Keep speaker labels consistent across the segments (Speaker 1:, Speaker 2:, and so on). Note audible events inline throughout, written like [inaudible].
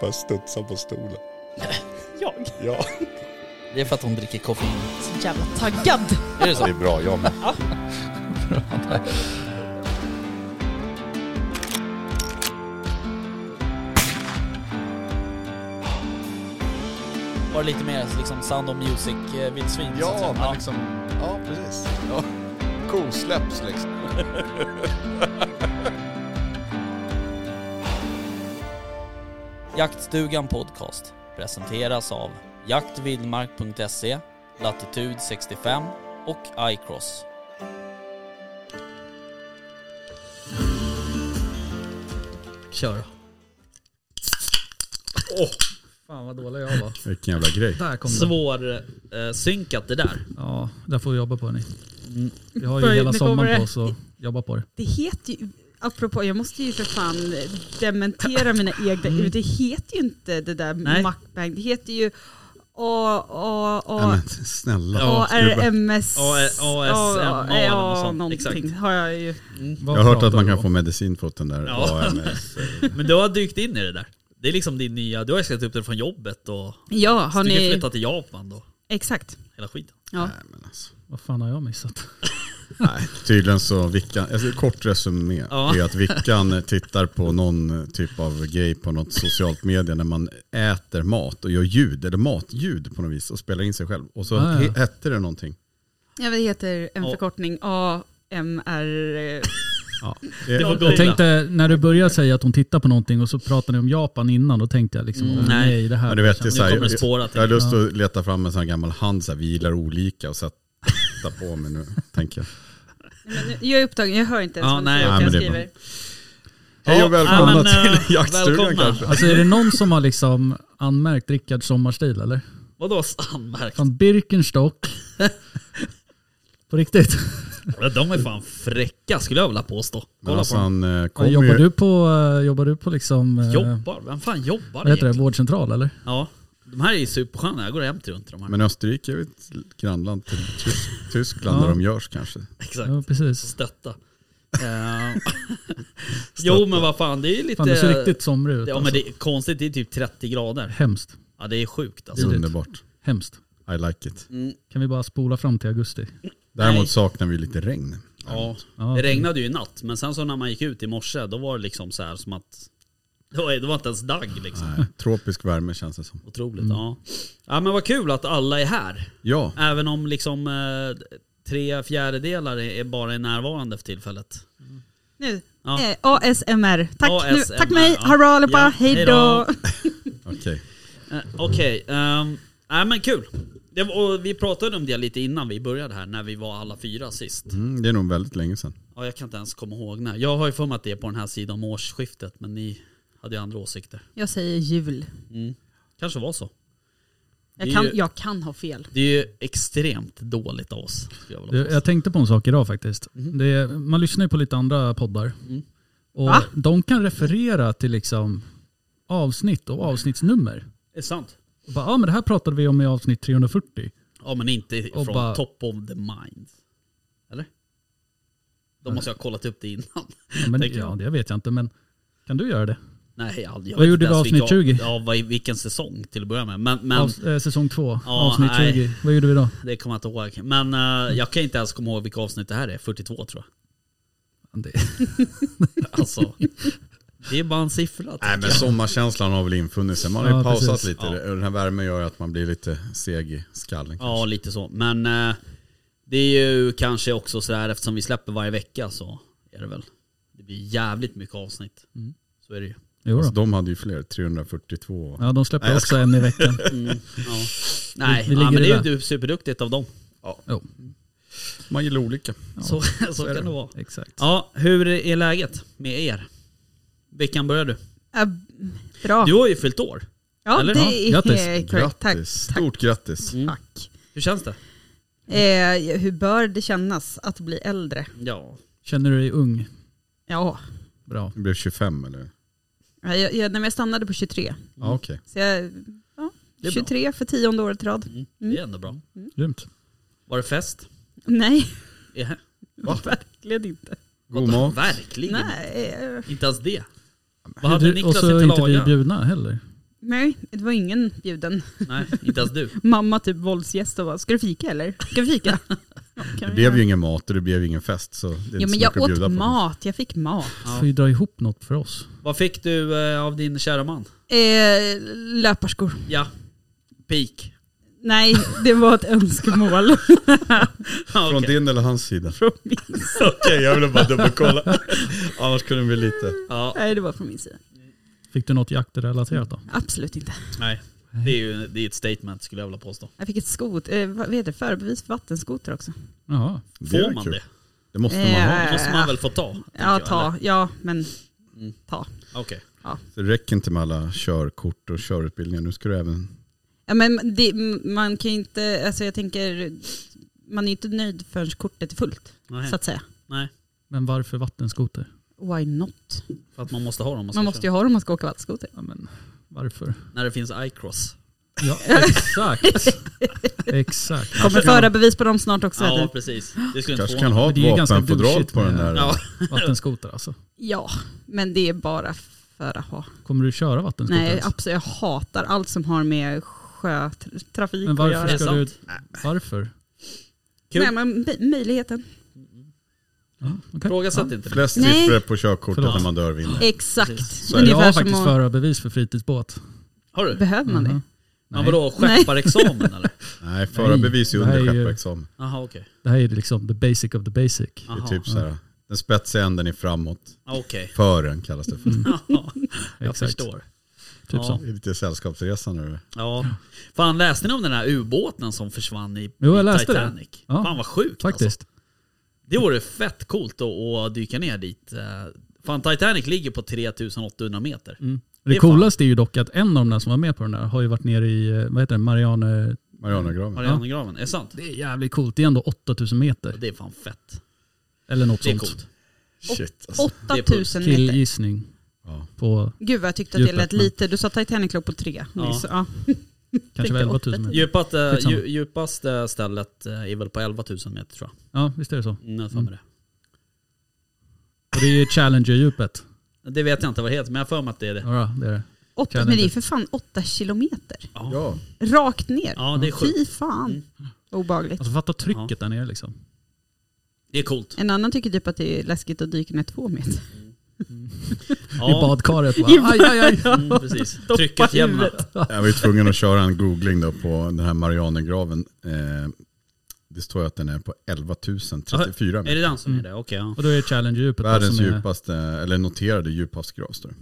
Speaker 1: Bara studsa på stolen.
Speaker 2: Jag?
Speaker 1: Ja.
Speaker 3: Det är för att hon dricker koffein.
Speaker 2: Så jävla taggad.
Speaker 3: Är det
Speaker 1: Det
Speaker 3: så?
Speaker 1: är bra, jag med.
Speaker 3: Var det lite mer liksom Sound of eh, Music-vildsvin?
Speaker 1: Ja, men liksom... Ja, precis. Ja. Kosläpps liksom.
Speaker 3: Jaktstugan Podcast presenteras av jaktvildmark.se, Latitude 65 och iCross. Kör då.
Speaker 4: Fan vad dålig jag var.
Speaker 5: Vilken jävla grej.
Speaker 4: Där kom den.
Speaker 3: Svår eh, synkat det där.
Speaker 4: Ja, där får vi jobba på hörni.
Speaker 3: Mm.
Speaker 4: Vi har ju
Speaker 2: För-
Speaker 4: hela
Speaker 2: nu kommer
Speaker 4: sommaren på
Speaker 2: det.
Speaker 4: oss att jobba på det.
Speaker 2: Det heter ju, apropå, jag måste ju för fan dementera mina egna mm. Det heter ju inte det där
Speaker 3: Nej.
Speaker 2: Macbang. Det heter ju A, A,
Speaker 5: Nej,
Speaker 2: A,
Speaker 5: men snälla.
Speaker 3: Ja,
Speaker 2: ARMS.
Speaker 3: A- ASMA eller något sånt.
Speaker 2: någonting
Speaker 3: Exakt.
Speaker 2: har jag ju.
Speaker 4: Vad
Speaker 5: Jag har hört
Speaker 4: pratar
Speaker 5: att man
Speaker 4: du
Speaker 5: kan
Speaker 4: om?
Speaker 5: få medicin för den där
Speaker 3: Ja.
Speaker 5: AMS.
Speaker 3: Men du har dykt in i det där. Det är liksom din nya, du har ju skrivit upp det från jobbet och
Speaker 2: Ja, har
Speaker 3: du kan
Speaker 2: ni...
Speaker 3: flytta till Japan då.
Speaker 2: Exakt.
Speaker 3: Hela skiten.
Speaker 2: Ja.
Speaker 5: Nej, men alltså.
Speaker 4: Vad fan har jag missat?
Speaker 5: Nej, tydligen så Vickan, alltså, kort resumé
Speaker 3: Ja.
Speaker 5: är att Vickan tittar på någon typ av grej på något socialt media när man äter mat och gör ljud, eller matljud på något vis och spelar in sig själv. Och så
Speaker 4: Ah, ja.
Speaker 5: he- hette det någonting.
Speaker 2: Ja, det heter en
Speaker 3: Ja.
Speaker 2: förkortning AMR.
Speaker 5: Ja.
Speaker 3: Det var
Speaker 5: Eh,
Speaker 3: googla.
Speaker 4: Jag tänkte, när du började säga att hon tittar på någonting och så pratade ni om Japan innan, då tänkte jag liksom, åh,
Speaker 3: Mm. Nej.
Speaker 4: nej. det här.
Speaker 5: Men du vet, det är så
Speaker 3: Nu
Speaker 5: här,
Speaker 3: kommer det
Speaker 5: jag,
Speaker 3: spåra
Speaker 5: jag har
Speaker 3: till.
Speaker 5: lust att leta fram en sån här gammal hand, så här, vi gillar olika och sätta på mig nu, tänker jag.
Speaker 2: Nej, men nu- Jag är upptagen, jag hör inte ens
Speaker 3: Ja,
Speaker 2: vad
Speaker 3: nej,
Speaker 2: ni
Speaker 5: nej,
Speaker 2: säger, jag
Speaker 5: men det är bra.
Speaker 2: skriver.
Speaker 5: Hej och välkomna
Speaker 3: ja, men, eh,
Speaker 5: till jaktstugan
Speaker 3: välkomna.
Speaker 5: kanske.
Speaker 4: Alltså är det någon som har liksom anmärkt Rickards sommarstil eller?
Speaker 3: Vadå anmärkt? [laughs]
Speaker 4: Från Birkenstock. På riktigt.
Speaker 3: De är fan fräcka skulle jag vilja påstå.
Speaker 5: Men
Speaker 3: Kolla
Speaker 5: alltså,
Speaker 3: på dem.
Speaker 5: han eh,
Speaker 4: Ja,
Speaker 5: kom
Speaker 4: jobbar,
Speaker 5: ju,
Speaker 4: du på, eh, jobbar du på liksom, eh,
Speaker 3: Jobbar? Vem fan jobbar
Speaker 4: vad heter det,
Speaker 3: egentligen?
Speaker 4: vårdcentral eller?
Speaker 3: Ja. De här är ju supersköna, jag går hem till runt de här.
Speaker 5: men Österrike är ju ett grannland
Speaker 4: [laughs]
Speaker 5: till Tys- Tyskland
Speaker 4: Ja.
Speaker 5: där de görs kanske. Alltså
Speaker 3: Exakt.
Speaker 4: Ja, precis. [laughs]
Speaker 3: Stötta. Eh, [laughs] jo men vad fan, det är ju lite...
Speaker 4: Fan, du ser riktigt somrig ut.
Speaker 3: ja men det är konstigt, det är typ 30 grader.
Speaker 4: alltså. Hemskt.
Speaker 3: Ja det är sjukt alltså.
Speaker 4: Absolut.
Speaker 5: Underbart.
Speaker 4: Hemskt.
Speaker 5: I like it.
Speaker 4: Kan vi bara spola fram till augusti?
Speaker 5: Däremot
Speaker 3: Nej.
Speaker 5: saknar vi lite regn.
Speaker 3: Ja.
Speaker 4: Ja,
Speaker 3: Det regnade ju i natt, men sen så när man gick ut i morse då var det liksom så här som att [laughs] det var, det var inte ens dagg liksom.
Speaker 5: Nej, tropisk värme känns det som.
Speaker 3: Otroligt.
Speaker 4: Mm.
Speaker 3: Ja. ja men vad kul att alla är här.
Speaker 5: Ja,
Speaker 3: Även om liksom eh, tre fjärdedelar är är bara är närvarande för tillfället.
Speaker 2: Nu.
Speaker 3: Ja.
Speaker 2: Eh, ASMR. Tack,
Speaker 3: ASMR,
Speaker 2: nu, tack mig,
Speaker 3: ja.
Speaker 2: hurra allihopa,
Speaker 3: Ja,
Speaker 2: hej
Speaker 3: hejdå.
Speaker 2: då.
Speaker 5: okej.
Speaker 3: Eh, Okej, ehm, nej men kul. Det, var- och vi pratade om det lite innan vi började här när vi var alla fyra sist.
Speaker 5: Mm, det är nog väldigt länge sedan.
Speaker 3: Ja, jag kan inte ens komma ihåg när. Jag har ju för mig att det är på den här sidan om årsskiftet men ni hade ju andra åsikter.
Speaker 2: Jag säger jul.
Speaker 3: Mm. Kanske var så. Det
Speaker 2: Jag
Speaker 3: är
Speaker 2: kan,
Speaker 3: ju-
Speaker 2: jag kan ha fel.
Speaker 3: Det är ju extremt dåligt av oss. skulle Jag, vilja
Speaker 4: Du, jag tänkte på en sak idag faktiskt.
Speaker 3: Mhm.
Speaker 4: Det är, man lyssnar ju på lite andra poddar.
Speaker 3: Mm.
Speaker 4: Och
Speaker 2: Va?
Speaker 4: De kan referera till liksom avsnitt och avsnittsnummer.
Speaker 3: Det är sant.
Speaker 4: Och bara, ja men det här pratade vi om i avsnitt 340.
Speaker 3: Ja men inte
Speaker 4: Och
Speaker 3: från
Speaker 4: bara-
Speaker 3: top of the mind. Eller? Då måste jag ha kollat upp det innan.
Speaker 4: Ja, men,
Speaker 3: Tänker jag.
Speaker 4: ja, det vet jag inte men kan du göra det?
Speaker 3: Nej, jag, jag
Speaker 4: Vad
Speaker 3: vet
Speaker 4: gjorde
Speaker 3: inte
Speaker 4: vi
Speaker 3: ens
Speaker 4: avsnitt
Speaker 3: vilka-
Speaker 4: 20?
Speaker 3: Ja, vad, vilken säsong till att börja med. Men, men
Speaker 4: Avs- eh, säsong två,
Speaker 3: Ja,
Speaker 4: avsnitt
Speaker 3: nej.
Speaker 4: 20. Vad gjorde vi då?
Speaker 3: det kommer jag inte ihåg. Men eh, jag kan inte ens komma ihåg vilka avsnitt det här är. 42 tror
Speaker 4: Det,
Speaker 3: jag.
Speaker 4: [laughs]
Speaker 3: Alltså, det är bara en siffra. tycker
Speaker 5: Nej, men
Speaker 3: jag.
Speaker 5: sommarkänslan har väl infunnit sig. Man har ju
Speaker 4: Ja,
Speaker 5: pausat
Speaker 4: precis.
Speaker 5: lite. och Den här värmen gör ju att man blir lite seg i skallen.
Speaker 3: Ja, lite så. Men eh, det är ju kanske också sådär eftersom vi släpper varje vecka så är det väl. Det blir jävligt mycket avsnitt. Så är det ju.
Speaker 4: [laughs] jo
Speaker 5: Alltså,
Speaker 4: då.
Speaker 5: de hade ju fler, 342.
Speaker 4: Ja, de släpper
Speaker 5: Nej, jag
Speaker 4: också en i veckan.
Speaker 3: Ja. Nej,
Speaker 4: vi
Speaker 3: ja,
Speaker 4: ligger
Speaker 3: men
Speaker 4: i
Speaker 3: det är
Speaker 4: det.
Speaker 3: ju superduktigt av dem.
Speaker 4: Jo,
Speaker 5: Man gillar olika.
Speaker 3: Så, [laughs] så kan det vara.
Speaker 4: exakt.
Speaker 3: Ja, hur är läget med er? Vilken börjar du?
Speaker 2: Äh, bra.
Speaker 3: Du har ju fyllt år.
Speaker 2: ja,
Speaker 3: eller?
Speaker 2: det
Speaker 3: Ja,
Speaker 2: är
Speaker 4: grattis.
Speaker 2: korrekt. Tack.
Speaker 5: Grattis. Stort grattis.
Speaker 2: Tack.
Speaker 3: Hur känns det?
Speaker 2: Eh, hur bör det kännas att bli äldre?
Speaker 3: Ja.
Speaker 4: Känner du dig ung?
Speaker 2: Ja,
Speaker 4: Bra.
Speaker 3: Mm.
Speaker 5: Du blev 25 eller?
Speaker 2: jag, jag, nej, men jag stannade på 23.
Speaker 5: Ja, okej.
Speaker 2: Så jag, ja,
Speaker 3: Det är bra.
Speaker 2: 23 för tionde året i rad.
Speaker 3: Mm.
Speaker 2: Mm.
Speaker 3: Det är ändå bra.
Speaker 4: Grymt.
Speaker 3: Var det fest?
Speaker 2: Nej,
Speaker 3: Ja.
Speaker 2: verkligen inte.
Speaker 5: God mat.
Speaker 3: Verkligen.
Speaker 2: Nej, eh,
Speaker 3: Inte ens det. Vad hade
Speaker 4: Och
Speaker 3: Niklas
Speaker 4: så
Speaker 3: inte
Speaker 4: är inte vi
Speaker 3: lagat?
Speaker 4: bjudna heller.
Speaker 2: Nej, det var ingen bjuden.
Speaker 3: Nej, inte ens du.
Speaker 2: Mamma typ våldsgäst och bara, ska du fika eller? Ska vi fika? Ja, kan vi
Speaker 5: Det
Speaker 2: göra.
Speaker 5: blev ju ingen mat och det blev ju ingen fest. Så det är inte
Speaker 2: Ja,
Speaker 5: så
Speaker 2: men
Speaker 5: mycket
Speaker 2: jag
Speaker 5: att bjuda
Speaker 2: åt
Speaker 5: på.
Speaker 2: mat, jag fick mat.
Speaker 4: Får ju dra ihop något för oss.
Speaker 3: Vad fick du eh, av din kära man?
Speaker 2: Eh, löparskor.
Speaker 3: Ja, peak. [laughs]
Speaker 2: Nej, det var ett önskemål
Speaker 3: Ja,
Speaker 5: Från
Speaker 3: okej.
Speaker 5: din eller hans sida? [laughs]
Speaker 2: från min
Speaker 5: Okej, jag ville bara
Speaker 2: [laughs]
Speaker 5: dubbelkolla. Annars kunde det bli lite...
Speaker 3: ja,
Speaker 2: Nej, det var från min sida.
Speaker 4: Fick du något jaktrelaterat
Speaker 3: Mm.
Speaker 4: då?
Speaker 2: Absolut inte.
Speaker 3: nej. Det är ju det är ett statement skulle jag vilja påstå.
Speaker 2: Jag fick ett skot, eh, vad heter det, förarbevis för vattenskoter också.
Speaker 4: Ja.
Speaker 5: Det
Speaker 3: Får
Speaker 5: är
Speaker 3: man
Speaker 5: kul.
Speaker 3: det?
Speaker 5: Det måste man ha.
Speaker 3: Det måste man väl få ta? tänker
Speaker 2: Ja,
Speaker 3: jag,
Speaker 2: ta. Ja, men
Speaker 3: Mm.
Speaker 2: ta.
Speaker 3: eller? Okej.
Speaker 5: Det räcker inte med alla körkort och körutbildningar. Nu ska du även...
Speaker 2: Ja, men det, man kan ju inte, alltså jag tänker, man är ju inte nöjd förrän kortet är fullt,
Speaker 3: Nej,
Speaker 2: så att säga.
Speaker 4: Men varför vattenskoter?
Speaker 2: Why not?
Speaker 3: För att man måste ha dem. om Man, ska
Speaker 2: Man måste ju
Speaker 3: köra.
Speaker 2: ha dem om man ska åka vattenskoter.
Speaker 4: Ja, men varför?
Speaker 3: När det finns iCross.
Speaker 4: Ja, exakt. exakt.
Speaker 2: Kommer föra bevis på dem snart också.
Speaker 3: Ja,
Speaker 2: eller?
Speaker 3: precis. Det skulle inte
Speaker 5: kanske
Speaker 3: få
Speaker 5: kan ha
Speaker 4: Men
Speaker 5: ett
Speaker 4: det är ju ganska
Speaker 5: vapenfodral
Speaker 4: bullshit
Speaker 5: på den
Speaker 4: med-
Speaker 5: där.
Speaker 3: Ja.
Speaker 4: Vattenskoter alltså.
Speaker 2: ja, men det är bara för att ha.
Speaker 4: Kommer du köra vattenskoter?
Speaker 2: Nej,
Speaker 4: ens?
Speaker 3: alltså.
Speaker 2: absolut. Jag hatar allt som har med sjötrafik
Speaker 4: Men
Speaker 2: att göra.
Speaker 4: varför
Speaker 3: Det
Speaker 4: ska
Speaker 3: är
Speaker 4: du... Varför?
Speaker 3: Kul.
Speaker 2: Nej, men b- möjligheten.
Speaker 4: Ja, okej.
Speaker 3: Ifrågasätt inte det.
Speaker 5: Flest
Speaker 2: Nej.
Speaker 5: siffror på körkortet
Speaker 4: Förlåt.
Speaker 5: när man dör vinner.
Speaker 2: Exakt.
Speaker 3: Precis.
Speaker 4: Så jag har faktiskt
Speaker 2: att-
Speaker 4: förarbevis för fritidsbåt.
Speaker 3: Har du?
Speaker 2: Behöver man
Speaker 5: Mm.
Speaker 4: Mhm.
Speaker 2: det?
Speaker 3: Men vadå, skepparexamen
Speaker 2: [laughs]
Speaker 3: eller?
Speaker 5: Nej, förarbevis är
Speaker 4: Nej, det här är
Speaker 5: under
Speaker 4: ju-
Speaker 5: skepparexamen.
Speaker 3: Jaha okej.
Speaker 4: Det här är liksom the basic of the basic.
Speaker 5: Det
Speaker 3: Jaha.
Speaker 5: är typ så här. Den spetsiga änden är framåt.
Speaker 2: [laughs]
Speaker 3: Okej.
Speaker 5: Fören kallas det
Speaker 4: Mm.
Speaker 5: för.
Speaker 3: Ja, jag
Speaker 4: Exakt.
Speaker 3: förstår.
Speaker 4: Typ
Speaker 3: Ja.
Speaker 4: så.
Speaker 5: Det är lite sällskapsresa nu.
Speaker 3: Ja. Fan läste ni om den här ubåten som försvann i
Speaker 4: Jo, jag
Speaker 3: i
Speaker 4: läste det.
Speaker 3: Titanic?
Speaker 4: Ja.
Speaker 3: Fan vad sjukt Alltså.
Speaker 4: Faktiskt.
Speaker 3: Det vore fett coolt att, att dyka ner dit. Eh, Fan Titanic ligger på 3800 meter.
Speaker 4: Mm.
Speaker 3: Det
Speaker 4: Det,
Speaker 3: är fan-
Speaker 4: coolaste är ju dock att en av de där som var med på den där har ju varit nere i, eh, vad heter det, Marianer...
Speaker 5: Marianergraven.
Speaker 3: Marianergraven, är det sant?
Speaker 4: Det är jävligt coolt. Det är ändå 8000 meter.
Speaker 3: Det är fan fett.
Speaker 4: Eller något
Speaker 3: Det är
Speaker 4: sånt.
Speaker 3: coolt.
Speaker 5: Shit alltså.
Speaker 2: 8000 meter.
Speaker 4: Killgissning
Speaker 5: Ja.
Speaker 4: på
Speaker 2: Gud vad jag tyckte att det
Speaker 4: Djupet,
Speaker 2: lät
Speaker 4: men-
Speaker 2: lite. Du sa Titanic låg på tre.
Speaker 3: Ja.
Speaker 2: nyss. Ja.
Speaker 4: kanske
Speaker 2: Tänkte
Speaker 4: 11 000 meter.
Speaker 3: Djupat, eh,
Speaker 4: Skitsamma.
Speaker 3: dju- djupaste stället eh, är väl på 11 000 meter tror jag.
Speaker 4: Ja, visst är det så.
Speaker 3: Mm, jag har för mig
Speaker 4: Och det är Challenger-djupet.
Speaker 3: det. det vet jag inte vad det heter, men jag har för mig att det är det.
Speaker 4: Ja, det är det.
Speaker 2: Åtta,
Speaker 4: Kan
Speaker 2: men det är ju
Speaker 4: inte.
Speaker 2: för fan åtta kilometer.
Speaker 3: Ja,
Speaker 5: Ja,
Speaker 2: Rakt ner.
Speaker 3: ja det är sjukt.
Speaker 2: Fy fan.
Speaker 3: Mm.
Speaker 2: Obagligt.
Speaker 4: Alltså fatta trycket där nere liksom.
Speaker 3: Det är coolt.
Speaker 2: En annan tycker typ att det är läskigt att dyka ner två meter.
Speaker 3: Ja.
Speaker 4: I badkaret
Speaker 2: [laughs]
Speaker 4: bara.
Speaker 2: I
Speaker 4: Aj, aj, aj.
Speaker 3: Mm,
Speaker 4: [laughs]
Speaker 3: precis. Trycket jämnat.
Speaker 5: jag var ju tvungen att köra en googling då på den här Marianergraven. Eh, det står ju att den är på 11 034
Speaker 3: Är
Speaker 5: meter.
Speaker 3: det den som är det? Okej, ja.
Speaker 4: Och då är Challenger-djupet. då
Speaker 5: Världens
Speaker 4: som är-
Speaker 5: djupaste, eller noterade djuphavsgrav står det.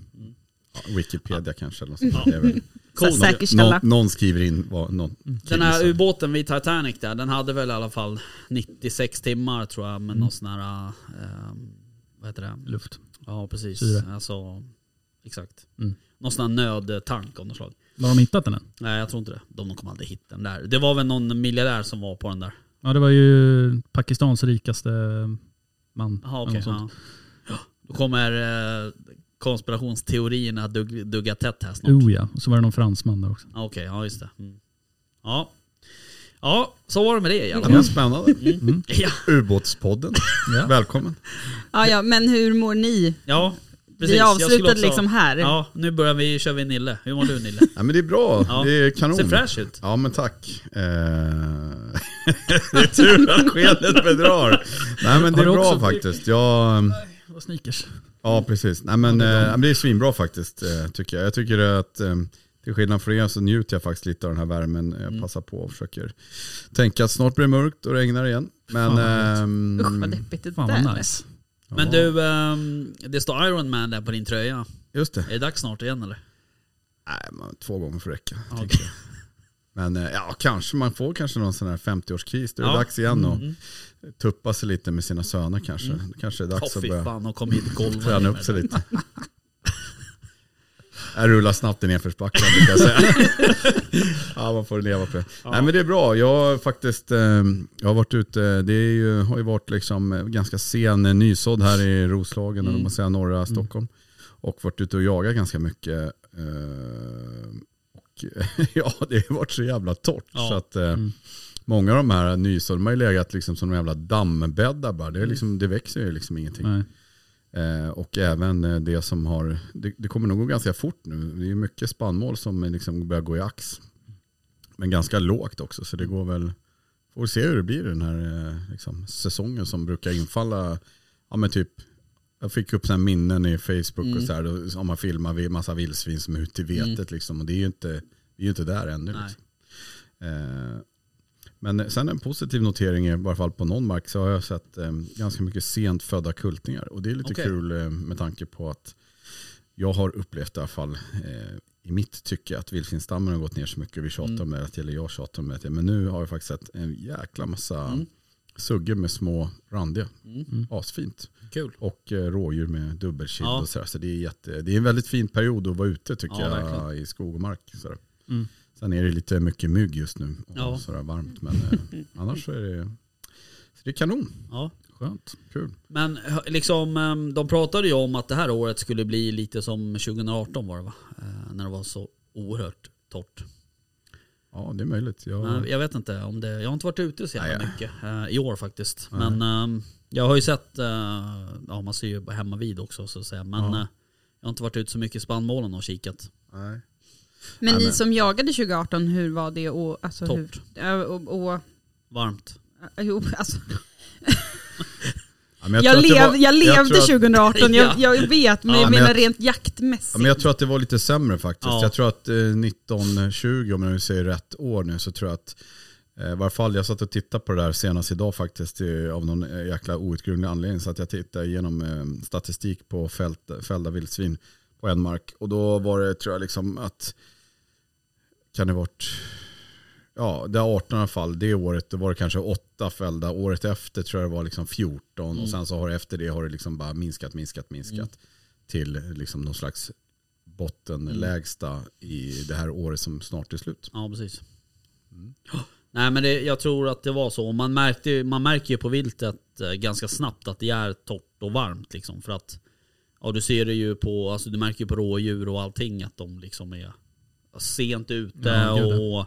Speaker 5: ja, Wikipedia kanske eller något sånt. Det är väl-
Speaker 2: Så här
Speaker 3: Cool.
Speaker 2: säkerställa.
Speaker 5: Någon, någon skriver in vad
Speaker 4: Mm.
Speaker 5: någon
Speaker 3: Den här
Speaker 5: kille sa.
Speaker 3: ubåten vid Titanic där, den hade väl i alla fall 96 timmar tror jag med
Speaker 4: Mm.
Speaker 3: någon sån här, ehm, vad heter det?
Speaker 4: Luft.
Speaker 3: Ja precis.
Speaker 4: Syre.
Speaker 3: Alltså, exakt.
Speaker 4: Mm.
Speaker 3: Någon sån här nödtank av något slag.
Speaker 4: Har de hittat den än?
Speaker 3: Nej jag tror inte det. De, de kommer aldrig hitta den där. Det var väl någon miljardär som var på den där.
Speaker 4: Ja, det var ju Pakistans rikaste man.
Speaker 3: Jaha
Speaker 4: eller
Speaker 3: okej.
Speaker 4: något sånt.
Speaker 3: ja. Då kommer eh, konspirationsteorierna dug, dugga tätt här snart.
Speaker 4: Oh ja, och så var det någon fransman där också.
Speaker 3: Ja, Okej, ja just det. Mm. Ja. ja, så var det med det i alla
Speaker 4: Mm.
Speaker 5: Ja, men
Speaker 3: fall. [laughs]
Speaker 5: spännande.
Speaker 3: Ja,
Speaker 5: Ubåtspodden.
Speaker 4: Ja.
Speaker 5: Välkommen.
Speaker 2: Ja, ja, men hur mår ni?
Speaker 3: ja precis.
Speaker 2: Vi
Speaker 3: Jag skulle
Speaker 2: avslutade
Speaker 3: också-
Speaker 2: liksom här.
Speaker 3: Ja, nu börjar vi, kör vi Nille. Hur mår du Nille?
Speaker 5: Ja, men det är bra,
Speaker 3: Ja.
Speaker 5: det är kanon.
Speaker 3: Ser fräsch ut.
Speaker 5: Ja men tack. Eh, [laughs] det är tur att skenet bedrar. Nej men det
Speaker 4: Har
Speaker 5: är
Speaker 4: du
Speaker 5: bra
Speaker 4: också-
Speaker 5: faktiskt. Jag, eh,
Speaker 4: Vad sneakers.
Speaker 5: ja precis. Nej men eh, ja, men det är svinbra faktiskt eh, tycker jag. Jag tycker att eh, till skillnad från er så njuter jag faktiskt lite av den här värmen. Jag passar på och försöker tänka att snart blir det mörkt och regnar igen.
Speaker 4: Fan,
Speaker 5: Men...
Speaker 4: vad
Speaker 5: ehm,
Speaker 2: Usch vad deppigt det
Speaker 4: Fan
Speaker 2: där
Speaker 4: vad
Speaker 2: lät.
Speaker 4: nice.
Speaker 3: Men
Speaker 5: ja,
Speaker 3: du, ehm, det står Iron Man där på din tröja.
Speaker 5: Just det.
Speaker 3: Är det dags snart igen eller?
Speaker 5: Nej, man, två gånger får räcka.
Speaker 3: Ja,
Speaker 5: tänker
Speaker 3: okej.
Speaker 5: jag. Men eh, ja, kanske man får kanske någon sån här 50-årskris. Då är det
Speaker 3: Ja.
Speaker 5: dags igen att tuppa sig lite med sina söner kanske. Det kanske är
Speaker 3: Åh
Speaker 5: dags
Speaker 3: fy
Speaker 5: att börja
Speaker 3: fan, de kom hit golvet.
Speaker 5: träna upp sig lite. Jag rullar snabbt i nedförsbacken brukar jag säga. ja, man får leva på det. Nej men det är bra. Jag har faktiskt eh, jag har varit ute, det är ju, har ju varit liksom eh, ganska sen eh, nysådd här i Roslagen, eller vad man säger, norra Stockholm. Och varit ute och jagat ganska mycket. eh, och [laughs] ja, det har varit så jävla torrt.
Speaker 3: Ja.
Speaker 5: Så att, eh, Många av de här nysådda, de har ju legat liksom som de jävla dammbäddar bara. Det, är liksom, det växer ju liksom ingenting.
Speaker 4: Nej.
Speaker 5: Eh, och även eh, det som har, det, det kommer nog gå ganska fort nu. Det är mycket spannmål som är liksom börjar gå i ax. Men ganska lågt också så det går väl, får vi se hur det blir den här eh, liksom, säsongen som brukar infalla. Ja men typ, jag fick upp sådana minnen i Facebook och så här, då- om man filmar vid- massa vildsvin som är ute i vetet liksom. Och det är ju inte, det är ju inte där ännu.
Speaker 3: Nej.
Speaker 5: Liksom. Eh, men sen en positiv notering, i varje fall på någon mark, så har jag sett eh, ganska mycket sent födda kultingar. Och det är lite
Speaker 3: Okej.
Speaker 5: kul eh, med tanke på att jag har upplevt i alla fall eh, i mitt tycke att vildsvinsstammen har gått ner så mycket. Vi tjatar om det, eller jag tjatar om det. Men nu har jag faktiskt sett en jäkla massa suggor med små randiga. Asfint.
Speaker 3: Mm, Kul.
Speaker 5: Och eh, rådjur med dubbelkind
Speaker 3: Ja.
Speaker 5: och sådär. Så det är, jätte, det är en väldigt fin period att vara ute tycker
Speaker 3: Ja,
Speaker 5: jag
Speaker 3: verkligen.
Speaker 5: i skog och mark. Sådär.
Speaker 4: Mm.
Speaker 5: Sen är det lite mycket mygg just nu och
Speaker 3: Ja.
Speaker 5: sådär varmt. Men eh, annars så är det, så det är kanon.
Speaker 3: Ja.
Speaker 4: Skönt.
Speaker 5: Kul.
Speaker 3: Men hö- liksom, ehm, de pratade ju om att det här året skulle bli lite som 2018 var det va? Eh, När det var så oerhört torrt.
Speaker 5: Ja det är möjligt. Jag,
Speaker 3: Men jag vet inte om det, jag har inte varit ute så jävla
Speaker 5: Mm. Nej.
Speaker 3: mycket eh, i år faktiskt. Men ehm, jag har ju sett, eh, ja man ser ju hemma vid också så att säga. Men
Speaker 5: Ja.
Speaker 3: eh, jag har inte varit ute så mycket i spannmålen och kikat.
Speaker 5: nej.
Speaker 2: Men
Speaker 5: Nej,
Speaker 2: ni
Speaker 5: men-
Speaker 2: som jagade 2018, hur var det? Och, alltså, hur,
Speaker 3: Torrt,
Speaker 2: Ja, och, och,
Speaker 3: varmt.
Speaker 2: jo, alltså,
Speaker 5: Ja, men
Speaker 2: jag,
Speaker 5: tror att det
Speaker 2: lev,
Speaker 5: var-
Speaker 2: jag
Speaker 5: tror
Speaker 2: levde
Speaker 5: att-
Speaker 2: 2018, jag, jag vet, men
Speaker 5: Ja,
Speaker 2: jag
Speaker 5: men
Speaker 2: menar
Speaker 5: jag-
Speaker 2: rent
Speaker 5: Ja,
Speaker 2: jaktmässigt.
Speaker 5: men jag tror att det var lite sämre faktiskt.
Speaker 3: Ja.
Speaker 5: Jag tror att eh, 1920, om jag säger rätt år nu, så tror jag att eh, i varje fall jag satt och tittade på det där senast idag faktiskt eh, av någon eh, jäkla outgrundlig anledning. Så att jag tittade igenom eh, statistik på fält, fällda vildsvin på en mark. Och då var det, tror jag, liksom att kan det varit Ja, det 18 i alla fall, det året då var det kanske åtta fällda. Året efter tror jag det var liksom 14 och sen så har det efter det har det liksom bara minskat, minskat, minskat till liksom någon slags
Speaker 3: Mm.
Speaker 5: bottenlägsta i det här året som snart är slut.
Speaker 3: Ja precis.
Speaker 4: Mm.
Speaker 3: Ja. [gasps] Nej men det, jag tror att det var så. Och Man, märkte, ju- man märker ju på viltet eh, ganska snabbt att det är torrt och varmt liksom. För att ja, du ser det ju på, alltså du märker ju på rådjur och allting att de liksom är sent ute
Speaker 4: Ja, gud,
Speaker 3: och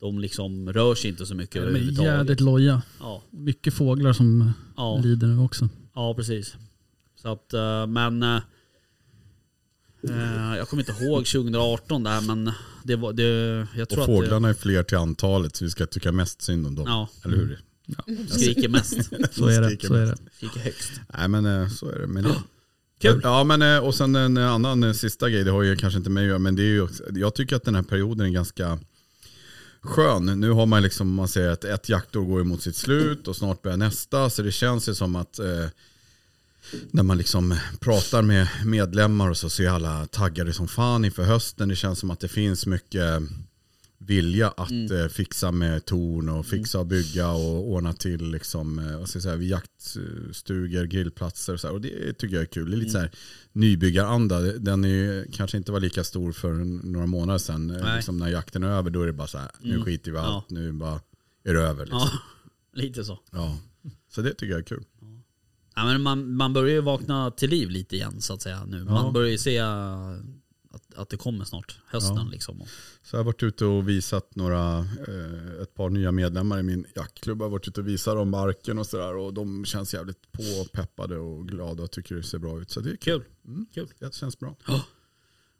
Speaker 3: de liksom rör sig inte så mycket
Speaker 4: De är
Speaker 3: överhuvudtaget.
Speaker 4: jädrigt loja.
Speaker 3: Ja,
Speaker 4: Mycket fåglar som
Speaker 3: ja,
Speaker 4: lider nu också.
Speaker 3: ja precis. Så att eh, men eh, eh, jag kommer inte ihåg 2018 där men det var det, jag tror
Speaker 5: Och
Speaker 3: att det,
Speaker 5: fåglarna är fler till antalet så vi ska tycka mest synd om dem.
Speaker 3: Ja, Mm.
Speaker 5: Eller hur?
Speaker 3: skriker mest.
Speaker 4: [laughs] Så är det.
Speaker 5: Skriker
Speaker 4: Så är det.
Speaker 5: mest.
Speaker 3: Skriker högst.
Speaker 5: Nej men eh, så är det. Men,
Speaker 3: Kul.
Speaker 5: Ja men eh, och sen en annan eh, sista grej, det har ju kanske inte med att göra men det är ju också, jag tycker att den här perioden är ganska skön. Nu har man liksom, man säger att ett jaktår går ju mot sitt slut och snart börjar nästa så det känns ju som att eh, när man liksom pratar med medlemmar och så ser alla taggade som fan inför hösten. Det känns som att det finns mycket vilja att eh, fixa med torn och fixa och bygga och ordna till liksom, eh, vad ska jag säga, vid jaktstugor, grillplatser och så här. Och det tycker jag är kul. Det är lite så här nybyggaranda. Den är ju, kanske inte var lika stor för några månader sedan. Eh,
Speaker 3: Nej.
Speaker 5: Liksom när jakten är över då är det bara så här, nu skiter vi i allt, nu bara är det över. Liksom.
Speaker 3: Mm. Ja,
Speaker 5: Ja.
Speaker 3: lite så.
Speaker 5: Så det tycker jag är kul.
Speaker 3: Ja, men man, man börjar ju vakna till liv lite igen så att säga nu. Man
Speaker 5: Ja.
Speaker 3: börjar ju se äh, att, att det kommer snart, hösten
Speaker 5: Ja.
Speaker 3: liksom. Och-
Speaker 5: Så jag har varit ute och visat några, eh, ett par nya medlemmar i min jaktklubb. Jag har varit ute och visat dem marken och sådär. Och de känns jävligt påpeppade och glada och tycker det ser bra ut. Så det är kul.
Speaker 3: Kul. Kul.
Speaker 5: Det känns bra.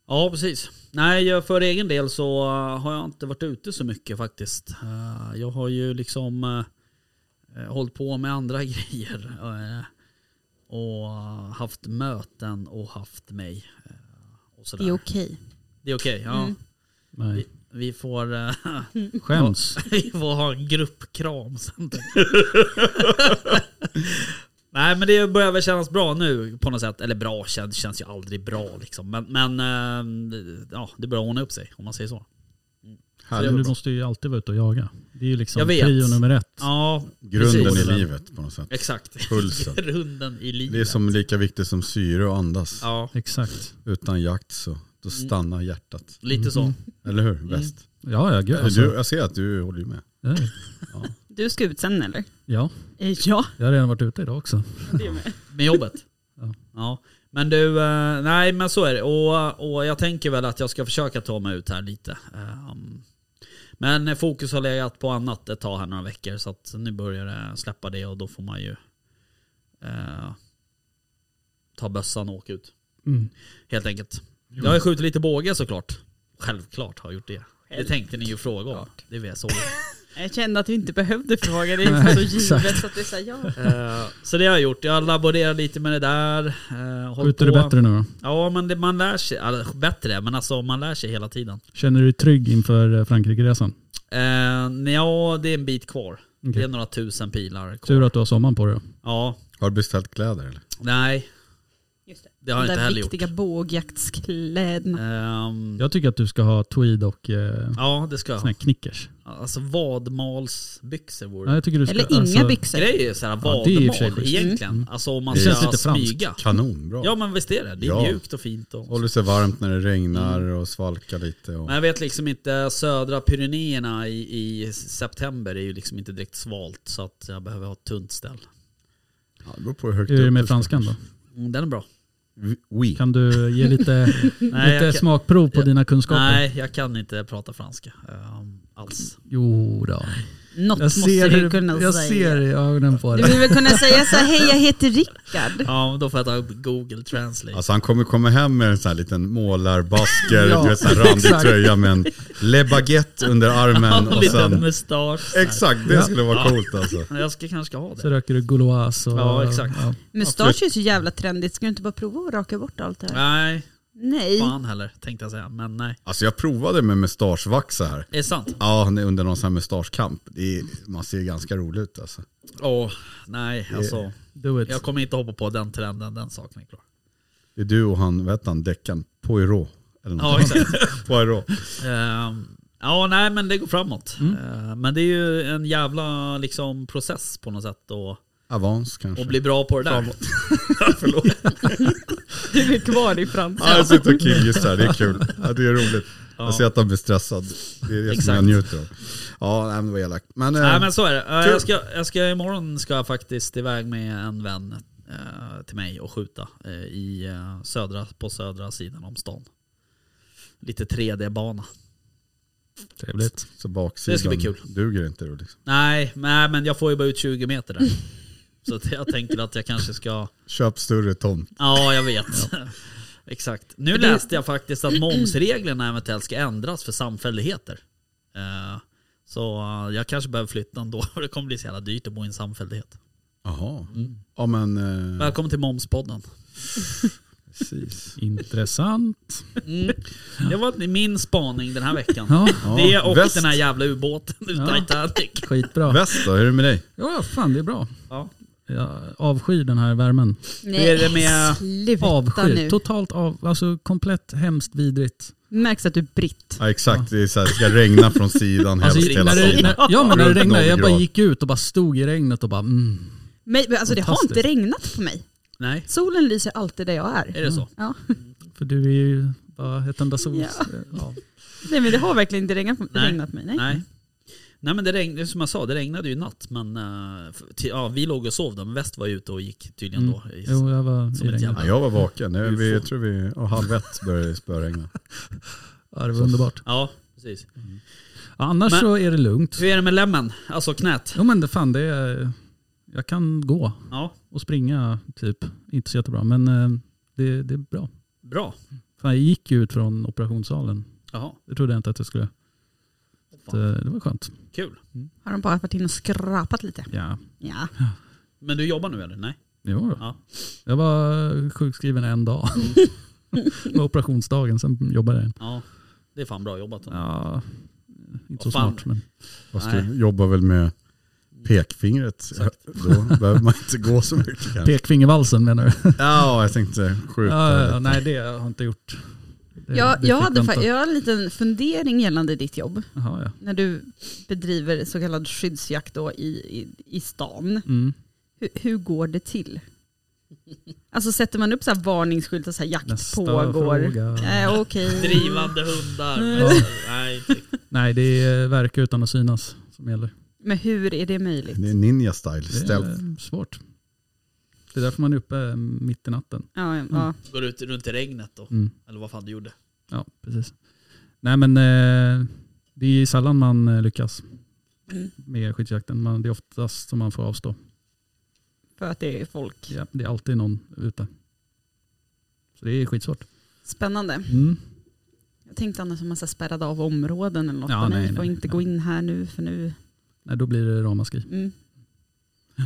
Speaker 3: Ja, precis. Nej, jag- för egen del så eh, har jag inte varit ute så mycket faktiskt. Eh, Jag har ju liksom eh, eh, hållit på med andra [laughs] grejer. eh, Och haft möten och haft mig. eh, Och sådär.
Speaker 2: det är okej.
Speaker 3: Det är okej, ja.
Speaker 2: Mm.
Speaker 4: Nej.
Speaker 3: Vi får... eh,
Speaker 4: Skäms.
Speaker 3: [laughs] Vi får ha en gruppkram sen. [laughs] Nej men det börjar väl kännas bra nu på något sätt. Eller bra känns, känns ju aldrig bra liksom. Men, men eh, ja, det börjar ordna upp sig om man säger så.
Speaker 4: Men
Speaker 5: Härligt.
Speaker 4: du måste ju alltid vara ute och jaga. Det är ju liksom
Speaker 3: Jag vet.
Speaker 4: prio nummer ett.
Speaker 3: Ja,
Speaker 5: Grunden
Speaker 3: precis.
Speaker 5: i livet på något sätt.
Speaker 3: Exakt. [laughs]
Speaker 5: Pulsen.
Speaker 3: Grunden i livet.
Speaker 5: Det är som lika viktigt som syre och andas.
Speaker 3: Ja, Mm.
Speaker 4: Exakt.
Speaker 5: Utan jakt så då stannar hjärtat.
Speaker 3: lite så.
Speaker 5: Eller hur?
Speaker 3: Mm.
Speaker 5: Väst.
Speaker 4: Ja, ja gud alltså.
Speaker 5: Du, jag ser att du håller ju med.
Speaker 4: Ja,
Speaker 2: Du ska ut sen eller?
Speaker 4: Ja,
Speaker 2: Eh, Ja,
Speaker 4: jag har redan varit ute idag också.
Speaker 2: det är med.
Speaker 3: Med jobbet.
Speaker 4: Ja.
Speaker 3: ja. Men du, eh, nej men så är det. Och, och jag tänker väl att jag ska försöka ta mig ut här lite. Ehm, Men fokus har legat på annat ett tag här några veckor så att nu börjar det släppa det och då får man ju eh, ta bössan och åka ut.
Speaker 4: Mm.
Speaker 3: Helt enkelt. Jag har ju skjutit lite båge såklart. Självklart har jag gjort det. Det tänkte ni ju fråga om. Det vet jag såg.
Speaker 2: Jag kände att vi inte behövde fråga,
Speaker 3: [laughs]
Speaker 2: det är så givet så att det är så här, ja.
Speaker 3: Eh, så det har jag gjort. Jag laborerar lite med det där. eh, hållit
Speaker 4: Skjuter du
Speaker 3: på.
Speaker 4: bättre nu då?
Speaker 3: Ja, men det, man lär sig. Alltså, bättre, men alltså man lär sig hela tiden.
Speaker 4: Känner du dig trygg inför eh, Frankrike-resan?
Speaker 3: Uh, ja, det är en bit kvar. Det är
Speaker 4: Okej.
Speaker 3: några tusen pilar kvar.
Speaker 4: Tur att du har sommaren på dig. då.
Speaker 3: Ja,
Speaker 5: Har du beställt kläder eller?
Speaker 3: nej.
Speaker 2: Just det.
Speaker 3: Det har jag
Speaker 2: De
Speaker 3: inte
Speaker 2: där
Speaker 3: heller gjort.
Speaker 2: viktiga bågjaktskläderna.
Speaker 3: Ehm,
Speaker 4: Jag tycker att du ska ha tweed och eh,
Speaker 3: ja, det ska jag.
Speaker 4: sån här knickers.
Speaker 3: Alltså vadmalsbyxor vore
Speaker 4: Ja, jag tycker du ska,
Speaker 2: Eller inga
Speaker 4: alltså,
Speaker 2: byxor.
Speaker 3: Grejer är såhär
Speaker 4: Ja, det är i och för
Speaker 3: vadmal
Speaker 4: sig schysst. Mm.
Speaker 3: egentligen. Alltså om man
Speaker 5: Det
Speaker 3: ska
Speaker 5: känns
Speaker 4: lite franskt.
Speaker 3: smyga.
Speaker 5: Kanon, bra.
Speaker 3: Ja men visst är det. Det är
Speaker 5: Ja.
Speaker 3: mjukt och fint. Och
Speaker 5: Håller sig varmt när det regnar och svalkar lite. Och...
Speaker 3: Men jag vet liksom inte, södra Pyrenéerna i, i september är ju liksom inte direkt svalt så att jag behöver ha ett tunt ställ.
Speaker 5: Ja, det beror på hur högt
Speaker 4: Hur är det
Speaker 5: upp
Speaker 4: med
Speaker 5: du ska.
Speaker 4: franskan då?
Speaker 3: Mm, den är bra.
Speaker 5: Oui.
Speaker 4: Kan du
Speaker 3: [laughs]
Speaker 4: ge lite,
Speaker 3: Nej,
Speaker 4: lite
Speaker 3: jag kan-
Speaker 4: smakprov på dina kunskaper?
Speaker 3: Nej, jag kan inte prata franska ehm, alls.
Speaker 4: Jo då.
Speaker 2: Något
Speaker 4: Jag
Speaker 2: måste
Speaker 4: ser,
Speaker 2: du kunna
Speaker 4: jag
Speaker 2: säga.
Speaker 4: ser i ögonen på
Speaker 2: Du
Speaker 4: dig.
Speaker 2: vill väl kunna säga så här, hej jag heter Rickard.
Speaker 3: Ja, då får jag ta upp Google Translate.
Speaker 5: Alltså han kommer komma hem med en sån här liten målarbasker,
Speaker 4: [laughs] Ja,
Speaker 5: du vet sån här randig
Speaker 4: exakt.
Speaker 5: tröja med en Le
Speaker 4: [laughs]
Speaker 5: Baguette under armen
Speaker 3: och
Speaker 5: och
Speaker 3: lite
Speaker 5: sen...
Speaker 3: mustasch.
Speaker 5: Exakt, det skulle vara coolt alltså.
Speaker 3: Jag ska kanske ha
Speaker 4: Så
Speaker 3: det.
Speaker 4: röker du Gauloise och...
Speaker 3: Ja, exakt.
Speaker 4: ja.
Speaker 2: Mustasch är så jävla trendigt, ska du inte bara prova att raka bort allt det här?
Speaker 3: Nej,
Speaker 2: Nej.
Speaker 3: fan heller tänkte jag säga. Men nej.
Speaker 5: Alltså jag provade med mustaschvax så här.
Speaker 3: Är det sant?
Speaker 5: Ja, han är under någon sån här mustaschkamp. Det är, man ser ganska rolig ut alltså.
Speaker 3: Åh, nej alltså.
Speaker 4: Do it.
Speaker 3: Jag kommer inte hoppa på den trenden, den saken är klar.
Speaker 5: Det är du och han, vet han, deckaren, Poirot. Eller något
Speaker 3: Ja, exakt.
Speaker 5: [laughs] Poirot.
Speaker 3: Ehm, ja, nej men det går framåt. Ehm, men det är ju en jävla liksom, process på något sätt och,
Speaker 5: Avans kanske.
Speaker 3: och bli bra på det där. [laughs] Förlåt.
Speaker 2: Du är kvar i franska.
Speaker 5: Ja, alltså, jag sitter och killgissar, det är kul. Ja, det är roligt. Alltså, Jag ser att han blir stressad. Det är det som
Speaker 3: Exakt.
Speaker 5: jag njuter av. Ja, nej, men det var elakt. Men, eh,
Speaker 3: Nej men så är det. Eh,
Speaker 5: Kul.
Speaker 3: Jag ska, jag ska, imorgon ska jag faktiskt iväg med en vän eh, till mig och skjuta eh, i, eh, södra, på södra sidan om stan. Lite 3D-bana.
Speaker 4: Trevligt.
Speaker 5: Så baksidan
Speaker 3: Det ska bli kul.
Speaker 5: duger inte då liksom.
Speaker 3: Nej, nej, men jag får ju bara ut 20 meter där. så att jag tänker att jag kanske ska...
Speaker 5: Köp större tomt.
Speaker 3: Ja, jag vet. [laughs] Exakt. Nu läste jag faktiskt att momsreglerna eventuellt ska ändras för samfälligheter. Eh, Så eh, jag kanske behöver flytta ändå. [laughs] Det kommer bli så jävla dyrt att bo i en samfällighet.
Speaker 5: Jaha. Mm. Ja men eh,
Speaker 3: Välkommen till Momspodden.
Speaker 5: precis.
Speaker 4: Intressant.
Speaker 3: Mm. Det var min spaning den här veckan.
Speaker 4: Ja,
Speaker 3: Det
Speaker 5: Ja,
Speaker 3: och
Speaker 5: väst,
Speaker 3: den här jävla ubåten ur
Speaker 4: Ja.
Speaker 3: Titanic.
Speaker 4: skitbra.
Speaker 5: Väst då, hur är det med dig?
Speaker 4: Ja, fan det är bra.
Speaker 3: Ja.
Speaker 4: Jag avskyr den här värmen.
Speaker 2: Nej,
Speaker 3: är det med
Speaker 2: sluta
Speaker 4: Avskyr.
Speaker 2: nu.
Speaker 4: Totalt av, alltså komplett hemskt vidrigt.
Speaker 2: Märks att du är britt.
Speaker 5: Ja exakt, det är så här, det ska regna från sidan
Speaker 4: Alltså,
Speaker 5: helst hela
Speaker 4: när det,
Speaker 5: tiden.
Speaker 4: när, ja men när det
Speaker 5: Runt
Speaker 4: regnade,
Speaker 5: noll
Speaker 4: jag bara
Speaker 5: grad.
Speaker 4: gick ut och bara stod i regnet och bara mm.
Speaker 2: Men, men alltså det har inte
Speaker 4: Fantastiskt.
Speaker 2: regnat på mig.
Speaker 3: Nej,
Speaker 2: Solen lyser alltid där jag är.
Speaker 3: är det så?
Speaker 2: Ja.
Speaker 4: För du är ju bara ett enda sol.
Speaker 2: Ja.
Speaker 4: Ja.
Speaker 2: Nej men det har verkligen inte regnat på,
Speaker 3: Nej.
Speaker 2: regnat på mig. Nej.
Speaker 3: Nej. Nej men det regnade, som jag sa, det regnade ju i natt. Men eh, för- till, ja, vi låg och sov då, men väst var ju ute och gick tydligen
Speaker 4: Mm.
Speaker 3: då. I,
Speaker 4: Jo, jag var
Speaker 3: Som
Speaker 4: i
Speaker 3: ett
Speaker 4: regnet.
Speaker 3: jävla-
Speaker 5: Ja, jag var vaken, jag, vi, jag
Speaker 3: UFO.
Speaker 5: tror vi, oh, halv ett började det spöregna.
Speaker 4: Ja, det var underbart.
Speaker 3: Ja, precis.
Speaker 4: Ja, annars
Speaker 3: Men-
Speaker 4: så är det lugnt.
Speaker 3: Hur är det med lämmen? Alltså knät?
Speaker 4: Jo men det fan det är, jag kan gå
Speaker 3: Ja,
Speaker 4: och springa typ. Inte så jättebra men eh, det, det är bra.
Speaker 3: bra.
Speaker 4: Fan, jag gick ju ut från operationssalen.
Speaker 3: Jaha,
Speaker 4: Det trodde jag inte att jag skulle. Så,
Speaker 3: fan,
Speaker 4: det var skönt.
Speaker 3: kul.
Speaker 2: Har de bara varit in och skrapat lite?
Speaker 4: Ja.
Speaker 2: Ja.
Speaker 3: Men du jobbar nu eller? Nej?
Speaker 4: Jo, då.
Speaker 3: Ja.
Speaker 4: Jag var eh, sjukskriven
Speaker 3: [laughs]
Speaker 4: en dag. det var operationsdagen, sen jobbade jag.
Speaker 3: Ja, det är fan bra jobbat.
Speaker 4: Ja, inte så
Speaker 3: Vad fan.
Speaker 4: smart men.
Speaker 5: Fast
Speaker 3: Nej.
Speaker 5: du jobbar väl med pekfingret, då behöver man inte gå så mycket kanske.
Speaker 4: Pekfingervalsen menar du?
Speaker 5: Ja, jag tänkte skjuta
Speaker 4: Ja, ja,
Speaker 5: lite.
Speaker 4: nej det har jag inte gjort. Det,
Speaker 2: Jag,
Speaker 4: det
Speaker 2: jag,
Speaker 4: fick
Speaker 2: hade,
Speaker 4: vänta.
Speaker 2: fa- jag har en liten fundering gällande ditt jobb.
Speaker 4: Jaha, ja.
Speaker 2: När du bedriver så kallad skyddsjakt då i, i, i stan.
Speaker 4: Mm,
Speaker 2: Hur, hur går det till? Alltså sätter man upp så här varningsskyltar, så här jakt
Speaker 4: nästa
Speaker 2: pågår?
Speaker 4: fråga.
Speaker 2: Eh, Okej.
Speaker 3: Drivande hundar.
Speaker 4: Ja.
Speaker 3: Nej, typ, inte riktigt.
Speaker 4: Nej det är verka utan att synas som gäller.
Speaker 2: Men hur är det möjligt?
Speaker 5: Det är ninja style,
Speaker 4: Det
Speaker 5: stealth.
Speaker 4: är svårt. Det är därför man är uppe mitt i natten.
Speaker 2: Ja, ja, ja.
Speaker 3: Går ut runt i regnet då?
Speaker 4: Mm.
Speaker 3: Eller vad fan du gjorde?
Speaker 4: Ja, precis. Nej men eh, det är sällan man eh, lyckas
Speaker 3: Mm.
Speaker 4: med skyddsjakten. Man, det är oftast som man får avstå.
Speaker 2: För att det är folk.
Speaker 4: Ja, det är alltid någon ute. Så det är skitsvårt.
Speaker 2: Spännande.
Speaker 4: Mm.
Speaker 2: Jag tänkte annars om man så här spärrade av områden eller något.
Speaker 4: Ja,
Speaker 2: Ja, nej,
Speaker 4: nej,
Speaker 2: ni får
Speaker 4: nej,
Speaker 2: inte
Speaker 4: nej.
Speaker 2: gå in här nu för nu.
Speaker 4: Nej, då blir det ramaskri.
Speaker 2: Mm.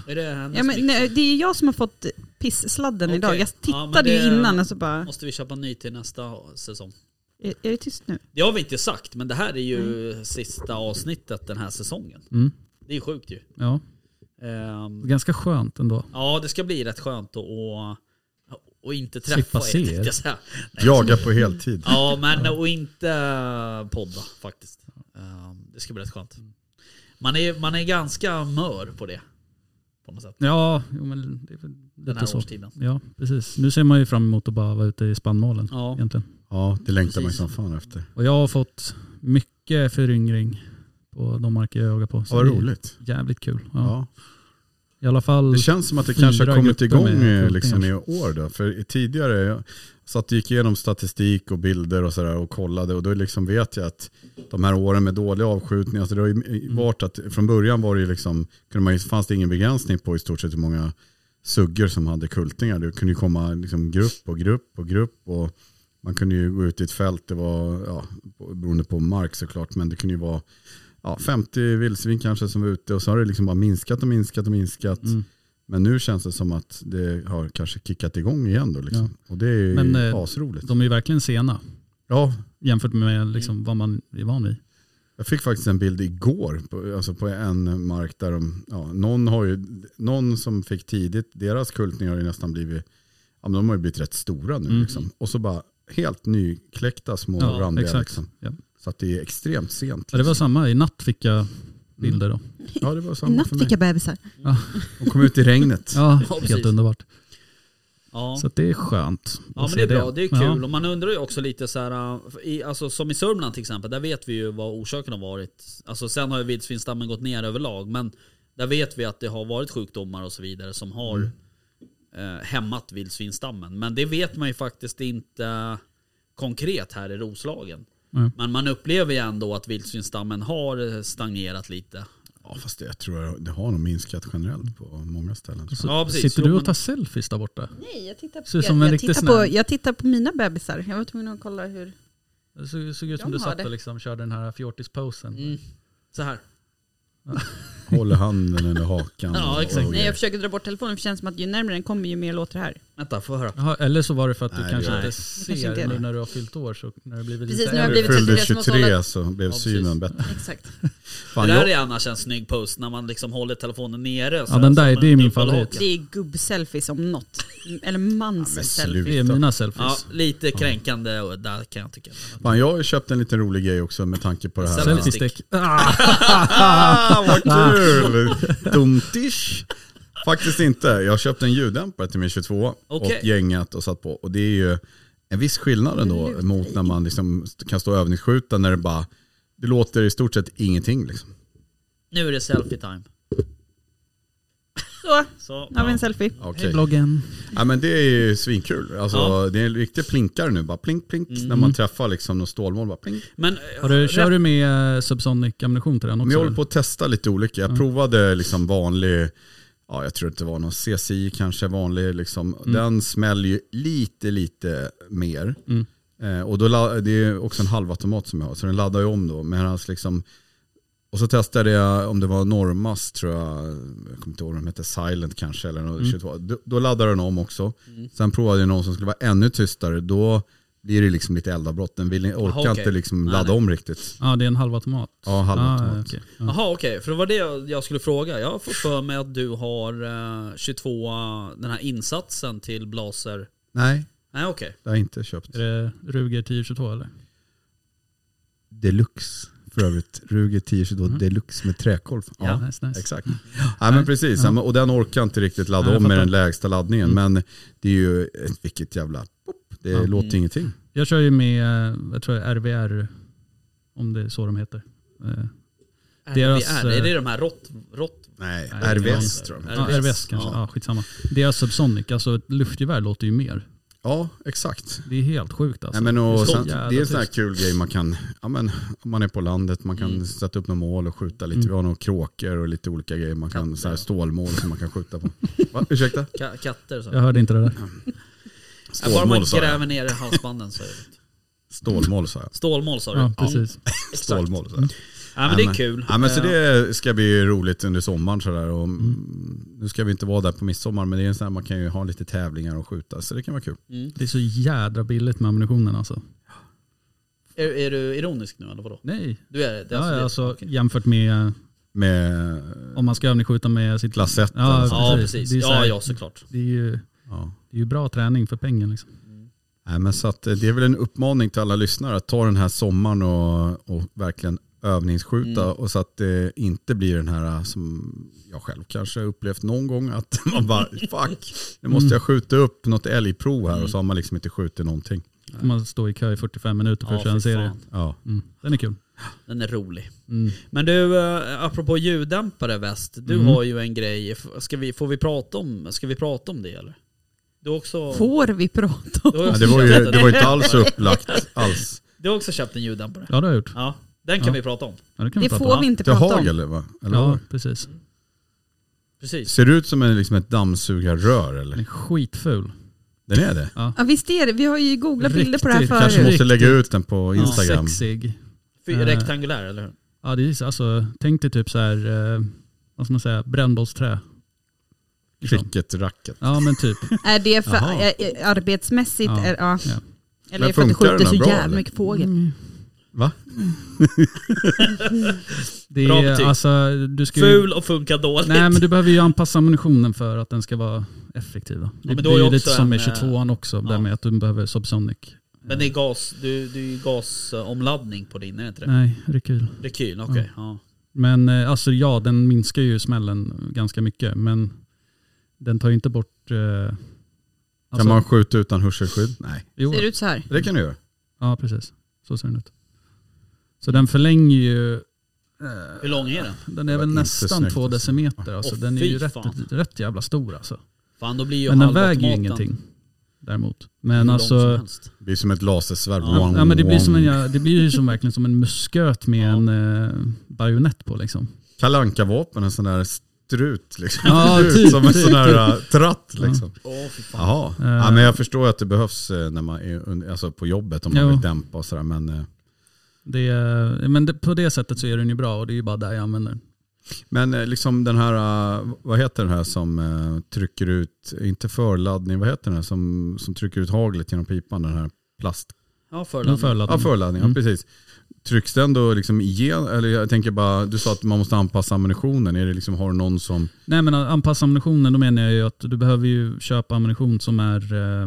Speaker 3: Är det hennes
Speaker 2: Ja, men,
Speaker 3: mick?
Speaker 2: nej, det är jag som har fått pisssladden
Speaker 3: Okej.
Speaker 2: idag. Jag
Speaker 3: Ja, men
Speaker 2: tittade ju
Speaker 3: det-
Speaker 2: innan och så bara,
Speaker 3: Måste vi köpa ny till nästa säsong?
Speaker 2: är, är det tyst nu?
Speaker 3: Det har vi inte sagt, men det här är ju
Speaker 2: Mm.
Speaker 3: sista avsnittet den här säsongen.
Speaker 4: Mm.
Speaker 3: Det är sjukt ju.
Speaker 4: Ja,
Speaker 3: Ehm,
Speaker 4: ganska skönt ändå.
Speaker 3: ja, det ska bli rätt skönt att och, och inte träffa
Speaker 4: Slippa se
Speaker 3: tänkte
Speaker 4: er.
Speaker 3: jag säga.
Speaker 5: Jaga på heltid.
Speaker 3: Ja, men och inte eh, podda faktiskt. Ehm, Det ska bli rätt skönt. Man är, man är ganska mör på det. På något sätt.
Speaker 4: Ja, jo, men det är väl lite
Speaker 3: Den här
Speaker 4: så.
Speaker 3: årstiden.
Speaker 4: Ja, precis. Nu ser man ju fram emot att bara vara ute i spannmålen
Speaker 3: Ja.
Speaker 4: egentligen.
Speaker 5: Ja, det längtar man ju
Speaker 3: Precis.
Speaker 5: som fan efter.
Speaker 4: Och jag har fått mycket föryngring på de marker jag jagar på. Så
Speaker 5: Ja, vad
Speaker 4: det är
Speaker 5: roligt.
Speaker 4: Jävligt kul. Ja.
Speaker 5: Ja.
Speaker 4: I alla fall.
Speaker 5: Det känns som att det
Speaker 4: Fyra
Speaker 5: kanske har kommit
Speaker 4: grupper
Speaker 5: igång
Speaker 4: med
Speaker 5: eh,
Speaker 4: kultingar.
Speaker 5: liksom i år. Då. För i- tidigare, jag satt och gick igenom statistik och bilder och sådär och kollade och då liksom vet jag att de här åren med dåliga avskjutningar, så det har ju eh, varit att från början var det ju liksom, kunde man, ju- fanns det ingen begränsning på i stort sett hur många suggor som hade kultingar. Det kunde ju komma liksom grupp och grupp och grupp och man kunde ju gå ut i ett fält, det var ja, beroende på mark såklart, men det kunde ju vara ja, 50 vildsvin kanske som var ute och så har det liksom bara minskat och minskat och minskat.
Speaker 4: Mm.
Speaker 5: Men nu känns det som att det har kanske kickat igång igen då. Liksom. Och det är ju
Speaker 4: Men, eh,
Speaker 5: asroligt.
Speaker 4: De är ju verkligen sena
Speaker 5: ja,
Speaker 4: jämfört
Speaker 3: Mm.
Speaker 4: med liksom, vad man är van vid.
Speaker 5: jag fick faktiskt en bild igår på, alltså på en mark där de, ja, någon, har ju, någon som fick tidigt, deras kultningar har ju nästan blivit, ja, men de har ju blivit rätt stora nu.
Speaker 4: Mm.
Speaker 5: Liksom. Och så bara helt nykläckta små
Speaker 4: Ja,
Speaker 5: randiga.
Speaker 4: exakt.
Speaker 5: Liksom.
Speaker 4: Ja.
Speaker 5: Så att det är extremt sent.
Speaker 4: Ja,
Speaker 5: liksom.
Speaker 4: det var samma, i natt fick
Speaker 5: Mm.
Speaker 4: jag bilder då.
Speaker 5: ja, det var samma
Speaker 2: Natt
Speaker 5: för
Speaker 2: fick
Speaker 5: mig.
Speaker 2: jag bebisar.
Speaker 5: De kom ut i regnet.
Speaker 4: Ja,
Speaker 3: Ja, precis.
Speaker 4: helt underbart.
Speaker 3: Ja.
Speaker 4: Så att det är skönt.
Speaker 3: Ja
Speaker 4: att
Speaker 3: men
Speaker 4: se
Speaker 3: det är bra, det är kul.
Speaker 4: Ja.
Speaker 3: Och man undrar ju också lite så här, äh, i, alltså, som i Sörmland till exempel, där vet vi ju vad orsaken har varit. Alltså, sen har ju vildsvinsstammen gått ner överlag, men där vet vi att det har varit sjukdomar och så vidare som har
Speaker 4: Mm.
Speaker 3: eh, hämmat vildsvinsstammen. Men det vet man ju faktiskt inte konkret här i Roslagen.
Speaker 4: Nej.
Speaker 3: Men man upplever ju ändå att vildsvinsstammen har äh, stagnerat lite.
Speaker 5: Ja, fast det, jag tror det har nog minskat generellt på många ställen.
Speaker 4: Så
Speaker 3: Ja, precis.
Speaker 4: Sitter
Speaker 3: Jo,
Speaker 4: du och
Speaker 3: men-
Speaker 4: tar selfies där borta?
Speaker 2: Nej, jag tittar på,
Speaker 4: Ser ut som en
Speaker 2: jag, jag
Speaker 4: riktig
Speaker 2: tittar på,
Speaker 4: snäll.
Speaker 2: jag tittar på mina bebisar. Jag var tvungen att kolla hur...
Speaker 4: Det såg, såg ut som
Speaker 2: De
Speaker 4: du
Speaker 2: har
Speaker 4: satt
Speaker 2: det.
Speaker 4: och liksom körde den här fjortisposen.
Speaker 3: Mm. Så här.
Speaker 5: Håller handen under hakan.
Speaker 3: Ja, exakt.
Speaker 2: Nej, jag försöker dra bort telefonen för det känns som att ju närmare den kommer ju mer låter det här.
Speaker 3: Vänta, får jag höra.
Speaker 4: Jaha, eller så var det för att du
Speaker 5: Nej,
Speaker 4: kanske
Speaker 3: det-
Speaker 4: inte
Speaker 3: Nej.
Speaker 2: kanske
Speaker 4: ser
Speaker 2: inte är
Speaker 4: nu
Speaker 2: det.
Speaker 4: när du har fyllt år. Så när du blivit
Speaker 2: Precis,
Speaker 4: lite
Speaker 2: nu har jag
Speaker 4: äldre.
Speaker 5: du
Speaker 2: blivit
Speaker 5: fyllde
Speaker 2: 23 måste
Speaker 5: 23 så blev
Speaker 3: Ja, precis.
Speaker 5: synen bättre.
Speaker 2: Exakt.
Speaker 5: Fan,
Speaker 3: det där
Speaker 5: jag,
Speaker 3: är annars en snygg post när man liksom håller telefonen nere.
Speaker 4: Ja, den där- det är min favorit.
Speaker 2: [laughs] Det är gubbselfies om något. Eller
Speaker 5: men
Speaker 2: mansselfies.
Speaker 5: sluta.
Speaker 4: Det är mina
Speaker 3: Ja,
Speaker 4: selfies.
Speaker 3: lite kränkande och där kan jag tycka.
Speaker 5: Fan, jag har ju köpt en liten rolig grej också med tanke på det här.
Speaker 3: Selfie.
Speaker 4: selfie
Speaker 3: stick.
Speaker 4: stick. Ah,
Speaker 5: Ah, vad kul! Dumtish. Faktiskt inte. Jag köpte en ljuddämpare till min 22
Speaker 3: Okej.
Speaker 5: och gängat och satt på. Och det är ju en viss skillnad ändå mot när man liksom kan stå och övningsskjuta när det bara, det låter i stort sett ingenting. Liksom.
Speaker 3: Nu är det selfie time.
Speaker 2: Så,
Speaker 3: Så,
Speaker 2: nu har vi en selfie.
Speaker 5: Okej.
Speaker 4: hej bloggen.
Speaker 5: Ja, men det är ju svinkul. Alltså,
Speaker 3: Ja. Mm.
Speaker 5: Det är en riktig plinkare nu. Bara plink, plink. När man träffar liksom någon stålmål. Bara plink.
Speaker 3: Men
Speaker 4: Har du, kör du med eh, subsonic ammunition till den
Speaker 5: Men
Speaker 4: också?
Speaker 5: jag håller
Speaker 4: eller?
Speaker 5: på att testa lite olika. Jag provade liksom vanlig, ja, jag tror att det var någon CCI kanske, vanlig. Liksom. Den smäller ju lite, lite mer.
Speaker 4: Mm.
Speaker 5: Eh, och då, la- det är också en halvautomat som jag har, så den laddar ju om då. Medans liksom, och så testade jag om det var Normas, tror jag, jag kommer inte ihåg om de hette Silent kanske, eller något, 22. Då, då laddar den om också. Sen provade jag någon som skulle vara ännu tystare, då blir det liksom lite eldavbrott. Den vill, orkar
Speaker 3: okej.
Speaker 5: inte liksom
Speaker 3: Nej,
Speaker 5: ladda
Speaker 3: nej.
Speaker 5: om riktigt.
Speaker 4: Ja, det är en halvautomat.
Speaker 5: Ja, halvautomat.
Speaker 4: Ah, okej. ja.
Speaker 3: Jaha okej, för det var det jag- jag skulle fråga. Jag får för mig att du har eh, 22, den här insatsen till blaser.
Speaker 5: Nej,
Speaker 3: Nej okej.
Speaker 5: det har jag inte köpt.
Speaker 4: Är det Ruger 1022 eller?
Speaker 5: deluxe för övrigt. Ruger 1022 deluxe med träkolv. Ja,
Speaker 4: Mm. nice, nice.
Speaker 5: exakt. Ja, men precis. Ja. men- Och den orkar inte riktigt ladda
Speaker 4: Nej, jag
Speaker 5: om med
Speaker 4: fattar. Mm.
Speaker 5: den lägsta laddningen. Men det är ju ett, vilket jävla pop. Det
Speaker 4: Ja.
Speaker 5: låter ingenting.
Speaker 4: Jag kör ju med, eh, jag tror det är RVR, om det är så de heter. Eh, Deras,
Speaker 3: RBR, är det
Speaker 4: eh,
Speaker 3: de här rott... rott
Speaker 5: Nej,
Speaker 4: Nej, det är
Speaker 5: RVS
Speaker 3: inte.
Speaker 5: tror jag.
Speaker 4: Ja,
Speaker 3: RVS.
Speaker 4: RVS kanske,
Speaker 3: Ja.
Speaker 4: ja. skitsamma. Deras Subsonic, alltså ett luftgevär låter ju mer.
Speaker 5: Ja, exakt.
Speaker 4: Det är helt sjukt alltså.
Speaker 5: Nej, men
Speaker 4: Det är
Speaker 5: och
Speaker 4: så
Speaker 5: sen,
Speaker 4: jävla
Speaker 5: det är en sån här
Speaker 4: tyst.
Speaker 5: kul grej man kan, ja, men, om man är på landet, man kan
Speaker 4: Mm.
Speaker 5: sätta upp några mål och skjuta lite. Vi har några kråkor och lite olika grejer. Man kan,
Speaker 3: Katter,
Speaker 5: så här
Speaker 3: ja.
Speaker 4: [laughs]
Speaker 5: stålmål som man kan skjuta på. Va? Ursäkta?
Speaker 3: ka- katter och så.
Speaker 4: Jag hörde inte det där.
Speaker 3: Ja, Bara man
Speaker 5: Stålmål sa jag.
Speaker 3: gräver ner i halsbanden så är det lugnt.
Speaker 5: Stålmål sa jag.
Speaker 3: Stålmål sa du?
Speaker 4: Ja, precis.
Speaker 3: exakt.
Speaker 5: Stålmål sa jag.
Speaker 3: Ja, men det är kul.
Speaker 5: Ja, men så det ska bli roligt under sommaren. Sådär. Och, Nu ska vi inte vara där på midsommar men det är en sån här, man kan ju ha lite tävlingar och skjuta så det kan vara kul.
Speaker 4: Det är så jädra billigt med ammunitionen alltså.
Speaker 3: Eh, Är, är du ironisk nu eller vadå?
Speaker 4: Nej.
Speaker 3: Du är det?
Speaker 4: Ja, ja,
Speaker 3: alltså,
Speaker 4: alltså, jämfört med eh,
Speaker 5: Med
Speaker 4: om man ska övningsskjuta med sitt
Speaker 5: klass 1.
Speaker 4: Ja,
Speaker 3: det, ja,
Speaker 4: precis.
Speaker 3: precis.
Speaker 4: Det är så
Speaker 3: Ja,
Speaker 4: här-
Speaker 3: ja, såklart.
Speaker 4: Det är ju,
Speaker 5: Ja.
Speaker 4: det är ju bra träning för pengen liksom.
Speaker 5: Nej, men så att, eh, det är väl en uppmaning till alla lyssnare att ta den här sommaren och, och verkligen övningsskjuta och så att det inte blir den här eh, som jag själv kanske upplevt någon gång att [laughs] man bara fuck, nu måste jag skjuta upp något älgprov här och så har man liksom inte skjutit någonting.
Speaker 4: Får Man står i kö i 45 minuter för
Speaker 3: Ja,
Speaker 4: att köra
Speaker 3: fy
Speaker 4: en serie.
Speaker 3: fan.
Speaker 5: Ja.
Speaker 4: Mm. Den är kul.
Speaker 3: Den är rolig.
Speaker 4: Mm.
Speaker 3: Men du, eh, apropå ljuddämpare väst. Du
Speaker 4: Mm.
Speaker 3: har ju en grej. F- Ska vi, får vi prata om, ska vi prata om det eller? Du har också...
Speaker 2: Får vi prata om?
Speaker 3: Du har
Speaker 5: Ja,
Speaker 3: också,
Speaker 5: det, var ju,
Speaker 3: köpt en,
Speaker 5: det
Speaker 3: [laughs]
Speaker 5: var ju inte alls upplagt alls.
Speaker 3: du har också köpt en ljuddämpare.
Speaker 4: Ja det har jag gjort.
Speaker 3: Ja, den kan
Speaker 4: Ja.
Speaker 3: vi prata om.
Speaker 4: Ja, det kan vi
Speaker 2: Det
Speaker 4: prata
Speaker 2: får
Speaker 4: om.
Speaker 2: vi inte
Speaker 5: Till
Speaker 2: prata om.
Speaker 5: hagel va? Eller
Speaker 4: Ja
Speaker 5: vad?
Speaker 4: precis.
Speaker 3: Precis.
Speaker 5: Ser det ut som en, liksom ett dammsugarrör
Speaker 4: Den
Speaker 5: eller?
Speaker 4: är skitful.
Speaker 5: Den är det.
Speaker 2: Ja visst är det, vi har ju googlat bilder på det här
Speaker 4: Riktigt.
Speaker 5: Kanske
Speaker 2: förut.
Speaker 5: måste lägga ut den på
Speaker 4: Ja,
Speaker 5: Instagram.
Speaker 4: Sexig.
Speaker 3: Fy,
Speaker 4: Eh.
Speaker 3: Rektangulär eller hur?
Speaker 4: Ja det är så- alltså, tänk dig typ så här, eh, vad ska man säga, brännbollsträ. Liksom.
Speaker 5: Cricket racket.
Speaker 4: Ja men typ.
Speaker 2: Är det för,
Speaker 5: Jaha.
Speaker 2: är, är, arbetsmässigt?
Speaker 4: Ja.
Speaker 2: Är, ja.
Speaker 4: Ja.
Speaker 2: Eller
Speaker 5: Men
Speaker 2: för att du
Speaker 5: funkar
Speaker 2: skjuter
Speaker 5: den
Speaker 2: så
Speaker 5: bra,
Speaker 2: jävla
Speaker 5: eller?
Speaker 2: mycket fågel?
Speaker 3: Mm.
Speaker 5: Va?
Speaker 4: [laughs] Det
Speaker 3: Bra
Speaker 4: är,
Speaker 3: betyg.
Speaker 4: alltså, du ska ju,
Speaker 3: Ful och funkar dåligt.
Speaker 4: Nej men du behöver ju anpassa ammunitionen för att den ska vara effektiv. Då. Det
Speaker 3: men då är
Speaker 4: blir ju
Speaker 3: också
Speaker 4: lite som med
Speaker 3: en, eh,
Speaker 4: 22an också,
Speaker 3: ja.
Speaker 4: där med att du behöver subsonic.
Speaker 3: Men det är gas, du, du är ju gasomladdning på din, är det inte det?
Speaker 4: Nej, rekyl.
Speaker 3: Rekyl, okej. Ja.
Speaker 4: Men eh, alltså ja, den minskar ju smällen ganska mycket. Men den tar ju inte bort... Eh,
Speaker 5: Kan
Speaker 4: Alltså.
Speaker 5: man skjuta utan hörselskydd? Nej.
Speaker 4: jo,
Speaker 2: Ser det ut så här?
Speaker 5: Det kan du göra.
Speaker 4: Ja, precis. Så ser den ut. Så den förlänger ju...
Speaker 3: Hur lång är den?
Speaker 4: Den är
Speaker 5: var
Speaker 4: väl
Speaker 5: inte
Speaker 4: nästan
Speaker 5: snyggt,
Speaker 4: två
Speaker 5: alltså.
Speaker 4: decimeter. Alltså,
Speaker 3: Åh,
Speaker 4: den är
Speaker 3: fy
Speaker 4: ju rätt,
Speaker 3: fan.
Speaker 4: rätt jävla stor alltså.
Speaker 3: Fan, då blir ju
Speaker 4: Men den
Speaker 3: halvautomaten
Speaker 4: väger ju ingenting. Däremot.
Speaker 3: hur lång
Speaker 4: Men
Speaker 3: som
Speaker 4: alltså...
Speaker 3: helst.
Speaker 5: Det blir som ett lasersvärd.
Speaker 4: Ja,
Speaker 5: Wong,
Speaker 4: ja, men det blir,
Speaker 5: wong.
Speaker 4: som en, jä- det blir
Speaker 3: [laughs]
Speaker 4: ju som, verkligen som en musköt med
Speaker 3: Ja.
Speaker 4: en eh, bajonett på liksom.
Speaker 5: Kalle Anka-vapen, en sån där strut liksom. [laughs]
Speaker 4: Ja,
Speaker 5: Strut
Speaker 4: typ, Eh.
Speaker 5: som en
Speaker 4: typ, [laughs]
Speaker 5: sån där
Speaker 4: typ.
Speaker 5: äh, tratt liksom.
Speaker 3: Åh, fy fan.
Speaker 5: Jaha. Ja, men jag förstår ju att det behövs eh, när man är under, alltså på jobbet om man
Speaker 4: Jo.
Speaker 5: vill dämpa och sådär. Men, eh,
Speaker 4: Det, är- men det, på det sättet så är den ju bra och det är ju bara där jag använder den.
Speaker 5: men eh, liksom den här, eh, vad heter den här som eh, trycker ut, inte förladdning, vad heter den här som, som trycker ut haglet genom pipan, den här plast...
Speaker 3: Ja,
Speaker 4: Den
Speaker 3: förladdning.
Speaker 5: Ja,
Speaker 4: förladdning.
Speaker 5: förladdning,
Speaker 4: Mm.
Speaker 5: ja precis. Trycks den då liksom igen, eller jag tänker bara, du sa att man måste anpassa ammunitionen, är det liksom, har du någon som,
Speaker 4: Nej men anpassa ammunitionen, då menar jag ju att du behöver ju köpa ammunition som är eh,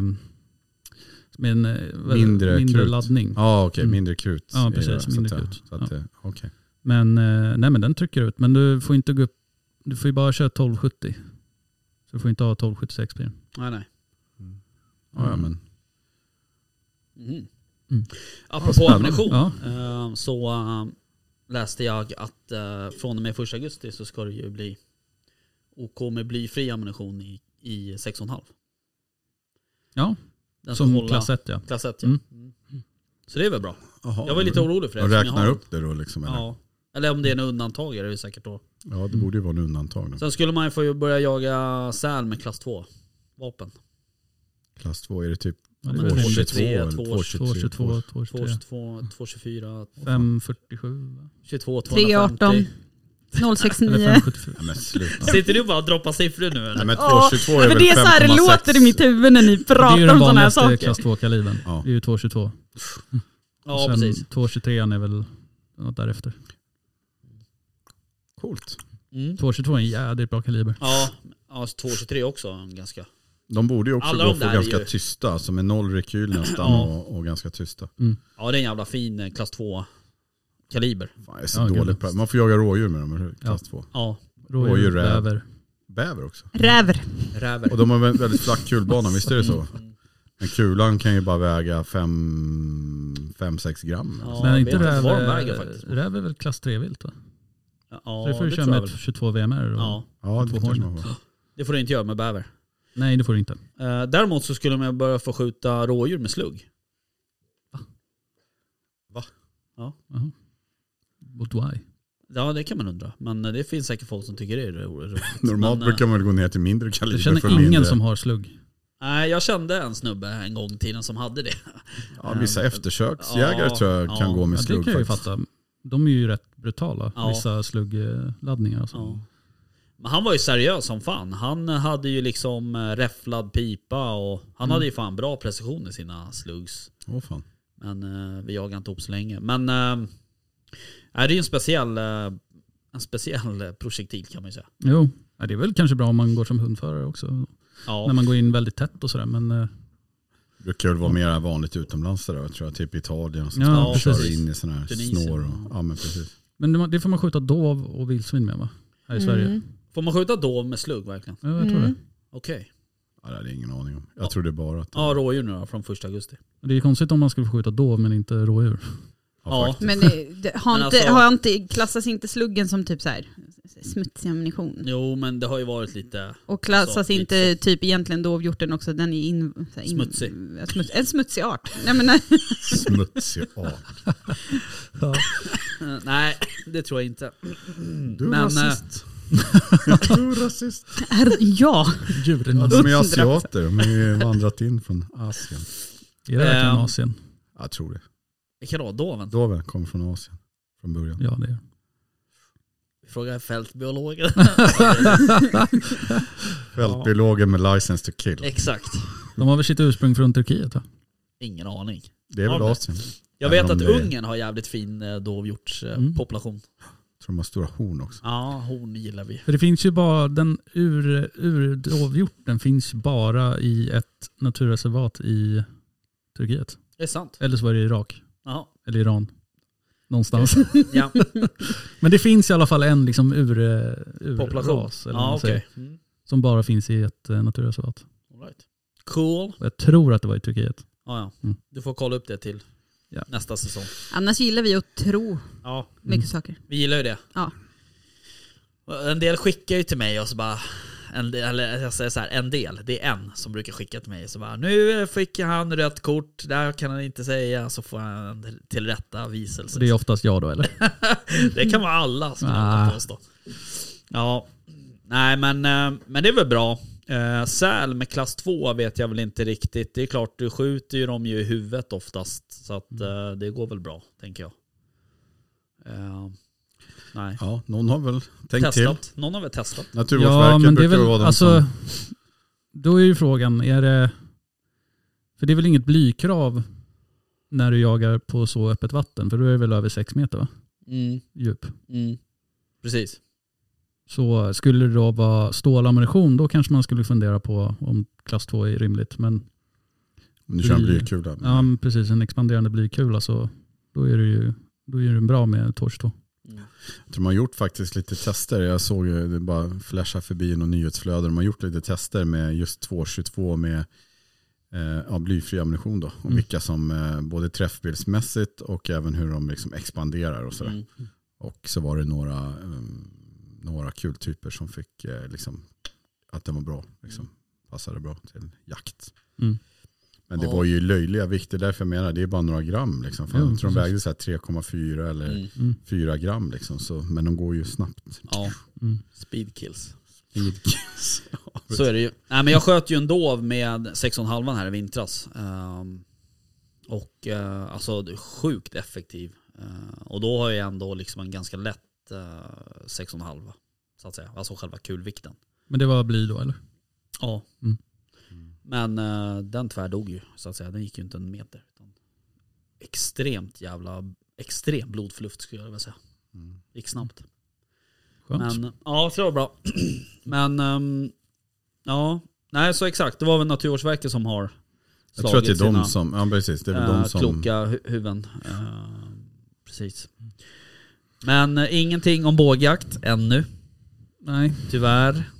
Speaker 4: som är en eh, väl-
Speaker 5: Mindre
Speaker 4: mindre
Speaker 5: krut.
Speaker 4: laddning.
Speaker 5: ja okej,
Speaker 4: Mm.
Speaker 5: mindre krut.
Speaker 4: Ja,
Speaker 5: är
Speaker 4: precis,
Speaker 5: det, så att
Speaker 4: mindre
Speaker 5: säga.
Speaker 4: krut.
Speaker 5: Så att, eh, okej.
Speaker 4: Men, eh, nej, men den trycker ut. Men du får inte gå upp, du får ju bara köra 1270. Så du får inte ha 1276 på den.
Speaker 3: Nej, nej.
Speaker 5: Ja, ja, men.
Speaker 3: Mm.
Speaker 4: Mm.
Speaker 3: Apropå
Speaker 5: Spännande.
Speaker 3: ammunition
Speaker 4: Ja.
Speaker 3: eh, så eh, läste jag att eh, från och med 1 augusti så ska det ju bli OK med blyfri ammunition i, i 6,5.
Speaker 4: Ja,
Speaker 3: Den ska
Speaker 4: som
Speaker 3: hålla-
Speaker 4: klass 1 ja.
Speaker 3: klass 1 ja.
Speaker 4: Mm.
Speaker 3: Mm. Så det är väl bra. Jag var lite orolig för det.
Speaker 5: Och
Speaker 3: eftersom jag
Speaker 5: räknar
Speaker 3: har-
Speaker 5: upp det då liksom? Eller? Ja.
Speaker 3: Ja. Eller om det är en undantag är det ju säkert då.
Speaker 4: Mm.
Speaker 5: det borde ju vara en undantag. Då.
Speaker 3: Sen skulle man ju få börja jaga säl med klass 2 vapen.
Speaker 5: Klass 2, är det typ
Speaker 4: ja
Speaker 3: men
Speaker 4: det är
Speaker 5: 222
Speaker 3: 23,
Speaker 5: eller
Speaker 3: 22,
Speaker 5: 223?
Speaker 4: 222,
Speaker 3: 2,
Speaker 4: 223,
Speaker 3: 22, 2, 24,
Speaker 4: 547 va?
Speaker 3: 22,
Speaker 2: 318
Speaker 3: 250.
Speaker 4: [laughs]
Speaker 2: 069.
Speaker 4: eller
Speaker 2: [laughs]
Speaker 4: 574.
Speaker 5: Nej men sluta.
Speaker 3: Sitter du bara och droppar siffror nu eller?
Speaker 5: Nej men
Speaker 2: Ja,
Speaker 5: 222 är
Speaker 2: men
Speaker 5: väl
Speaker 2: det är så här det
Speaker 5: 5,6?
Speaker 2: låter i mitt huvud när ni
Speaker 4: Det är ju
Speaker 2: pratar
Speaker 4: den
Speaker 2: om sådana här
Speaker 4: vanligaste
Speaker 2: saker.
Speaker 4: klass 2-kalibern.
Speaker 5: Ja.
Speaker 4: Det är ju 222.
Speaker 3: Ja
Speaker 4: Sen
Speaker 3: precis.
Speaker 4: 223 är väl något därefter.
Speaker 5: Coolt.
Speaker 3: Mm.
Speaker 4: 222 är en jädrigt bra kaliber.
Speaker 3: Ja, ja 2,23 också en ganska.
Speaker 5: De borde ju också
Speaker 3: Alla
Speaker 5: gå
Speaker 3: de där
Speaker 5: för
Speaker 3: är
Speaker 5: ganska
Speaker 3: ju-
Speaker 5: tysta, som är noll rekyl nästan
Speaker 3: Ja.
Speaker 5: och, och ganska tysta.
Speaker 3: Ja det är en jävla fin eh, klass 2 kaliber.
Speaker 5: Fan, jag är så
Speaker 4: Ja,
Speaker 5: dålig
Speaker 4: gud.
Speaker 5: på det. Man får jaga rådjur med dem, eller hur? klass 2.
Speaker 3: Ja,
Speaker 4: Rådjur,
Speaker 5: Rådjur, räv.
Speaker 4: räver.
Speaker 5: Bäver också.
Speaker 2: Räver.
Speaker 3: räver. Mm.
Speaker 5: Och de har väl väldigt flack kulbana, visst är det så? Men kulan kan ju bara väga 5-6 gram. eller
Speaker 3: Ja,
Speaker 5: så.
Speaker 4: Men
Speaker 3: jag
Speaker 4: inte
Speaker 3: vet
Speaker 4: räv.
Speaker 3: vad de väger faktiskt.
Speaker 4: Räv är väl klass 3-vilt va?
Speaker 3: Ja
Speaker 4: Så det får du
Speaker 3: det
Speaker 4: köra
Speaker 3: tror jag
Speaker 4: med
Speaker 3: väl.
Speaker 4: 22 VMR. Och...
Speaker 3: Ja,
Speaker 5: Ja, det
Speaker 4: Två
Speaker 5: kanske man får.
Speaker 3: det får du inte göra med bäver.
Speaker 4: Nej det får du inte.
Speaker 3: Eh, Däremot så skulle man börja få skjuta rådjur med slugg.
Speaker 4: Jaha. But why?
Speaker 3: Ja det kan man undra. Men eh, det finns säkert folk som tycker det är ro- roligt.
Speaker 5: [laughs] Normalt
Speaker 3: Men, eh,
Speaker 5: brukar man väl gå ner till mindre kaliber
Speaker 4: Jag känner
Speaker 5: för
Speaker 4: ingen
Speaker 5: mindre.
Speaker 4: som har slugg.
Speaker 3: Nej, jag kände en snubbe en gång i tiden som hade det.
Speaker 5: Ja, vissa eftersöksjägare
Speaker 3: Ja,
Speaker 5: tror jag kan
Speaker 3: ja.
Speaker 5: gå med
Speaker 4: Ja, det
Speaker 5: slugg
Speaker 4: kan jag ju
Speaker 5: faktiskt.
Speaker 4: fatta. De är ju rätt brutala,
Speaker 3: Ja.
Speaker 4: vissa sluggladdningar och så.
Speaker 3: Ja. Men han var ju seriös som fan. Han hade ju liksom eh, räfflad pipa och han hade ju fan bra precision i sina slugs.
Speaker 5: Åh, fan.
Speaker 3: Men eh, vi jagade inte upp så länge. Men eh, är det är ju en speciell, eh, en speciell eh, projektil kan man ju säga.
Speaker 4: Jo, ja, det är väl kanske bra om man går som hundförare också.
Speaker 3: Ja,
Speaker 4: När man går in väldigt tätt och sådär. Men eh,
Speaker 5: Det brukar väl vara mer vanligt utomlands där, tror jag. Typ Italien och sånt.
Speaker 4: Ja,
Speaker 5: Ja, kör
Speaker 4: precis.
Speaker 5: in i sådana här
Speaker 3: Tunisien.
Speaker 5: snår. Och, ja, men precis.
Speaker 4: Men det man- det får man skjuta dov och vildsvin med va? Här i Sverige.
Speaker 3: Får man skjuta dov med slugg verkligen?
Speaker 4: Ja, jag tror
Speaker 3: Mm. Okej.
Speaker 5: Ja, det hade jag ingen aning om. Jag trodde bara att...
Speaker 3: Ja, rådjur nu då från första augusti.
Speaker 4: det. Det är ju konstigt om man skulle få skjuta dov men
Speaker 3: [laughs]
Speaker 4: inte rådjur.
Speaker 3: Ja,
Speaker 5: faktiskt.
Speaker 2: Men eh, det, har,
Speaker 3: Men
Speaker 2: inte,
Speaker 3: alltså-
Speaker 2: har inte, klassas inte sluggen som typ så här smutsig ammunition?
Speaker 3: Jo, men det har ju varit lite...
Speaker 2: Och klassas
Speaker 3: Så,
Speaker 2: inte typ egentligen dovhjorten också, den är in, så här, in,
Speaker 3: Smutsig.
Speaker 2: ja, Smuts, en smutsig art. Nej, men, eh, nej.
Speaker 5: Smutsig art.
Speaker 3: Eh, Nej, det tror jag inte.
Speaker 5: Du är
Speaker 3: Men,
Speaker 5: rasist. du är rasist.
Speaker 2: Är- ja,
Speaker 4: Djuren
Speaker 5: Ja,
Speaker 4: alltså.
Speaker 5: de är asiater. De har ju vandrat in från Asien.
Speaker 4: Är det verkligen
Speaker 3: Ehm.
Speaker 4: Asien?
Speaker 5: Jag tror det.
Speaker 3: Vilka då? Doven?
Speaker 5: Doven kommer från Asien från början.
Speaker 4: Ja det är
Speaker 3: Vi frågar fältbiologen.
Speaker 5: Fältbiologer med license to
Speaker 3: [laughs]
Speaker 5: kill.
Speaker 3: Exakt.
Speaker 4: De har väl sitt ursprung från Turkiet va?
Speaker 3: Ingen aning.
Speaker 5: Det är väl
Speaker 3: Ja, men-
Speaker 5: Asien.
Speaker 3: Jag
Speaker 5: Även
Speaker 3: vet
Speaker 5: om
Speaker 3: att
Speaker 5: det är-
Speaker 3: Ungern har jävligt fin eh, dovhjortspopulation.
Speaker 4: Mm.
Speaker 3: population.
Speaker 5: Jag tror de har stora horn också.
Speaker 3: Ja, hon gillar vi.
Speaker 4: För det finns ju bara, den ur, ur dovhjorten finns bara i ett naturreservat i Turkiet.
Speaker 3: Det är sant.
Speaker 4: Eller så var det Irak.
Speaker 3: Jaha.
Speaker 4: Eller Iran. Någonstans.
Speaker 3: [laughs] Ja,
Speaker 4: [laughs] Men det finns i alla fall en liksom ur, ur
Speaker 3: population.
Speaker 4: ras, eller vad
Speaker 3: Ja,
Speaker 4: man säger,
Speaker 3: okej. Mm.
Speaker 4: Som bara finns i ett eh, naturreservat.
Speaker 3: All right. Cool.
Speaker 4: Och Jag tror att det var i Turkiet.
Speaker 3: Ja, ja.
Speaker 4: Mm.
Speaker 3: Du får kolla upp det till
Speaker 4: Ja.
Speaker 3: nästa säsong.
Speaker 2: annars gillar vi att tro
Speaker 3: Ja,
Speaker 2: mycket
Speaker 4: Mm.
Speaker 2: saker.
Speaker 3: vi gillar ju det.
Speaker 2: Ja.
Speaker 3: En del skickar ju till mig och så bara, en del, eller jag säger så här, en del, det är en som brukar skicka till mig så bara nu fick han rött kort, där kan han inte säga, så får han en tillrättaviselse.
Speaker 4: Så det är oftast jag då eller?
Speaker 3: Det kan vara alla som jag
Speaker 4: Ah.
Speaker 3: vill påstå. Ja, nej men, eh, men det är väl bra. Eh, Säl med klass 2 vet jag väl inte riktigt. Det är klart, du skjuter ju dem ju i huvudet oftast. Så att eh, det går väl bra, tänker jag. Eh, nej.
Speaker 5: Ja, någon har väl tänkt till.
Speaker 3: Testat. Någon har väl testat?
Speaker 5: Naturvårdsverket brukar vara de
Speaker 4: alltså,
Speaker 5: som...
Speaker 4: Då är ju frågan, är det... För det är väl inget blykrav när du jagar på så öppet vatten? För då är det väl över sex meter va?
Speaker 3: Mm,
Speaker 4: djup.
Speaker 3: mm. Precis.
Speaker 4: Så skulle det då vara stålammunition, då kanske man skulle fundera på om klass 2 är rimligt. Men
Speaker 5: Om du kör en
Speaker 4: bly-
Speaker 5: blykula.
Speaker 4: ja, men precis, en expanderande blykula så då är det ju då är det bra med Torch 2.
Speaker 3: Mm,
Speaker 5: Jag tror de har gjort faktiskt lite tester. Jag såg ju, det bara flasha förbi i något nyhetsflöde. De har gjort lite tester med just 222 med eh, ja, blyfri ammunition då. Och
Speaker 4: Mm.
Speaker 5: vilka som eh, både träffbildsmässigt och även hur de liksom expanderar och sådär.
Speaker 3: Mm.
Speaker 5: Och så var det några, um, några kultyper som fick eh, liksom, att den var bra. Liksom, passade bra till jakt.
Speaker 4: Mm.
Speaker 5: Men det
Speaker 3: Ja.
Speaker 5: var ju löjliga vikter, därför jag menar det är bara några gram. Liksom. Fan,
Speaker 4: Jo,
Speaker 5: jag tror de
Speaker 4: precis.
Speaker 5: vägde så här 3,4 eller
Speaker 3: Mm.
Speaker 4: Mm.
Speaker 5: 4 gram. Liksom, så, men de går ju snabbt.
Speaker 3: Ja,
Speaker 4: Mm.
Speaker 3: speed kills. [laughs]
Speaker 5: Ja,
Speaker 3: Så är det ju. Nej, men jag sköt ju en dov med 6,5 här i vintras. Ehm, och eh, alltså det är sjukt effektiv. Eh, och då har jag ändå liksom en ganska lätt eh, 6,5 så att säga. Alltså själva kulvikten.
Speaker 4: Men det var bly då eller?
Speaker 3: Ja.
Speaker 4: Mm.
Speaker 3: Men eh, den tvärdog ju så att säga. Den gick ju inte en meter. Utan extremt jävla, extrem blodförluft skulle jag vilja säga.
Speaker 5: Mm.
Speaker 3: Gick snabbt.
Speaker 4: Skönt.
Speaker 3: Men, ja, så det var bra. [clears throat] Men, ehm, ja. Nej, så exakt. Det var väl Naturvårdsverket som har
Speaker 5: Jag tror att det är de
Speaker 3: sina,
Speaker 5: som, ja precis, det är väl
Speaker 3: eh,
Speaker 5: de som...
Speaker 3: kloka hu- huvuden. Eh, precis. Men eh, ingenting om bågjakt ännu,
Speaker 4: Nej,
Speaker 3: tyvärr.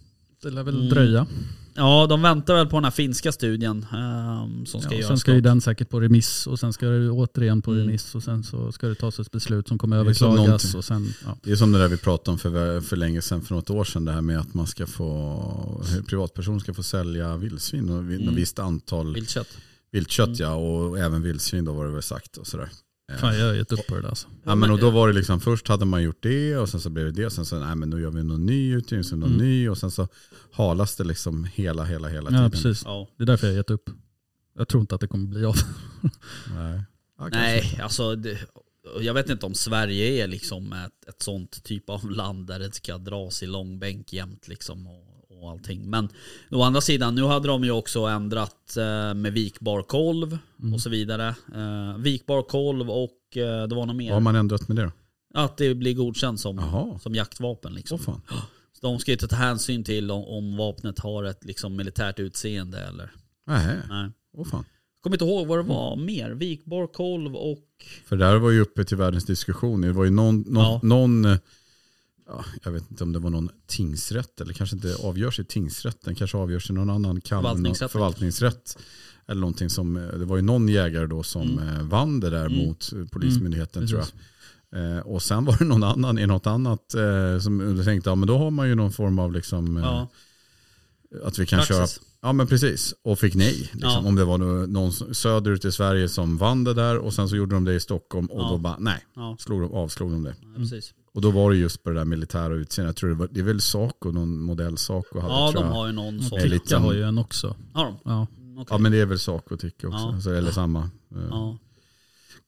Speaker 4: det lär väl
Speaker 3: Mm.
Speaker 4: dröja.
Speaker 3: Ja, de väntar väl på den här finska studien ehm, som ska
Speaker 4: Ja, och sen
Speaker 3: göras.
Speaker 4: ska
Speaker 3: då.
Speaker 4: ju den säkert på remiss och sen ska det återigen på
Speaker 3: Mm.
Speaker 4: remiss och sen så ska det tas ett beslut som kommer
Speaker 5: Det är som
Speaker 4: överklagas
Speaker 5: någonting.
Speaker 4: och sen, ja.
Speaker 5: Det är som det där vi pratade om för, för länge sedan, för något år sedan, det här med att man ska få, hur privatpersoner ska få sälja vildsvin och mm.
Speaker 3: Mm.
Speaker 5: visst antal
Speaker 3: Viltkött.
Speaker 5: viltkött ja, och även vildsvin då var det väl sagt och sådär.
Speaker 4: Fan jag har gett upp på det där alltså.
Speaker 5: Ja, men och då var det liksom, först hade man gjort det och sen så blev det det. Och sen så, nej men nu gör vi någon ny utgivning, sen någon
Speaker 4: Mm.
Speaker 5: ny. Och sen så halas det liksom hela, hela, hela tiden.
Speaker 4: Ja, precis.
Speaker 3: Ja.
Speaker 4: Det är därför jag har gett upp. Jag tror inte att det kommer bli av.
Speaker 5: Nej. Ja, kanske.
Speaker 3: Nej, alltså det, jag vet inte om Sverige är liksom ett, ett sånt typ av land där det ska dras i långbänk jämt liksom och, och allting. Men å andra sidan, nu hade de ju också ändrat eh, med vikbar kolv
Speaker 5: Mm.
Speaker 3: och så vidare. Eh, vikbar kolv och eh, det var något mer.
Speaker 5: Vad har man ändrat med det då?
Speaker 3: Att det blir godkänt som,
Speaker 5: Jaha.
Speaker 3: som jaktvapen liksom.
Speaker 5: Åh fan.
Speaker 3: Så de ska ju inte ta hänsyn till om, om vapnet har ett liksom, militärt utseende eller
Speaker 5: Nej.
Speaker 3: nej.
Speaker 5: Åh fan.
Speaker 3: Kommer inte ihåg vad det var mer. Vikbar kolv och
Speaker 5: För det här var ju uppe till världens diskussion. Det var ju någon, någon,
Speaker 3: Ja.
Speaker 5: någon eh, ja, jag vet inte om det var någon tingsrätt eller kanske inte avgörs i tingsrätten, kanske avgörs i någon annan kam,
Speaker 3: Förvaltningsrätt.
Speaker 5: förvaltningsrätt. Eller någonting som, eh, det var ju någon jägare då som eh, vann det där
Speaker 3: Mm.
Speaker 5: mot eh, polismyndigheten
Speaker 4: Mm,
Speaker 5: tror jag. Eh, och sen var det någon annan i något annat eh, som tänkte, ja men då har man ju någon form av liksom, eh,
Speaker 3: ja,
Speaker 5: att vi kan köra
Speaker 3: praxis.
Speaker 5: Ja men precis, och fick nej. Liksom.
Speaker 3: Ja.
Speaker 5: Om det var nå- någon som- söderut i Sverige som vann det där och sen så gjorde de det i Stockholm och
Speaker 3: Ja.
Speaker 5: då bara nej,
Speaker 3: Ja,
Speaker 5: slog de, avslog de det.
Speaker 3: ja, precis.
Speaker 5: Och då var det just på det där militära utseendet. Jag tror det, var, det är väl Saco, någon modell Saco hade
Speaker 3: Ja,
Speaker 5: tror
Speaker 3: de
Speaker 5: jag.
Speaker 3: har ju någon sån.
Speaker 5: Det är lite
Speaker 4: Ticka
Speaker 5: som-
Speaker 4: har ju en också.
Speaker 3: Har de?
Speaker 4: Ja.
Speaker 3: Okej.
Speaker 5: Ja men det är väl Saco tycker jag också.
Speaker 3: Ja.
Speaker 5: Så, eller samma eh,
Speaker 3: ja,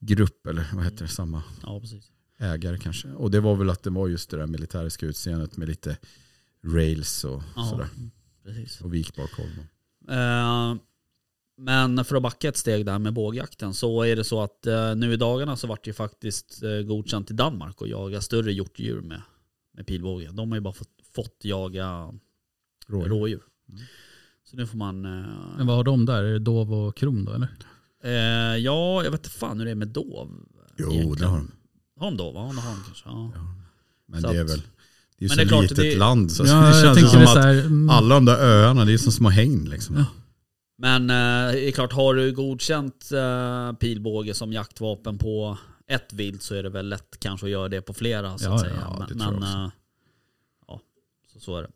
Speaker 5: grupp eller vad heter det, samma
Speaker 3: ja, precis.
Speaker 5: ägare kanske. Och det var väl att det var just det där militäriska utseendet med lite rails och
Speaker 3: Ja. mm,
Speaker 5: sådär.
Speaker 3: precis.
Speaker 5: Och vikbar kolv.
Speaker 3: Eh, men för att backa ett steg där med bågjakten så är det så att eh, nu i dagarna så vart det ju faktiskt eh, godkänt i Danmark att jaga större hjortdjur med, med pilbåge. De har ju bara fått, fått jaga rådjur.
Speaker 5: Rådjur. Mm.
Speaker 3: Så nu får man...
Speaker 4: Men
Speaker 3: Eh,
Speaker 4: vad har de där? Är det Dov och Kron då eller?
Speaker 3: eh, ja, jag vet inte fan hur det är med dov.
Speaker 5: Jo, det
Speaker 3: Egentligen.
Speaker 5: har de.
Speaker 3: Har de dov? Ja, det har de kanske. Ja.
Speaker 5: Men
Speaker 3: Så
Speaker 5: det är
Speaker 3: att-
Speaker 5: väl det
Speaker 3: Men
Speaker 5: är ju så
Speaker 3: det är klart,
Speaker 5: litet
Speaker 3: det-
Speaker 5: land så
Speaker 4: Ja,
Speaker 5: det
Speaker 4: jag
Speaker 5: känns ju
Speaker 4: tänker
Speaker 5: som
Speaker 4: det
Speaker 5: att
Speaker 4: så här. mm,
Speaker 5: Alla de där öarna, det är som små hägn liksom.
Speaker 4: Ja.
Speaker 3: Men eh, det är klart, har du godkänt eh, pilbåge som jaktvapen på ett vilt så är det väl lätt kanske att göra det på flera så
Speaker 4: Ja,
Speaker 3: att
Speaker 4: ja,
Speaker 3: säga.
Speaker 5: ja, det
Speaker 3: men
Speaker 5: tror jag
Speaker 3: men,
Speaker 5: också.
Speaker 3: eh, ja, så, så är det.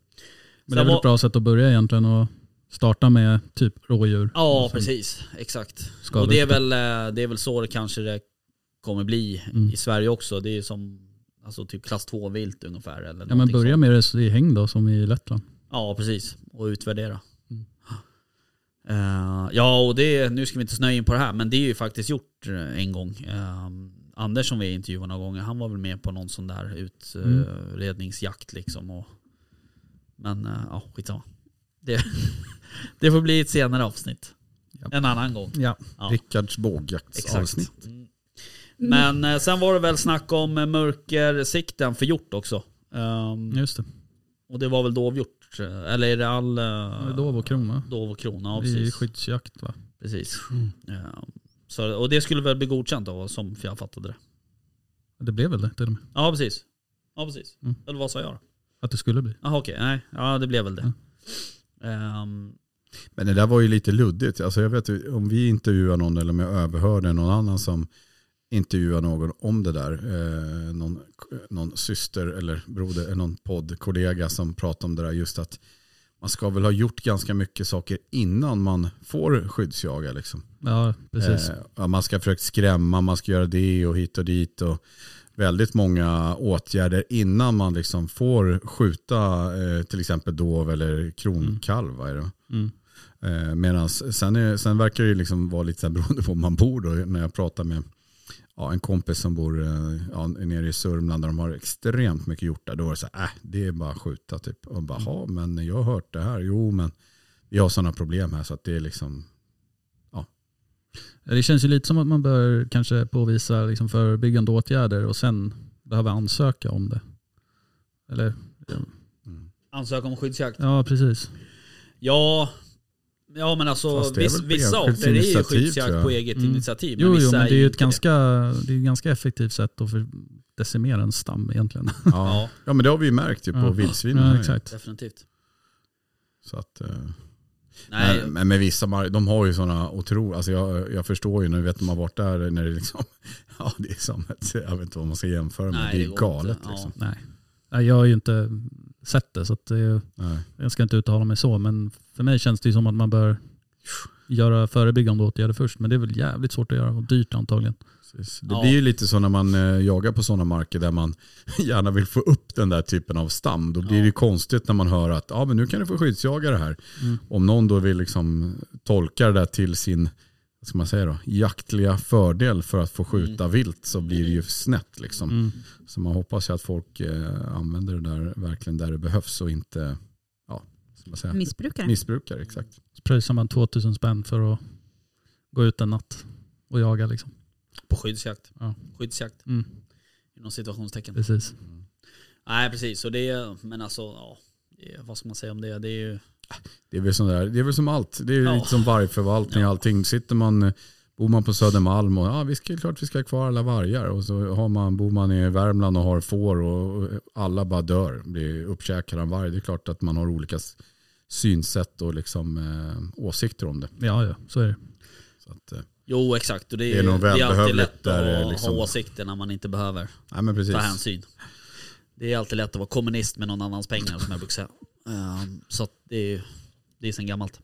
Speaker 4: Men det är väl
Speaker 3: var-
Speaker 4: ett bra sätt att börja egentligen och starta med typ rådjur.
Speaker 3: Ja,
Speaker 4: Och sen
Speaker 3: precis. Exakt.
Speaker 4: skada
Speaker 3: Och det är,
Speaker 4: ut det.
Speaker 3: väl, eh, det är väl så det kanske det kommer bli
Speaker 4: Mm.
Speaker 3: i Sverige också. Det är ju som alltså, typ klass 2-vilt ungefär. Eller
Speaker 4: Ja men börja
Speaker 3: sånt.
Speaker 4: med det i häng då som i Lettland.
Speaker 3: Ja, precis. Och utvärdera.
Speaker 4: Mm.
Speaker 3: Eh, ja, och det, nu ska vi inte snöa in på det här, men det är ju faktiskt gjort eh, en gång. Eh, Anders som vi intervjuade några gånger, han var väl med på någon sån där
Speaker 4: Mm.
Speaker 3: utredningsjakt liksom. Och, men eh, ja, skitsamma. Det, [laughs] det får bli ett senare avsnitt.
Speaker 5: Ja.
Speaker 3: En annan gång.
Speaker 4: Ja.
Speaker 3: Ja.
Speaker 5: Rickards bågjaktsavsnitt.
Speaker 3: Exakt. Mm. Men eh, sen var det väl snack om eh, mörkersikten för hjort också. Ehm,
Speaker 4: Just det.
Speaker 3: Och det var väl dovhjort? eh, Eller är det all... eh,
Speaker 4: Dov och Kron va?
Speaker 3: Dov och krona, ja,
Speaker 4: I
Speaker 3: precis.
Speaker 4: skyddsjakt va?
Speaker 3: precis.
Speaker 4: Mm.
Speaker 3: Ja. Så, och det skulle väl bli godkänt då, som jag fattade det.
Speaker 4: Det blev väl det till och med.
Speaker 3: Ja, precis. Ja, precis.
Speaker 4: Mm.
Speaker 3: Eller vad sa jag då?
Speaker 4: Att det skulle bli.
Speaker 3: Jaha, okej. Nej, ja det blev väl det.
Speaker 4: Mm.
Speaker 3: Ehm,
Speaker 5: Men det där var ju lite luddigt. Alltså jag vet ju, om vi intervjuar någon eller om jag överhörde någon annan som intervjuar någon om det där. Eh, någon, någon syster eller broder eller någon poddkollega som pratade om det där just att man ska väl ha gjort ganska mycket saker innan man får skyddsjaga. Liksom.
Speaker 4: Ja precis.
Speaker 5: Eh, ja, man ska försöka skrämma, man ska göra det och hit och dit. Och väldigt många åtgärder innan man liksom får skjuta eh, till exempel dov eller kronkalv. va, är det?
Speaker 4: Mm.
Speaker 5: Eh, medans, sen, är, sen verkar det ju liksom vara lite så här beroende på var man bor. Då, när jag pratar med ja, en kompis som bor eh, ja, nere i Sörmland där de har extremt mycket hjortar. Då var det så här, äh, det är bara att skjuta typ. Och bara, ja men jag har hört det här. Jo men vi har sådana problem här så att det är liksom
Speaker 4: Det känns ju lite som att man bör kanske påvisa liksom förebyggande åtgärder och sen behöva ansöka om det. Eller?
Speaker 3: ansökan om skyddsjakt.
Speaker 4: Ja precis.
Speaker 3: Ja, ja men alltså
Speaker 5: Fast det är
Speaker 3: viss,
Speaker 5: väl på
Speaker 3: vissa arter
Speaker 5: enskilt
Speaker 3: är ju
Speaker 5: initiativ, tror
Speaker 3: skyddsjakt
Speaker 5: jag.
Speaker 3: på eget
Speaker 4: Mm.
Speaker 3: initiativ.
Speaker 4: Jo, jo
Speaker 3: vissa
Speaker 4: men det är ju
Speaker 3: inte
Speaker 4: ett ganska, det är ett ganska effektivt sätt att för- decimera en stam egentligen.
Speaker 5: Ja.
Speaker 3: Ja.
Speaker 5: ja men det har vi ju märkt ju på
Speaker 4: Ja.
Speaker 5: vildsvinen. här
Speaker 4: Ja,
Speaker 5: ju.
Speaker 4: exakt.
Speaker 3: Definitivt.
Speaker 5: Så att, eh,
Speaker 3: Nej,
Speaker 5: men, men med vissa mar- de har ju sådana otroliga, alltså jag, jag förstår ju nu vet man varit där när det liksom, [laughs] ja det är som ett, jag vet inte vad man ska jämföra med,
Speaker 3: Nej,
Speaker 5: det
Speaker 3: det
Speaker 5: är
Speaker 3: går
Speaker 5: galet
Speaker 3: inte. Ja.
Speaker 5: liksom.
Speaker 4: Nej. Nej, jag har ju inte sett det så att det är,
Speaker 5: Nej.
Speaker 4: jag ska inte uttala mig så men för mig känns det ju som att man bör göra förebyggande åtgärder först. Men det är väl jävligt svårt att göra och dyrt antagligen.
Speaker 5: Precis. Det
Speaker 3: Ja.
Speaker 5: blir ju lite så när man eh, jagar på sådana marker där man [laughs] gärna vill få upp den där typen av stam. Då blir det ju konstigt när man hör att ah, men nu kan du få skyddsjaga det här.
Speaker 4: Mm.
Speaker 5: Om någon då vill liksom tolka det där till sin vad ska man säga då, jaktliga fördel för att få
Speaker 3: Mm.
Speaker 5: skjuta vilt så blir det ju snett. Liksom. Så man hoppas ju att folk eh, använder det där verkligen där det behövs och inte ja, vad ska man säga,
Speaker 2: Missbrukare.
Speaker 5: missbrukar. Exakt.
Speaker 4: Så pröjsar man 2000 spänn för att gå ut en natt och jaga liksom.
Speaker 3: På skyddsjakt.
Speaker 4: Ja.
Speaker 3: Skyddsjakt
Speaker 4: Mm,
Speaker 3: inom situationstecken.
Speaker 4: precis.
Speaker 3: Nej precis, så det är, men alltså ja, det är- vad ska man säga om det? Det är ju,
Speaker 5: Det är väl, sån där, det är väl som allt. Det är ju
Speaker 3: Ja.
Speaker 5: lite som vargförvaltning och allting. Sitter man, bor man på Södermalm och ja, vi ska, klart vi ska ha kvar alla vargar. Och så har man, bor man i Värmland och har får och och alla bara dör. Blir uppkäkade av en varg. Det är klart att man har olika s- synsätt och liksom, eh, åsikter om det.
Speaker 4: Ja, ja, så är det.
Speaker 5: Så att, eh,
Speaker 3: jo exakt, och det är,
Speaker 5: Det är nog
Speaker 3: det är alltid
Speaker 5: välbehövligt
Speaker 3: lätt
Speaker 5: där det
Speaker 3: att ha,
Speaker 5: liksom-
Speaker 3: ha åsikter när man inte behöver
Speaker 5: nej men precis.
Speaker 3: ta hänsyn. Det är alltid lätt att vara kommunist med någon annans pengar som jag brukar säga. Ehm, så att det är, det är sen gammalt.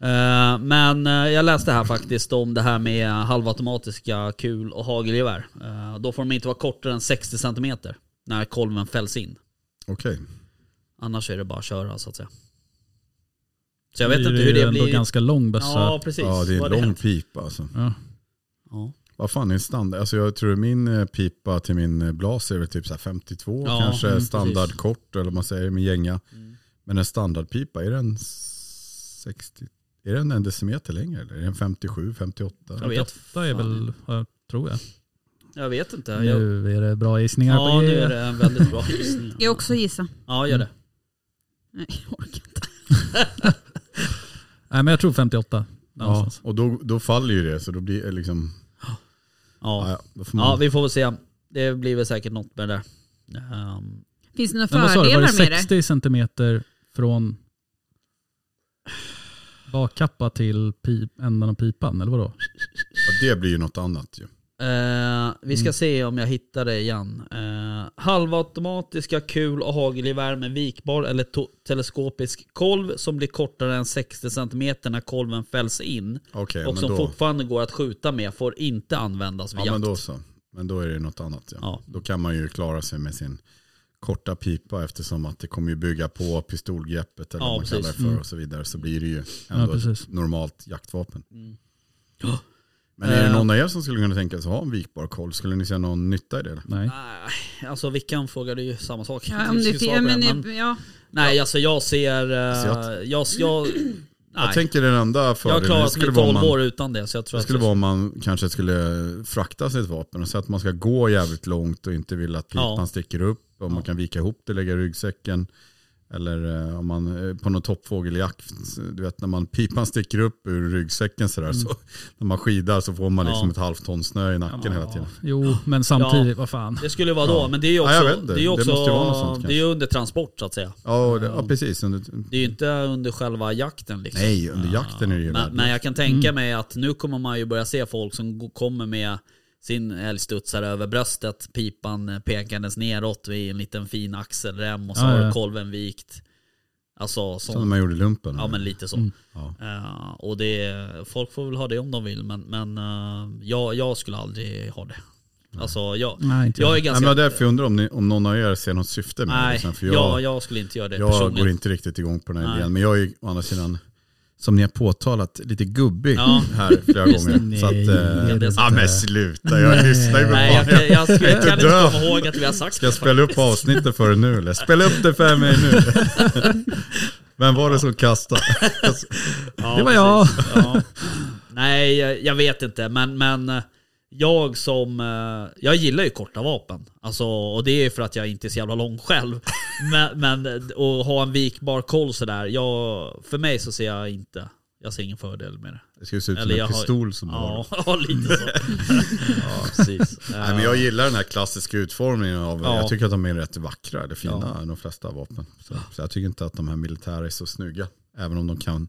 Speaker 3: Ehm, men eh, jag läste här faktiskt om det här med halvautomatiska kul och hagelgevär. Ehm, då får de inte vara kortare än 60 cm när kolven fälls in.
Speaker 5: Okej.
Speaker 3: Annars är det bara att köra så att säga. Så jag
Speaker 4: Då
Speaker 3: vet
Speaker 4: blir
Speaker 3: inte hur
Speaker 4: ju
Speaker 3: det
Speaker 4: ändå
Speaker 3: blir.
Speaker 4: ganska lång bössa.
Speaker 3: ja,
Speaker 4: Ja.
Speaker 3: precis.
Speaker 5: Ja, det är
Speaker 3: Vad
Speaker 5: en lång pipa alltså.
Speaker 3: Ja.
Speaker 5: Vad fan är en standard? Alltså jag tror min eh, pipa till min eh, blas är väl typ så här 52
Speaker 3: Ja,
Speaker 5: kanske.
Speaker 3: mm,
Speaker 5: standardkort eller vad man säger med gänga.
Speaker 3: Mm.
Speaker 5: Men en standardpipa, är den 60? Är den en decimeter längre eller är den 57, 58?
Speaker 3: Jag vet.
Speaker 4: Åtta är väl, ja, tror jag.
Speaker 3: Jag vet inte. Jag,
Speaker 4: Nu är det bra gissningar
Speaker 3: ja,
Speaker 4: på
Speaker 3: nu
Speaker 4: grejer.
Speaker 3: är det en väldigt bra gissning.
Speaker 2: Ska jag också gissa?
Speaker 3: Ja, gör det.
Speaker 2: Nej, jag orkar inte.
Speaker 4: Nej, men jag tror 58.
Speaker 5: Ja,
Speaker 4: någonstans.
Speaker 5: och då, då faller ju det så då blir det liksom, ja.
Speaker 3: Ja.
Speaker 5: Ja, Mm. då får man,
Speaker 3: ja, vi får väl se. Det blir väl säkert något med det där. Ehm,
Speaker 2: Finns det några
Speaker 4: Men vad sa du, var
Speaker 2: fördelar
Speaker 4: det
Speaker 2: med det?
Speaker 4: 60 centimeter från bakkappa till pi, änden av pipan eller vadå?
Speaker 5: ja, det blir ju något annat ju.
Speaker 3: Eh, vi ska se om jag hittar det igen. Eh, halvautomatiska kul och hagelgevär med vikbar eller to- teleskopisk kolv som blir kortare än 60 cm när kolven fälls in
Speaker 5: Okej,
Speaker 3: och
Speaker 5: men
Speaker 3: som
Speaker 5: då,
Speaker 3: fortfarande går att skjuta med får inte användas vid
Speaker 5: ja, men
Speaker 3: jakt.
Speaker 5: då så. Men då är det något annat ja.
Speaker 3: Ja.
Speaker 5: Då kan man ju klara sig med sin korta pipa eftersom att det kommer ju bygga på pistolgreppet eller
Speaker 3: Ja,
Speaker 5: vad man
Speaker 3: precis. Mm.
Speaker 5: kallar det för och så vidare. Så blir det ju
Speaker 4: Ja,
Speaker 5: ändå ett
Speaker 4: precis.
Speaker 5: normalt jaktvapen.
Speaker 3: Mm.
Speaker 5: Men är det
Speaker 3: Eh.
Speaker 5: någon av er som skulle kunna tänka sig att ha en vikbar kolv? Skulle ni se någon nytta i det? eller?
Speaker 4: Nej.
Speaker 3: Nej, alltså Vickan frågade ju samma sak.
Speaker 2: Ja,
Speaker 3: Vi
Speaker 2: om
Speaker 3: skulle
Speaker 2: det,
Speaker 3: svara
Speaker 2: ja,
Speaker 3: på
Speaker 2: men,
Speaker 3: den,
Speaker 2: det- ja.
Speaker 3: nej, alltså jag ser... eh,
Speaker 5: Ser Alltså, jag
Speaker 3: jag, jag, [clears throat]
Speaker 5: Jag
Speaker 3: nej.
Speaker 5: tänker den enda
Speaker 3: jag har
Speaker 5: fördelen det
Speaker 3: klarat
Speaker 5: skulle
Speaker 3: mig
Speaker 5: vara om
Speaker 3: 12 år
Speaker 5: man,
Speaker 3: utan det. Så jag tror
Speaker 5: det
Speaker 3: att
Speaker 5: skulle vara om man kanske skulle frakta sitt vapen och så att man ska gå jävligt långt och inte vill att pipan
Speaker 3: Ja.
Speaker 5: sticker upp. Om man kan vika ihop det, lägga i ryggsäcken. Eller eh, om man eh, på någon toppfågeljakt, du vet när man pipan sticker upp ur ryggsäcken sådär, så [laughs] när man skidar så får man liksom
Speaker 3: Mm. Ja.
Speaker 5: ett halvt ton snö i nacken hela tiden.
Speaker 4: Jo, men samtidigt, vad fan.
Speaker 3: Det skulle vara då,
Speaker 5: Ja.
Speaker 3: men det är ju också,
Speaker 5: Ja, jag vet inte.
Speaker 3: det är ju
Speaker 5: Det
Speaker 3: också
Speaker 5: måste ju vara något sånt
Speaker 3: det är ju under transport så att säga.
Speaker 5: Ja, och det, ja precis. Under,
Speaker 3: Det är ju inte under själva jakten liksom.
Speaker 5: nej, under jakten är det ju
Speaker 3: Men,
Speaker 5: värdelöst. Mm.
Speaker 3: men jag kan tänka mig att nu kommer man ju börja se folk som go- kommer med sin älgstudsare över bröstet, pipan pekandes neråt vid en liten fin axelrem och så
Speaker 4: Ja,
Speaker 3: har
Speaker 4: ja.
Speaker 3: kolven vikt. Alltså
Speaker 5: Som när
Speaker 3: sånt.
Speaker 5: man gjorde i lumpen.
Speaker 3: Ja men lite så.
Speaker 5: Ja.
Speaker 3: Eh, och det, folk får väl ha det om de vill men, men eh, jag, jag skulle aldrig ha det. Alltså jag,
Speaker 4: Nej, inte jag.
Speaker 3: jag är
Speaker 5: Nej,
Speaker 3: ganska...
Speaker 5: men det är därför jag undrar om, ni, om någon av er ser något syfte med det.
Speaker 3: nej,
Speaker 5: liksom, för
Speaker 3: jag,
Speaker 5: jag,
Speaker 3: jag, skulle inte göra det
Speaker 5: jag
Speaker 3: personligen.
Speaker 5: går inte riktigt igång på den här
Speaker 3: eh, Nej.
Speaker 5: idén. Men jag är ju å andra sidan, som ni har påtalat, lite gubbig
Speaker 3: Ja.
Speaker 5: här flera gånger. Så att,
Speaker 4: Nej,
Speaker 5: eh,
Speaker 4: det
Speaker 3: är det
Speaker 5: ja,
Speaker 4: inte.
Speaker 5: men sluta, jag lyssnar ju på
Speaker 3: Nej, jag,
Speaker 5: vad
Speaker 3: kan- jag, skulle, jag
Speaker 5: inte
Speaker 3: kan inte
Speaker 5: dö.
Speaker 3: komma ihåg att vi har sagt
Speaker 5: Ska jag
Speaker 3: det.
Speaker 5: spela upp avsnittet för er nu eller? Spela upp det för mig
Speaker 3: [laughs]
Speaker 5: nu. Vem var det som kastade?
Speaker 4: Det var jag.
Speaker 3: Ja. [laughs] Nej, jag, jag vet inte. Men, men eh, jag som... eh, Jag gillar ju korta vapen. Alltså, och det är ju för att jag inte är så jävla lång
Speaker 5: [laughs]
Speaker 3: själv. Men, men eh, att ha en vikbar koll sådär. Jag, för mig så ser jag inte... Jag ser ingen fördel med det.
Speaker 5: Det skulle se ut som
Speaker 3: Eller jag
Speaker 5: en
Speaker 3: har-
Speaker 5: pistol som du har.
Speaker 3: Ja, ja [laughs] lite så.
Speaker 5: [laughs]
Speaker 3: ja, precis.
Speaker 5: Nej, men jag gillar den här klassiska utformningen av,
Speaker 3: Ja.
Speaker 5: jag tycker att de är rätt vackra eller fina, de flesta vapen. Så, så jag tycker inte att de här militära är så snygga, även om de kan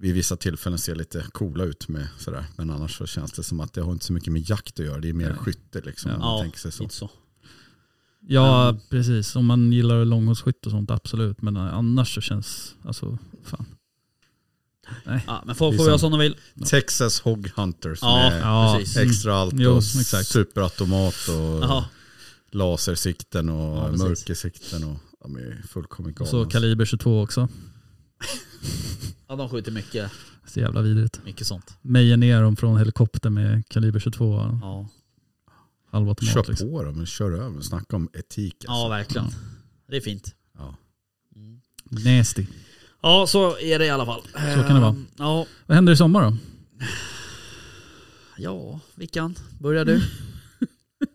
Speaker 5: vid vissa tillfällen se lite coola ut med sådär. Men annars så känns det som att det har inte så mycket med jakt att göra, det är mer skytte liksom. om man
Speaker 3: Ja,
Speaker 5: tänker sig så.
Speaker 3: lite så.
Speaker 4: Ja, precis. Om man gillar långhållsskytt och sånt, absolut. Men eh, annars så känns, alltså, fan.
Speaker 3: Ja, men folk
Speaker 5: Det är
Speaker 3: får göra
Speaker 5: sant.
Speaker 3: som de vill.
Speaker 5: Texas Hog Hunters
Speaker 3: Ja,
Speaker 5: med
Speaker 4: Ja,
Speaker 3: precis. Mm.
Speaker 5: extra allt
Speaker 4: Jo,
Speaker 5: och
Speaker 4: exakt.
Speaker 5: superautomat och
Speaker 3: Ja,
Speaker 5: lasersikten och
Speaker 3: Ja, precis.
Speaker 5: mörkersikten. Och, ja, men det är fullkomligt
Speaker 4: Och
Speaker 5: galna.
Speaker 4: så kaliber 22 också.
Speaker 3: ja, de skjuter mycket,
Speaker 4: Så jävla vidrigt.
Speaker 3: mycket sånt.
Speaker 4: Mejer ner dem från helikopter med kaliber 22
Speaker 3: Ja,
Speaker 5: Kör
Speaker 4: halvautomat. Liksom.
Speaker 5: på dem, men kör över. Snacka om etik.
Speaker 3: ja
Speaker 5: Alltså.
Speaker 3: verkligen. Det är fint.
Speaker 5: Ja.
Speaker 4: Nasty.
Speaker 3: Ja, så är det i alla fall. Så
Speaker 4: kan det vara.
Speaker 3: Ja,
Speaker 4: Vad händer i sommar då?
Speaker 3: ja Vickan, börjar du?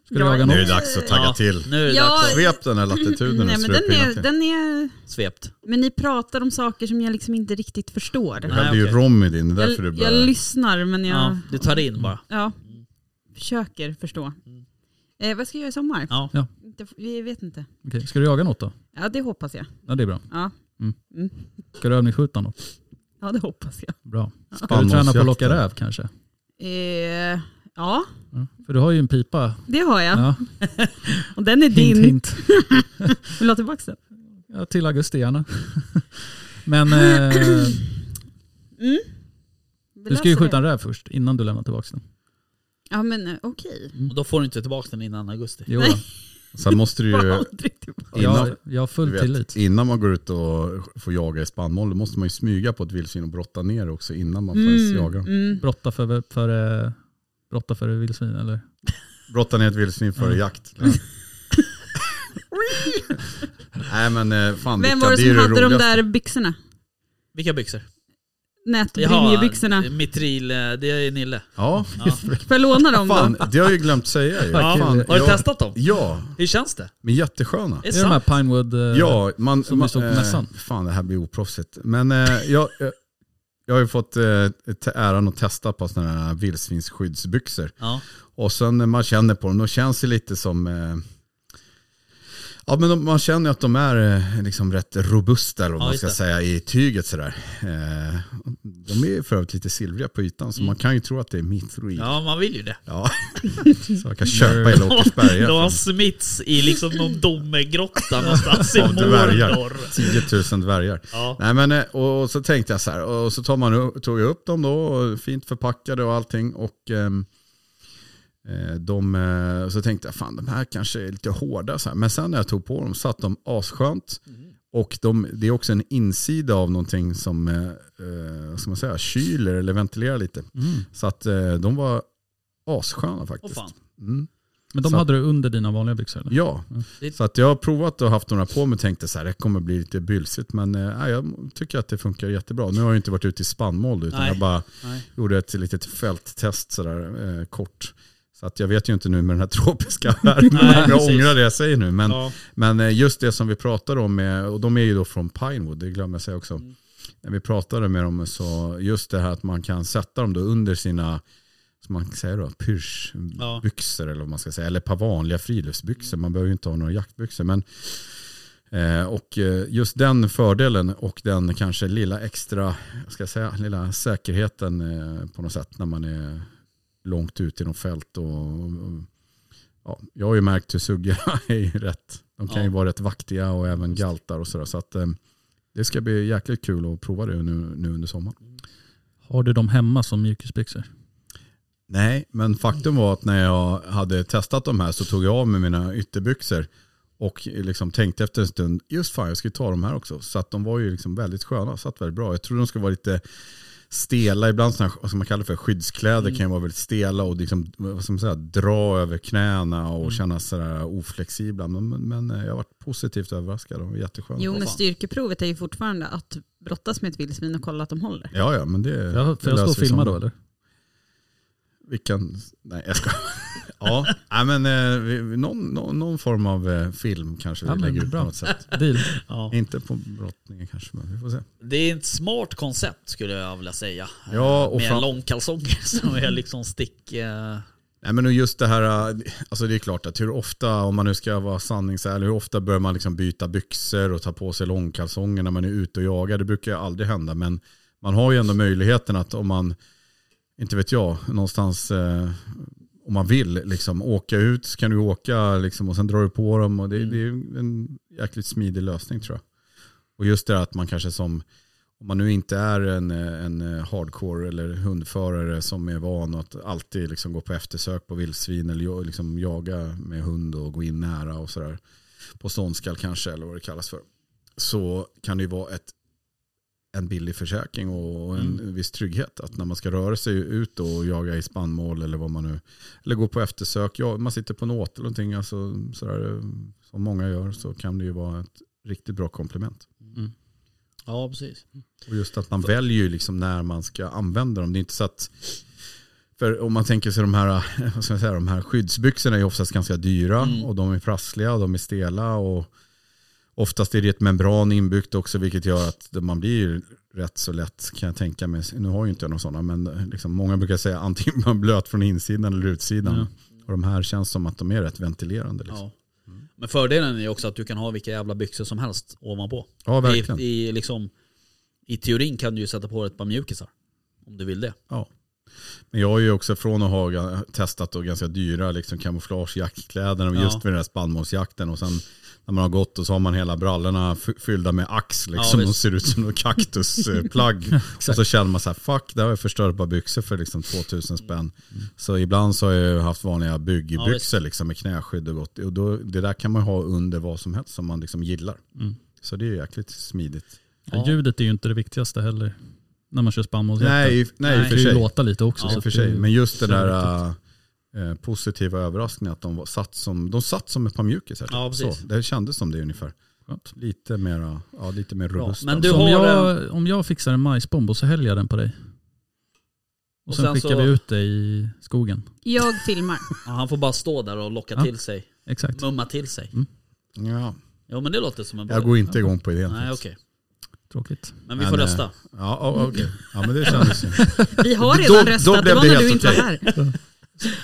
Speaker 4: Ska du jaga
Speaker 5: Nu är
Speaker 4: något?
Speaker 5: det dags att tagga
Speaker 3: Ja,
Speaker 5: till.
Speaker 3: Nu är det
Speaker 2: Ja.
Speaker 3: dags
Speaker 5: Svep den här latituden
Speaker 2: Nej,
Speaker 5: och
Speaker 2: men den
Speaker 5: strupinnan
Speaker 2: är,
Speaker 5: till.
Speaker 2: den är...
Speaker 3: att- svept.
Speaker 2: Men ni pratar om saker som jag liksom inte riktigt förstår.
Speaker 5: Du
Speaker 3: Nej,
Speaker 5: hällde ju
Speaker 3: okej.
Speaker 5: rom i din, det är därför du
Speaker 2: Jag, jag
Speaker 5: började.
Speaker 2: lyssnar men jag
Speaker 3: Ja,
Speaker 2: ja.
Speaker 3: du tar in bara.
Speaker 2: försöker förstå. Eh, vad ska jag göra i sommar?
Speaker 3: Ja.
Speaker 4: Ja.
Speaker 2: Inte, vi vet inte.
Speaker 4: Okej, Ska du jaga något då?
Speaker 2: Ja det hoppas jag.
Speaker 4: Ja det är bra. Mm.
Speaker 2: Ja, Mm.
Speaker 4: Ska du övningsskjuta något?
Speaker 2: ja det hoppas jag.
Speaker 4: Bra. Ska du träna på att locka räv kanske?
Speaker 2: Eh, ja
Speaker 4: Ja. För du har ju en pipa.
Speaker 2: det har jag.
Speaker 4: Ja,
Speaker 2: Och den är din.
Speaker 4: hint hint.
Speaker 2: Vill du ha tillbaka den?
Speaker 4: Ja, till augusti gärna. [laughs] Men eh,
Speaker 2: Vi
Speaker 4: du ska ju
Speaker 2: löser
Speaker 4: skjuta
Speaker 2: det.
Speaker 4: en räv först innan du lämnar tillbaka den.
Speaker 2: Ja men eh, okej.
Speaker 3: Och då får du inte tillbaka den innan augusti.
Speaker 4: Jo,
Speaker 2: Nej.
Speaker 4: då.
Speaker 5: Sen
Speaker 2: [laughs]
Speaker 5: måste du
Speaker 2: Får
Speaker 5: ju,
Speaker 2: aldrig tillbaka.
Speaker 5: innan,
Speaker 4: jag, jag har
Speaker 5: du
Speaker 4: full
Speaker 5: vet,
Speaker 4: tillit.
Speaker 5: innan man går ut och får jaga i spannmål, då måste man ju smyga på ett vildsvin och brotta ner det också innan man får ens jaga.
Speaker 2: Mm.
Speaker 4: Brotta före för, eh, brotta för vildsvin eller?
Speaker 5: Brotta ner ett vildsvin före jakt.
Speaker 2: [laughs]
Speaker 5: Nej men eh, fan
Speaker 2: Vem
Speaker 5: Vickan,
Speaker 2: var det
Speaker 5: är ju
Speaker 2: som hade de
Speaker 5: roligaste.
Speaker 2: där byxorna?
Speaker 3: Vilka byxor?
Speaker 2: Nätbrynjebyxorna.
Speaker 3: mitril, eh, det är Nille.
Speaker 5: Ja,
Speaker 2: Får jag låna dem
Speaker 5: [laughs] fan
Speaker 2: då?
Speaker 5: det har jag ju glömt säga ju.
Speaker 3: Ja,
Speaker 5: Fan,
Speaker 3: har du
Speaker 5: jag-
Speaker 3: testat dem?
Speaker 5: Ja,
Speaker 3: Hur känns det?
Speaker 5: men jättesköna.
Speaker 3: Är det
Speaker 4: Är det de här
Speaker 3: sant?
Speaker 4: Pinewood? eh,
Speaker 5: Ja, man,
Speaker 4: som vi
Speaker 5: man,
Speaker 4: såg på
Speaker 5: eh,
Speaker 4: mässan.
Speaker 5: Fan det här blir oproffsigt. Men eh, jag, jag, jag har ju fått eh, te- äran att testa på sådana här vildsvinsskyddsbyxor.
Speaker 3: Ja.
Speaker 5: Och sen när man känner på dem, då känns det lite som... Eh, ja men de, man känner att de är eh, liksom rätt robusta eller vad
Speaker 3: Ja,
Speaker 5: man
Speaker 3: just
Speaker 5: ska
Speaker 3: det.
Speaker 5: säga i tyget sådär. Eh, de är ju för övrigt lite silvriga på ytan så man
Speaker 4: Mm.
Speaker 5: kan ju tro att det är mitril. Ja. [laughs]
Speaker 3: ja, man vill ju det.
Speaker 5: Så jag
Speaker 4: [laughs]
Speaker 5: kan köpa hela Åkersberga.
Speaker 3: De har
Speaker 5: för
Speaker 3: smits i liksom någon domegrotta någonstans i
Speaker 5: Av dvärgar.
Speaker 3: Mordor.
Speaker 5: 10 000 dvärgar.
Speaker 3: Ja.
Speaker 5: Nej, men, eh, och och så tänkte jag så här, och så tar man, upp- tog jag upp dem då, och fint förpackade och allting. Och ehm, eh, de, eh, så tänkte jag, fan de här kanske är lite hårda. Så här. Men sen när jag tog på dem satt de asskönt.
Speaker 3: Mm.
Speaker 5: Och de, det är också en insida av någonting som eh, eh, vad ska man säga, kyler eller ventilerar lite.
Speaker 4: Mm.
Speaker 5: Så att eh, de var assköna
Speaker 3: Åh
Speaker 5: faktiskt.
Speaker 3: fan.
Speaker 5: Mm.
Speaker 4: Men de
Speaker 5: Så-
Speaker 4: hade du under dina vanliga byxor eller?
Speaker 5: Ja,
Speaker 3: Det-
Speaker 5: så att jag har provat och haft några på mig och tänkte så här, det kommer bli lite bylsigt. Men eh, nej, jag tycker att det funkar jättebra. Nu har jag inte varit ute i spannmål utan
Speaker 3: Nej.
Speaker 5: jag bara
Speaker 3: Nej.
Speaker 5: gjorde ett litet fälttest sådär eh, kort. Så att jag vet ju inte nu med den här tropiska värmen,
Speaker 3: Nej,
Speaker 5: jag
Speaker 3: precis.
Speaker 5: ångrar det jag säger nu. Men,
Speaker 3: Ja.
Speaker 5: men eh, just det som vi pratade om, eh, och de är ju då från Pinewood, det glömmer jag säga också. När vi pratade med dem så just det här att man kan sätta dem då under sina som man säger då,
Speaker 3: Ja.
Speaker 5: pyrschbyxor eller vad man ska säga. Eller ett par vanliga friluftsbyxor. Man behöver ju inte ha några jaktbyxor. Men, eh, och eh, just den fördelen och den kanske lilla extra, vad ska jag säga, lilla säkerheten eh, på något sätt när man är långt ut i något fält. Och, och, ja, jag har ju märkt hur [laughs] suggorna är ju rätt. De kan ju
Speaker 3: Ja.
Speaker 5: vara rätt vaktiga och även galtar och sådär. Så att, eh, det ska bli jäkligt kul att prova det nu, nu under sommaren.
Speaker 4: Har du dem hemma som mjukisbyxor?
Speaker 5: Nej, men faktum var att när jag hade testat de här så tog jag av mig mina ytterbyxor och liksom tänkte efter en stund, just fan jag ska ju ta de här också. Så att de var ju liksom väldigt sköna, satt väldigt bra. Jag trodde de skulle vara lite stela, ibland sådana här, vad ska man kalla det för, skyddskläder
Speaker 4: Mm.
Speaker 5: kan ju vara väldigt stela och liksom, vad ska man säga, dra över knäna
Speaker 4: Mm.
Speaker 5: och kännas sådär oflexibla. Men, men, men jag var positivt överraskad, de var jättesköna.
Speaker 2: Jo
Speaker 3: Åh,
Speaker 2: men
Speaker 3: fan.
Speaker 2: styrkeprovet är ju fortfarande att brottas med ett vildsvin och kolla att de håller.
Speaker 5: Ja, ja, men det
Speaker 4: Ja,
Speaker 5: det
Speaker 4: får jag stå och
Speaker 5: löser vi
Speaker 4: filma
Speaker 5: som-
Speaker 4: då eller?
Speaker 5: Vilken, nej
Speaker 4: [laughs]
Speaker 5: jag ska. ja, nej, men eh, vi- vi- någon, någon, någon form av eh, film kanske vi
Speaker 4: Ja, men
Speaker 5: lägger ut
Speaker 4: bra.
Speaker 5: på något sätt.
Speaker 4: Deal.
Speaker 3: Ja.
Speaker 5: Inte på brottningen kanske, men vi får se.
Speaker 3: Det är ett smart koncept skulle jag vilja säga.
Speaker 5: Ja, och
Speaker 3: Med
Speaker 5: fram-
Speaker 3: långkalsonger [laughs] som är liksom stick... eh,
Speaker 5: Nej men och just det här, eh, alltså det är klart att hur ofta, om man nu ska vara sanningsärlig, hur ofta bör man liksom byta byxor och ta på sig långkalsonger när man är ute och jagar? Det brukar ju aldrig hända, men man har ju ändå möjligheten att om man, inte vet jag, någonstans eh, om man vill liksom åka ut så kan du åka liksom, och sen drar du på dem och det, det är ju en jäkligt smidig lösning tror jag. Och just det här att man kanske som om man nu inte är en, eh, en eh, hardcore eller hundförare som är van att alltid liksom gå på eftersök på vildsvin eller jo- liksom jaga med hund och gå in nära och sådär. På ståndskall kanske eller vad det kallas för. Så kan det ju vara ett, en billig försäkring och en viss trygghet. Att när man ska röra sig ut då och jaga i spannmål eller vad man nu eller gå på eftersök. Ja, man sitter på en åt eller någonting. Alltså, sådär, eh, som många gör så kan det ju vara ett riktigt bra komplement.
Speaker 3: Ja, precis.
Speaker 5: Och just att man väljer ju liksom när man ska använda dem. Det är inte så att... För om man tänker sig de här, [laughs] vad ska jag säga, de här skyddsbyxorna är ju oftast ganska dyra
Speaker 3: Mm.
Speaker 5: och de är prassliga och de är stela och oftast är det ett membran inbyggt också vilket gör att man blir ju rätt så lätt kan jag tänka mig. Nu har ju inte jag några sådana men liksom, många brukar säga antingen man är blöt från insidan eller utsidan.
Speaker 4: Ja.
Speaker 5: Och de här känns som att de är rätt ventilerande. Liksom.
Speaker 3: Ja. Mm. Men fördelen är ju också att du kan ha vilka jävla byxor som helst ovanpå.
Speaker 5: Ja.
Speaker 3: I,
Speaker 5: verkligen.
Speaker 3: i, liksom, I teorin kan du ju sätta på dig ett par mjukisar. Om du vill det.
Speaker 5: Men jag är ju också från att ha ga- testat då ganska dyra liksom kamouflage jaktkläder och
Speaker 3: Ja.
Speaker 5: just vid den där spannmålsjakten och sen när man har gått och så har man hela brallorna fy- fyllda med ax liksom
Speaker 3: Ja,
Speaker 5: och
Speaker 3: visst.
Speaker 5: ser ut som
Speaker 3: [laughs]
Speaker 5: något kaktusplagg. och så känner man så här, fuck, där har jag förstört ett par byxor för liksom 2000 spänn. Så ibland så har jag ju haft vanliga
Speaker 3: Ja,
Speaker 5: byggbyxor
Speaker 3: visst.
Speaker 5: liksom med knäskydd och gott. Och då, det där kan man ha under vad som helst som man liksom gillar.
Speaker 4: Mm.
Speaker 5: Så det är jäkligt smidigt.
Speaker 3: Ja.
Speaker 4: Ljudet är ju inte det viktigaste heller. När man kör spannmålsjakt.
Speaker 5: Nej, i, nej, i och
Speaker 4: det
Speaker 5: för
Speaker 4: kan ju
Speaker 5: sig.
Speaker 4: låta lite också.
Speaker 5: Ja,
Speaker 4: så
Speaker 5: i och för
Speaker 4: att det-
Speaker 5: sig. Men just den
Speaker 4: så
Speaker 5: där eh, positiva överraskningen att de var- satt som, de satt som ett par mjukisar. typ.
Speaker 3: Ja, precis.
Speaker 5: Så, det kändes som det ungefär.
Speaker 4: Skönt.
Speaker 5: Lite mer, ja, lite mer alltså.
Speaker 3: Bra.
Speaker 5: robusta.
Speaker 3: Men
Speaker 4: Så
Speaker 3: du
Speaker 4: om,
Speaker 3: har en-
Speaker 4: jag, om jag fixar en majsbomb och så häller jag den på dig. Och,
Speaker 3: Och
Speaker 4: sen,
Speaker 3: sen
Speaker 4: skickar
Speaker 3: så-
Speaker 4: vi ut dig i skogen.
Speaker 2: Jag filmar.
Speaker 3: Ja, han får bara stå där och locka
Speaker 4: Ja.
Speaker 3: till sig.
Speaker 4: Exakt.
Speaker 3: Mumma till sig.
Speaker 5: ja,
Speaker 3: Jo men det låter som en bra
Speaker 5: jag går inte igång på idén.
Speaker 3: Nej
Speaker 5: faktiskt.
Speaker 3: okej.
Speaker 4: Tråkigt.
Speaker 3: Men vi
Speaker 5: Men,
Speaker 3: får
Speaker 5: eh,
Speaker 3: rösta.
Speaker 5: Ja, o- okej. ja, men det kändes ju.
Speaker 2: Vi har
Speaker 5: Då-
Speaker 2: redan
Speaker 5: då
Speaker 2: röstat, det
Speaker 5: blev
Speaker 2: var
Speaker 5: det
Speaker 2: när du
Speaker 5: helt
Speaker 2: inte var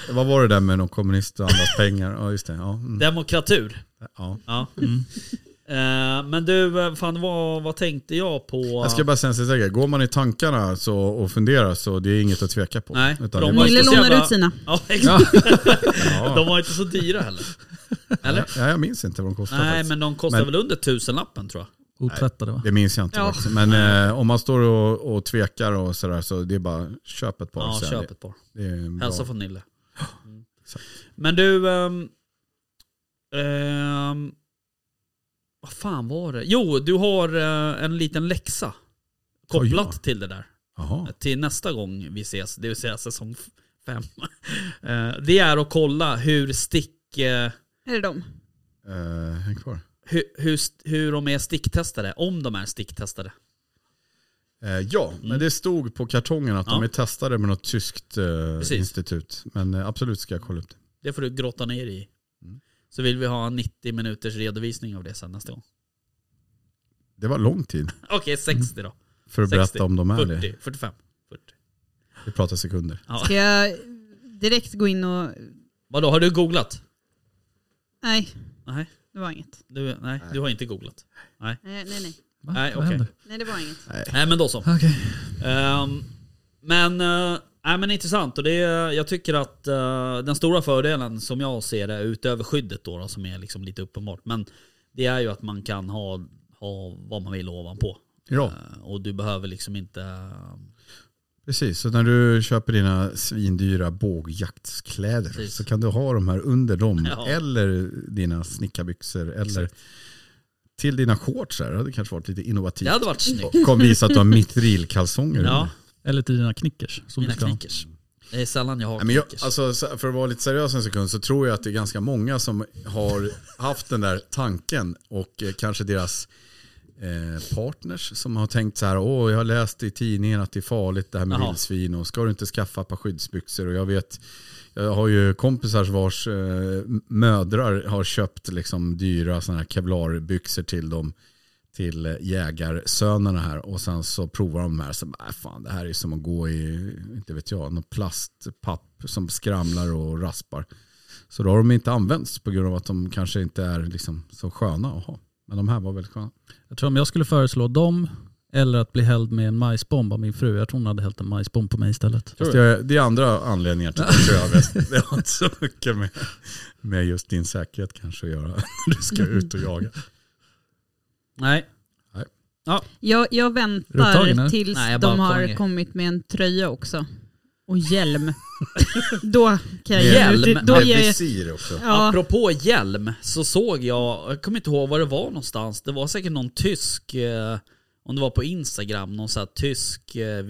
Speaker 2: här.
Speaker 5: Vad var det där med någon kommunist och andras pengar? Ja, just det. Ja, mm,
Speaker 3: Demokratur.
Speaker 5: ja.
Speaker 3: Ja.
Speaker 5: Mm.
Speaker 3: [laughs] Eh, men du, eh, fan vad, vad tänkte jag på?
Speaker 5: Jag ska bara säga en sak. Går man i tankarna så, och funderar så det är inget att tveka på.
Speaker 3: Nej,
Speaker 5: Utan
Speaker 3: de
Speaker 5: det är
Speaker 3: var
Speaker 5: bara-
Speaker 2: Nille
Speaker 3: speciella-
Speaker 2: lånar ut sina.
Speaker 5: [laughs]
Speaker 3: Ja, exakt. [laughs]
Speaker 5: ja.
Speaker 3: De var inte så dyra heller. Eller?
Speaker 5: Ja, jag minns inte vad de kostar
Speaker 3: Nej
Speaker 5: faktiskt.
Speaker 3: men de kostar
Speaker 5: Men-
Speaker 3: väl under tusenlappen tror jag.
Speaker 4: Otvättade va?
Speaker 5: Det minns jag inte
Speaker 2: Ja.
Speaker 5: faktiskt. Men eh, om man står och, och tvekar och sådär så det är bara köp ett par.
Speaker 3: Ja,
Speaker 5: sen.
Speaker 3: köp ett par.
Speaker 5: Det, det är en bra.
Speaker 3: Hälsa från Nille. Mm.
Speaker 5: [gasps] exakt.
Speaker 3: Men du... ehm, ehm, vad fan var det? Jo, du har eh, en liten läxa kopplat
Speaker 5: Oj, ja.
Speaker 3: till det där.
Speaker 5: Jaha.
Speaker 3: Till nästa gång vi ses, det vill säga säsong f- fem. [laughs] Eh, det är att kolla hur stick... eh,
Speaker 2: Är det de?
Speaker 5: Eh, häng kvar.
Speaker 3: hur, hur, st- hur de är sticktestade, om de är sticktestade.
Speaker 5: Eh, ja, men det stod på kartongen att de
Speaker 3: Mm. Ja.
Speaker 5: är testade med något tyskt eh,
Speaker 3: Precis.
Speaker 5: institut. Men eh, absolut ska jag kolla upp det.
Speaker 3: Det får du grotta ner i.
Speaker 5: Mm.
Speaker 3: Så vill vi ha en 90 minuters redovisning av det sen nästa gång.
Speaker 5: Det var lång tid
Speaker 3: Okej, 60 då.
Speaker 5: för att
Speaker 3: 60,
Speaker 5: berätta om de är det.
Speaker 3: 40, 45, 40.
Speaker 5: Vi pratar sekunder.
Speaker 3: Ja.
Speaker 2: Ska jag direkt gå in och...
Speaker 3: Vadå, har du googlat?
Speaker 2: Nej,
Speaker 3: Nej,
Speaker 2: det var inget.
Speaker 3: du, nej, du har inte googlat.
Speaker 2: Nej, nej, nej.
Speaker 4: Va?
Speaker 3: Nej,
Speaker 4: Vad
Speaker 3: okej.
Speaker 4: händer?
Speaker 2: Nej, det var inget.
Speaker 3: Nej men då så.
Speaker 4: Okej.
Speaker 3: Ehm, men, eh, nej, men intressant. Och det, är- jag tycker att eh, den stora fördelen som jag ser det, utöver skyddet då, då som är liksom lite uppenbart, men det är ju att man kan ha, ha vad man vill ovanpå.
Speaker 5: Ja,
Speaker 3: Eh, och du behöver liksom inte...
Speaker 5: precis. Så när du köper dina svindyra bågjaktskläder
Speaker 3: Precis.
Speaker 5: så kan du ha de här under dem.
Speaker 3: Ja.
Speaker 5: Eller dina snickarbyxor. Eller till dina shorts. Här. Det hade kanske varit lite
Speaker 3: Det
Speaker 5: innovativt.
Speaker 3: hade varit snyggt.
Speaker 5: Kom visa att du har
Speaker 3: [laughs]
Speaker 5: mitrilkalsonger
Speaker 3: Ja,
Speaker 5: under.
Speaker 4: Eller till dina knickers. Som
Speaker 3: mina
Speaker 4: du ska ha.
Speaker 3: knickers. Det är sällan jag har
Speaker 5: Nej, men jag,
Speaker 3: knickers.
Speaker 5: alltså, så- för att vara lite seriös en sekund så tror jag att det är ganska många som har haft den där tanken och eh, kanske deras eh, partners som har tänkt så här, åh jag har läst i tidningen att det är farligt det här med
Speaker 3: Jaha.
Speaker 5: vildsvin och ska du inte skaffa ett par skyddsbyxor och jag vet jag har ju kompisar vars eh, mödrar har köpt liksom dyra sådana här kevlarbyxor till dem till eh, jägarsönerna här och sen så provar de här så bara, "Äh, fan det här är ju som att gå i, inte vet jag, någon plastpapp som skramlar och raspar. Så då har de inte använts på grund av att de kanske inte är liksom så sköna att ha. Men de här var väldigt sköna.
Speaker 4: Jag tror om jag skulle föreslå dem eller att bli hälld med en majsbomb av min fru. Jag tror hon hade hällt en majsbomb på mig istället.
Speaker 5: Fast det, är, det är andra anledningar till att jag väst. [laughs] Det har inte så mycket med, med just din [laughs] säkerhet kanske att göra när du ska ut och jaga.
Speaker 3: Nej.
Speaker 5: Nej.
Speaker 2: Jag, jag
Speaker 4: Är du upptagen, eller?
Speaker 2: väntar tills
Speaker 3: Nej, jag bara
Speaker 2: de har
Speaker 3: sjunger.
Speaker 2: kommit med en tröja också. Och hjälm. då kan jag
Speaker 3: Hjälm?
Speaker 2: ge ut. Då
Speaker 1: Med
Speaker 2: ger jag,
Speaker 1: visir också.
Speaker 2: ja,
Speaker 3: Apropå hjälm så såg jag, jag kommer inte ihåg var det var någonstans, det var säkert någon tysk, eh, om det var på Instagram, någon sån här tysk eh,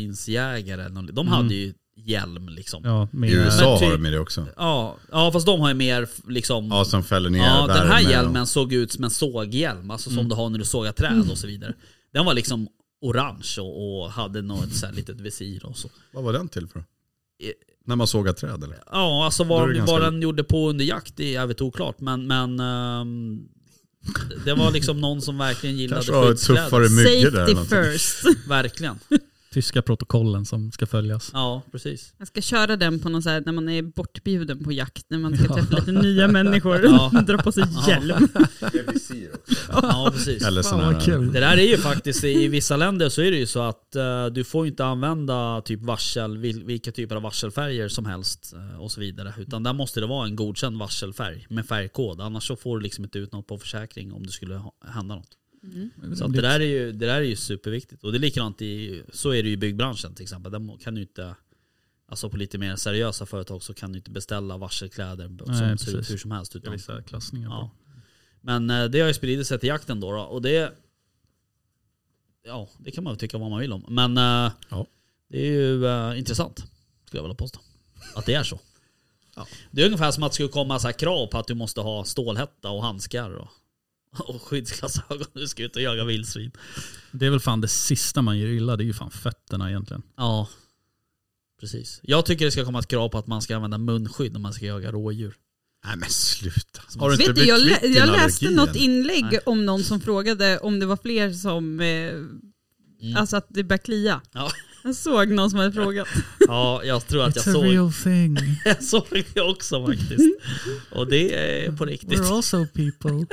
Speaker 3: vildsvinsjägare. eller någon- De hade ju hjälm liksom. Ja.
Speaker 4: Ja, med,
Speaker 5: I USA
Speaker 3: typ-
Speaker 5: har de ju det också.
Speaker 3: Ja, fast de har ju mer f- liksom...
Speaker 5: Ja, som fäller ner
Speaker 3: Ja, den här
Speaker 5: värme och-
Speaker 3: hjälmen såg ut som en såghjälm, alltså som du har när du sågar träd och så vidare. Den var liksom orange och, och hade något så här litet visir och så.
Speaker 5: Vad var den till för?
Speaker 3: Eh.
Speaker 5: När man sågar träd eller?
Speaker 3: Ja, alltså
Speaker 5: Då är
Speaker 3: vad,
Speaker 5: det ganska
Speaker 3: vad
Speaker 5: likt.
Speaker 3: den gjorde på under jakt det är jävligt oklart, men, men ehm, det var liksom någon som verkligen gillade
Speaker 5: Kanske har tuffare
Speaker 3: skyddskläder.
Speaker 5: myggor där. eller
Speaker 2: safety
Speaker 5: någonting.
Speaker 2: first.
Speaker 3: Verkligen.
Speaker 4: tyska protokollen som ska följas.
Speaker 3: Ja,
Speaker 5: [laughs]
Speaker 3: precis.
Speaker 2: Jag ska köra den på någon så här, när man är bortbjuden på jakt, när man ska träffa lite nya människor.
Speaker 3: Ja.
Speaker 2: [laughs] Dra på sig hjälm.
Speaker 1: Det är visir också.
Speaker 3: Ja, precis.
Speaker 5: Eller
Speaker 4: Fan
Speaker 5: sån
Speaker 4: vad
Speaker 5: här.
Speaker 4: kul.
Speaker 3: Det där är ju faktiskt, i vissa länder så är det ju så att eh, du får ju inte använda typ varsel, vil, vilka typer av varselfärger som helst eh, och så vidare. Utan där måste det vara en godkänd varselfärg med färgkod. Annars så får du liksom inte ut något på försäkring om det skulle ha, hända något. Så att det, där är ju, det där är ju superviktigt. Och det är likadant i, så är det ju i byggbranschen till exempel. Där må- kan du inte, alltså på lite mer seriösa företag så kan du inte beställa varselkläder
Speaker 4: Nej,
Speaker 3: som ser ut
Speaker 4: precis.
Speaker 3: hur som helst.
Speaker 4: Det är
Speaker 3: Utan
Speaker 4: vissa klassningar på.
Speaker 3: Ja. Men eh, det har ju spridit sig till jakten då, då och det... Ja, det kan man väl tycka vad man vill om. Men eh,
Speaker 5: Ja.
Speaker 3: det är ju eh, intressant, skulle jag vilja påstå. Att det är så. Det är ungefär som att det skulle komma så här krav på att du måste ha stålhätta och handskar och, och skyddsglasögon när du ska ut och jaga vildsvin.
Speaker 4: Det är väl fan det sista man gillar, det är ju fan fötterna egentligen.
Speaker 3: Ja, precis. Jag tycker det ska komma ett krav på att man ska använda munskydd när man ska jaga rådjur.
Speaker 5: Nej men sluta.
Speaker 2: Vet du, jag, lä-
Speaker 5: din
Speaker 2: jag
Speaker 5: allergi
Speaker 2: läste
Speaker 5: än?
Speaker 2: något inlägg
Speaker 3: Nej.
Speaker 2: om någon som frågade om det var fler som, eh, alltså att det började klia.
Speaker 3: Ja.
Speaker 2: Jag såg någon som hade frågat.
Speaker 3: Ja, jag tror att jag såg,
Speaker 4: thing.
Speaker 3: jag såg det också faktiskt. Och [laughs] det är på riktigt.
Speaker 4: also people.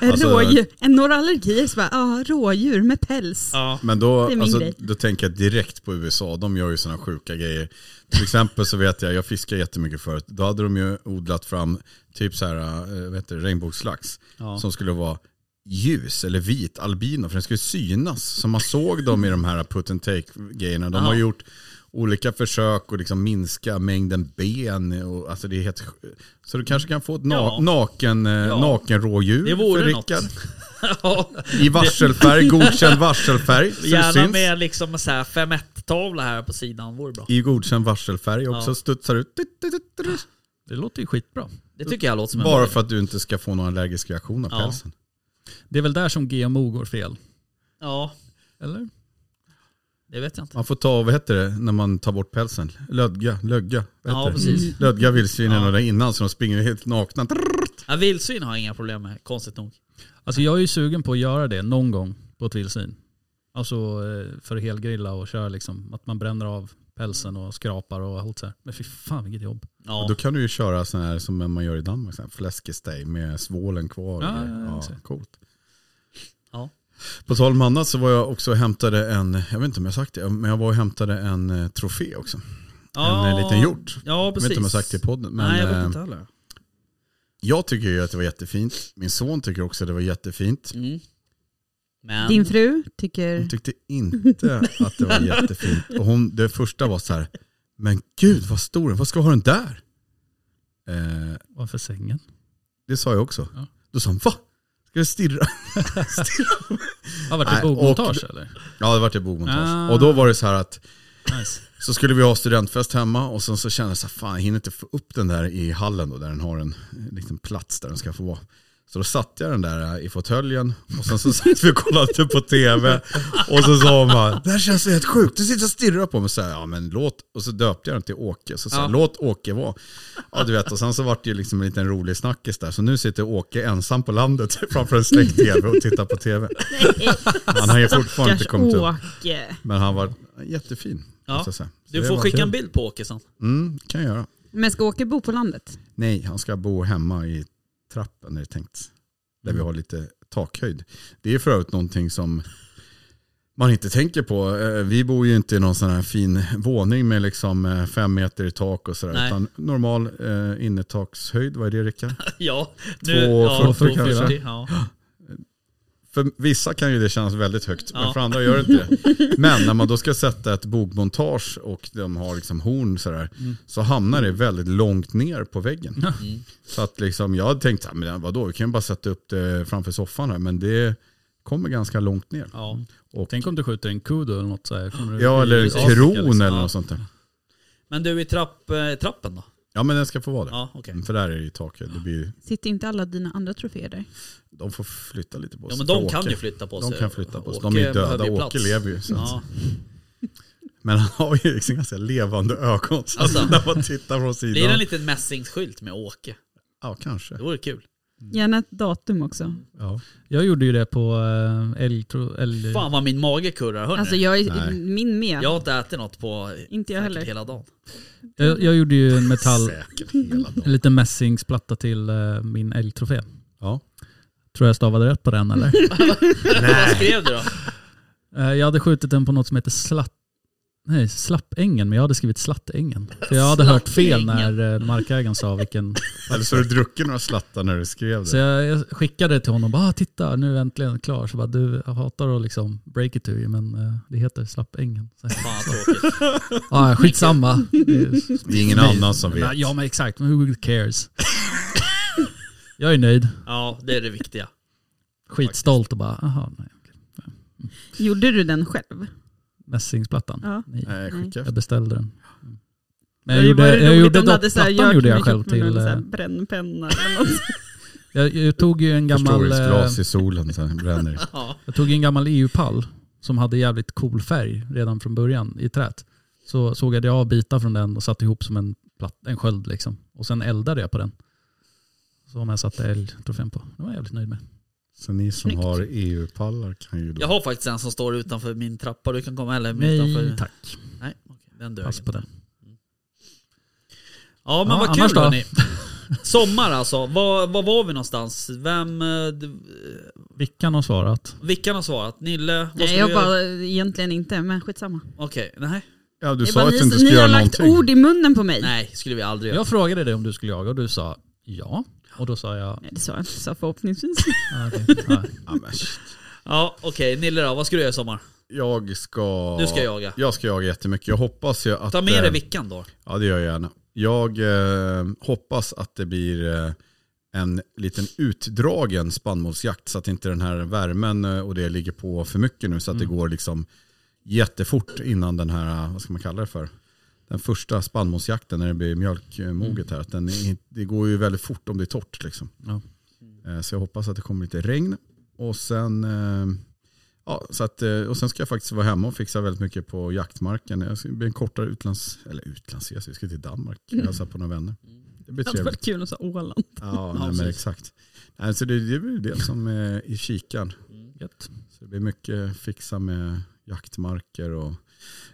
Speaker 5: Alltså-
Speaker 2: rådjur, en några allergier, så bara, ja, rådjur med päls.
Speaker 3: Ja. [laughs]
Speaker 5: Men då,
Speaker 2: Det är min
Speaker 5: alltså,
Speaker 2: grej.
Speaker 5: då tänker jag direkt på USA, de gör ju sådana sjuka grejer. Till exempel så vet jag, jag fiskade jättemycket förut, då hade de ju odlat fram typ så här, eh, vad heter det, regnbågslax.
Speaker 3: Ja.
Speaker 5: Som skulle vara ljus eller vit albino, för den skulle synas. Så man såg dem i de här put and take grejerna. De har
Speaker 3: Ja.
Speaker 5: gjort olika försök att liksom minska mängden ben. Och, alltså det är helt, sj- så du kanske kan få ett na-
Speaker 3: Ja.
Speaker 5: naken, eh, naken rådjur
Speaker 3: Det vore
Speaker 5: för
Speaker 3: något.
Speaker 5: Rickard.
Speaker 3: Ja,
Speaker 5: I
Speaker 3: [laughs]
Speaker 5: varselfärg, godkänd varselfärg. Så det
Speaker 3: gärna
Speaker 5: syns.
Speaker 3: med liksom så här 5-1-tavla här på sidan, vore bra.
Speaker 5: I godkänd varselfärg också,
Speaker 3: Ja.
Speaker 5: studsar ut. Tut, tut, tut, tut.
Speaker 4: Det låter ju skitbra.
Speaker 3: Det tycker jag låter som en
Speaker 5: Bara
Speaker 3: bra
Speaker 5: för att du inte ska få någon allergisk reaktion av
Speaker 3: Ja.
Speaker 5: pälsen.
Speaker 4: Det är väl där som GMO går fel?
Speaker 3: idé. Ja,
Speaker 4: Eller?
Speaker 3: det vet jag inte.
Speaker 5: Man får ta, vad heter det, när man tar bort pälsen? Lödga, lödga. vad
Speaker 3: Ja,
Speaker 5: heter det?
Speaker 3: precis.
Speaker 5: Lödga vildsvinen och där innan så de springer helt nakna.
Speaker 3: Ja, vildsvin har jag inga problem med, konstigt nog.
Speaker 4: Alltså jag är ju sugen på att göra det någon gång på ett vildsvin. Alltså eh, för att helgrilla och köra liksom. Att man bränner av pälsen och skrapar och allt så här. Men fy fan vilket jobb.
Speaker 3: Ja,
Speaker 5: Då kan du ju köra sån här som man gör i Danmark, sån här fläskesteg med svålen kvar.
Speaker 4: Ja,
Speaker 5: ja,
Speaker 4: ja, exakt.
Speaker 5: coolt.
Speaker 3: Ja.
Speaker 5: På tal om annat så var jag också och hämtade en, jag vet inte om jag sagt det, men jag var och hämtade en eh, trofé också.
Speaker 3: ja,
Speaker 5: En eh, liten hjort.
Speaker 3: Ja,
Speaker 5: Jag
Speaker 3: precis.
Speaker 5: vet inte om jag sagt det i podden. Men,
Speaker 3: Nej, jag
Speaker 5: eh,
Speaker 3: vet inte heller.
Speaker 5: Jag tycker ju att det var jättefint. Min son tycker också att det var jättefint.
Speaker 3: Mm. Men,
Speaker 2: Din fru tycker,
Speaker 5: Hon tyckte inte att det var jättefint. Och hon, det första var så här, men gud vad stor den Vad ska jag ha den där? Eh,
Speaker 4: Varför sängen?
Speaker 5: det sa jag också.
Speaker 4: Ja.
Speaker 5: Då sa hon, va? Ska jag stirra?
Speaker 4: Har varit
Speaker 5: Nej,
Speaker 4: det
Speaker 5: och-
Speaker 4: bogmontage eller?
Speaker 5: Ja, det var till bogmontage.
Speaker 4: Ah.
Speaker 5: Och då var det så här att,
Speaker 4: Nice.
Speaker 5: så skulle vi ha studentfest hemma och sen så kände jag så här, fan jag hinner inte få upp den där i hallen då, där den har en liten plats där den ska få vara. Så då satte jag den där eh, i fåtöljen och sen så [laughs] satt vi och kollade typ på tv och så sa hon bara, det här känns så helt sjukt, du sitter och stirrar på mig. Så här, ja men låt, och så döpte jag den till Åke, så sa jag,
Speaker 3: Ja.
Speaker 5: låt Åke vara. Ja du vet, och sen så vart det ju liksom en liten rolig snackis där, så nu sitter Åke ensam på landet [laughs] framför en släkt-tv och tittar på tv. Han har ju fortfarande inte
Speaker 2: stackars
Speaker 5: kommit upp.
Speaker 2: Åke.
Speaker 5: Men han var jättefin.
Speaker 3: Ja,
Speaker 5: måste jag säga. Så
Speaker 3: du
Speaker 5: det
Speaker 3: får
Speaker 5: var
Speaker 3: skicka
Speaker 5: kul.
Speaker 3: en bild på Åke sen. [laughs]
Speaker 5: Mm, kan jag göra.
Speaker 2: Men ska Åke bo på landet?
Speaker 5: Nej, han ska bo hemma i trappen är det tänkt. Där
Speaker 3: Mm.
Speaker 5: vi har lite takhöjd. Det är för övrigt någonting som man inte tänker på. Eh, Vi bor ju inte i någon sån här fin våning med liksom eh, fem meter i tak och sådär.
Speaker 3: Nej.
Speaker 5: Utan normal eh, innertakshöjd, vad är det Rickard?
Speaker 3: ja, nu...
Speaker 5: Två
Speaker 3: ja,
Speaker 5: fyrtio
Speaker 3: 240,
Speaker 5: kanske.
Speaker 3: Ja.
Speaker 5: För vissa kan ju det kännas väldigt högt, men
Speaker 3: Ja.
Speaker 5: för andra gör det inte det. Men när man då ska sätta ett bogmontage och de har liksom horn sådär, så hamnar det väldigt långt ner på väggen.
Speaker 3: Mm.
Speaker 5: Så att liksom, jag hade tänkt, så här, men vadå, vi kan ju bara sätta upp det framför soffan här, men det kommer ganska långt ner.
Speaker 3: Ja.
Speaker 5: Och,
Speaker 4: Tänk om du skjuter en kudo eller något så här. kommer du-
Speaker 5: ja, eller en
Speaker 4: Precis.
Speaker 5: kron
Speaker 4: Liksom.
Speaker 5: eller
Speaker 3: Ja.
Speaker 5: något sånt där.
Speaker 3: Men du i trapp, eh, trappen då?
Speaker 5: Ja, Mm. men den ska få vara där.
Speaker 3: Ja, okej.
Speaker 5: För där är det ju taket. Det blir,
Speaker 2: Sitter inte alla dina andra troféer där?
Speaker 5: de får flytta lite på
Speaker 3: Ja
Speaker 5: sig.
Speaker 3: men
Speaker 5: för
Speaker 3: de
Speaker 5: Åke-
Speaker 3: kan ju flytta på sig.
Speaker 5: De kan flytta på sig.
Speaker 3: Åke
Speaker 5: De är ju döda.
Speaker 3: behöver ju
Speaker 5: Åke
Speaker 3: plats.
Speaker 5: lever ju. Så att,
Speaker 3: Ja.
Speaker 5: Men han har ju liksom ganska levande ögon. Så
Speaker 3: Alltså.
Speaker 5: när man tittar från sidan.
Speaker 3: Blir det en liten mässingsskylt med Åke?
Speaker 5: Ja, kanske.
Speaker 3: Det vore kul.
Speaker 2: Gärna ett datum också.
Speaker 5: Ja.
Speaker 4: Jag gjorde ju det på eh, älg... tro-
Speaker 5: Mm.
Speaker 4: älg
Speaker 3: Fan vad min mage kurrar hörni.
Speaker 2: Alltså jag är
Speaker 5: Nej.
Speaker 2: min med.
Speaker 3: Jag har inte ätit något på eh,
Speaker 2: Inte jag
Speaker 3: säkert
Speaker 2: heller.
Speaker 3: hela dagen.
Speaker 4: jag, jag gjorde ju en metall...
Speaker 5: Säkert hela dagen.
Speaker 4: En liten mässingsplatta till eh, min älgtrofé.
Speaker 5: Ja.
Speaker 4: Tror jag stavade rätt på den eller?
Speaker 3: Vad skrev du då?
Speaker 4: Eh, jag hade skjutit den på något som heter slatt... Nej, slappängen, men jag hade skrivit slattängen. För jag hade hört fel när eh, markägaren sa vilken...
Speaker 5: Eller så har du druckit några slattar när du skrev
Speaker 4: Så
Speaker 5: det.
Speaker 4: jag, jag skickade det till honom bara, "Ah, titta nu är jag äntligen klar. Så bara, du jag hatar att liksom break it to you, men eh, det heter slappängen. Så,
Speaker 3: Fan vad tråkigt.
Speaker 4: ah, skitsamma. Det är-
Speaker 5: Det är ingen
Speaker 4: Nej.
Speaker 5: annan som vet.
Speaker 4: Nej, Ja men exakt, men who cares? jag är nöjd,
Speaker 3: Ja det är det viktiga.
Speaker 4: skitstolt och bara, aha, nej.
Speaker 2: Gjorde du den själv?
Speaker 4: mässingsplattan.
Speaker 2: Ja.
Speaker 4: Nej.
Speaker 5: Nej, skicka
Speaker 4: Jag
Speaker 5: efter.
Speaker 4: beställde den. Mm. Men
Speaker 2: Det
Speaker 4: jag
Speaker 2: hade
Speaker 4: gjorde,
Speaker 2: varit
Speaker 4: jag
Speaker 2: roligt
Speaker 4: gjorde
Speaker 2: om du hade
Speaker 4: dock,
Speaker 2: så här
Speaker 4: plattan
Speaker 2: gjort
Speaker 4: gjorde jag
Speaker 2: med-
Speaker 4: själv
Speaker 2: gjort med någon
Speaker 4: till...
Speaker 2: så här
Speaker 4: eh,
Speaker 2: Brännpenna eller något.
Speaker 4: Jag, jag tog ju en gammal, eh,
Speaker 5: Förstoringsglas i solen så här bränner det.
Speaker 3: Ja.
Speaker 4: jag tog ju en gammal EU-pall som hade jävligt cool färg redan från början i trät. Så sågade jag av bitar från den och satte ihop som en, platt, en sköld liksom. Och sen eldade jag på den. Som jag satte älgtrofén på. Det var jag jävligt nöjd med.
Speaker 5: Så ni som
Speaker 2: Snyggt.
Speaker 5: har EU-pallar kan ju då...
Speaker 3: Jag har faktiskt en som står utanför min trappa. Du kan komma eller
Speaker 4: Nej
Speaker 3: utanför.
Speaker 4: tack,
Speaker 3: Nej, okej, den dög
Speaker 4: pass
Speaker 3: inte.
Speaker 4: på det.
Speaker 3: Ja men
Speaker 4: Ja,
Speaker 3: vad
Speaker 4: annars
Speaker 3: kul
Speaker 4: då?
Speaker 3: hörni. Sommar alltså. Var, var var vi någonstans? Vem... eh, d-
Speaker 4: Vickan har svarat.
Speaker 3: Vickan har svarat. Nille, vad ska
Speaker 2: Nej
Speaker 3: vi
Speaker 2: jag
Speaker 3: göra?
Speaker 2: bara, egentligen inte men skitsamma.
Speaker 3: Okej, nej.
Speaker 5: Ja, du
Speaker 2: Det är
Speaker 5: sa
Speaker 2: bara
Speaker 5: att
Speaker 2: ni
Speaker 5: du inte
Speaker 2: som-
Speaker 5: ska
Speaker 2: ni
Speaker 5: göra
Speaker 2: har lagt
Speaker 5: någonting.
Speaker 2: ord i munnen på mig. Nej.
Speaker 3: Nej, skulle vi aldrig göra.
Speaker 4: Jag frågade dig om du skulle jaga och du sa ja. Och då sa jag,
Speaker 2: Det sa jag inte, sa förhoppningsvis. [laughs]
Speaker 4: ah, okej, nej.
Speaker 5: Ja, men shit.
Speaker 3: Ja, okej. Nille då, vad ska du göra i sommar?
Speaker 5: Jag ska...
Speaker 3: Du ska jaga.
Speaker 5: Jag ska jaga jättemycket. Jag hoppas ju att...
Speaker 3: Ta med dig
Speaker 5: eh,
Speaker 3: Vickan då.
Speaker 5: Ja, det gör jag gärna. Jag eh, hoppas att det blir eh, en liten utdragen spannmålsjakt så att inte den här värmen eh, och det ligger på för mycket nu så att det går liksom jättefort innan den här, eh, vad ska man kalla det för? Den första spannmålsjakten när det blir mjölkmoget här. Att den är, det går ju väldigt fort om det är torrt liksom.
Speaker 4: Ja.
Speaker 5: Eh, Så jag hoppas att det kommer lite regn. Och sen, eh, ja, så att, eh, och sen ska jag faktiskt vara hemma och fixa väldigt mycket på jaktmarken. Jag ska det blir en kortare utlands, eller utlandsresa, vi ska till Danmark och hälsa på några vänner. Det blir
Speaker 2: Det hade
Speaker 5: trevligt.
Speaker 2: varit kul att säga Åland.
Speaker 5: Ja,
Speaker 3: Ja,
Speaker 5: nej, men
Speaker 3: precis.
Speaker 5: exakt. Nej, så det, det blir det som är i kikan.
Speaker 4: Gött.
Speaker 5: Så det blir mycket fixa med jaktmarker och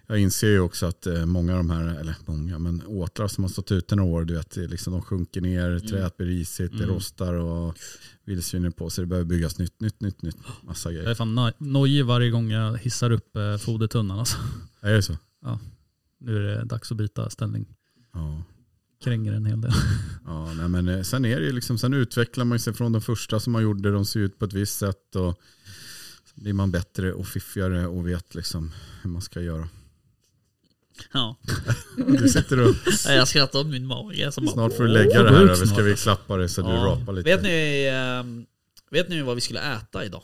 Speaker 5: jag inser ju också att eh, många av de här, eller många, men åtlar som har stått ute några år, du vet, det är liksom, de sjunker ner, träet blir risigt, det
Speaker 4: Mm.
Speaker 5: rostar och vildsvin är på sig, det behöver byggas nytt, nytt, nytt, nytt, massa
Speaker 4: Jag är
Speaker 5: grejer.
Speaker 4: fan noj- nojig varje gång jag hissar upp eh, fodertunnan alltså.
Speaker 5: Ja, Är det så?
Speaker 4: Nu är det dags att byta ställning.
Speaker 5: Ja.
Speaker 4: Kränger en hel del.
Speaker 5: Ja, nej, men eh, sen är det ju liksom, sen utvecklar man sig från de första som man gjorde, de ser ut på ett visst sätt och så blir man bättre och fiffigare och vet liksom hur man
Speaker 2: [laughs]
Speaker 5: ska göra.
Speaker 3: Ja.
Speaker 5: Du sitter och
Speaker 3: Nej, Jag skrattar åt min mage. Som bara,
Speaker 5: snart får du lägga det här över, ska vi klappa dig så du
Speaker 3: Ja.
Speaker 5: rapar lite.
Speaker 3: Vet ni, ehm, vet ni vad vi skulle äta idag?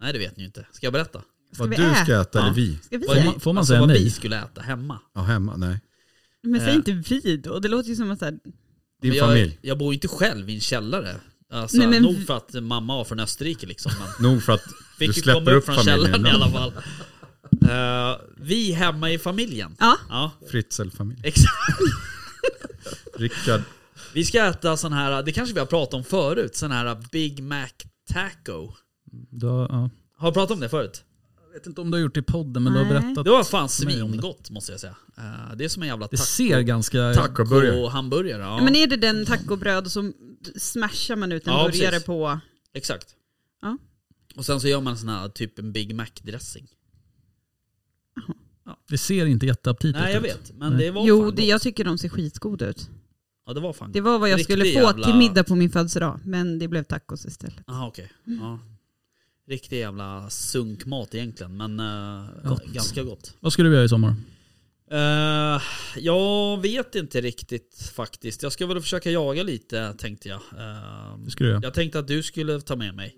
Speaker 3: Nej det vet ni ju inte. Ska jag berätta?
Speaker 2: Ska
Speaker 5: Vad
Speaker 2: vi
Speaker 5: du ska
Speaker 2: äta?
Speaker 5: äta
Speaker 3: Ja.
Speaker 5: eller vi?
Speaker 2: Ska vi
Speaker 3: Vad är-
Speaker 4: Får
Speaker 2: säga?
Speaker 4: man, får man
Speaker 3: alltså,
Speaker 4: säga
Speaker 3: vad vi
Speaker 4: nej?
Speaker 3: skulle äta hemma.
Speaker 5: Ja, hemma? Nej.
Speaker 2: Men säg
Speaker 3: Eh.
Speaker 2: inte vi då. Det låter ju som att så här,
Speaker 5: Din
Speaker 3: Men jag,
Speaker 5: familj?
Speaker 3: Jag bor ju inte själv i en källare. Alltså,
Speaker 2: Nej, men-
Speaker 3: Nog för att mamma var från Österrike liksom. Men
Speaker 5: Nog för att
Speaker 3: [laughs] fick
Speaker 5: du
Speaker 3: ju komma
Speaker 5: släpper
Speaker 3: upp
Speaker 5: upp
Speaker 3: från
Speaker 5: familjen
Speaker 3: källaren i alla fall.
Speaker 5: innan. [laughs]
Speaker 3: Eh, vi hemma i familjen.
Speaker 2: Ja.
Speaker 3: ja
Speaker 5: Fritzl-familj.
Speaker 3: exakt.
Speaker 5: Rickard.
Speaker 3: Vi ska äta sån här, det kanske vi har pratat om förut, sån här Big Mac Taco.
Speaker 4: Du har, ja.
Speaker 3: Har jag pratat om det förut?
Speaker 4: Jag vet inte om du har gjort det i podden men du har
Speaker 2: Nej.
Speaker 4: berättat.
Speaker 3: Det var fan
Speaker 4: för mig om det.
Speaker 3: svingott måste jag säga. Eh, Det är som en jävla
Speaker 4: Det
Speaker 3: taco.
Speaker 4: ser ganska...
Speaker 5: Tacoburgare.
Speaker 3: Och hamburgare. Ja,
Speaker 2: Ja, Men är det den tacobröd som smashar man ut en
Speaker 3: Ja,
Speaker 2: burgare
Speaker 3: precis.
Speaker 2: på?
Speaker 3: Exakt.
Speaker 2: Ja.
Speaker 3: Och sen så gör man sån här typ en Big Mac dressing.
Speaker 4: Typ Det ser inte jätteaptitligt
Speaker 3: Nej jag
Speaker 4: ut.
Speaker 3: vet, men
Speaker 4: Nej.
Speaker 3: det var
Speaker 2: Jo,
Speaker 3: fan
Speaker 2: det,
Speaker 3: gott.
Speaker 2: jag tycker de ser skitgoda ut.
Speaker 3: Ja det var fan
Speaker 2: Det var vad jag
Speaker 3: Riktig
Speaker 2: skulle få
Speaker 3: jävla-
Speaker 2: till middag på min födelsedag, men det blev tacos istället.
Speaker 3: Jaha okej. Ja. Riktig jävla sunkmat egentligen men eh,
Speaker 4: Gott.
Speaker 3: ganska gott.
Speaker 4: Vad skulle vi göra i sommar?
Speaker 3: Eh, jag vet inte riktigt faktiskt. Jag ska väl försöka jaga lite tänkte jag. Eh,
Speaker 4: Det skulle jag göra.
Speaker 3: jag tänkte att du skulle ta med mig.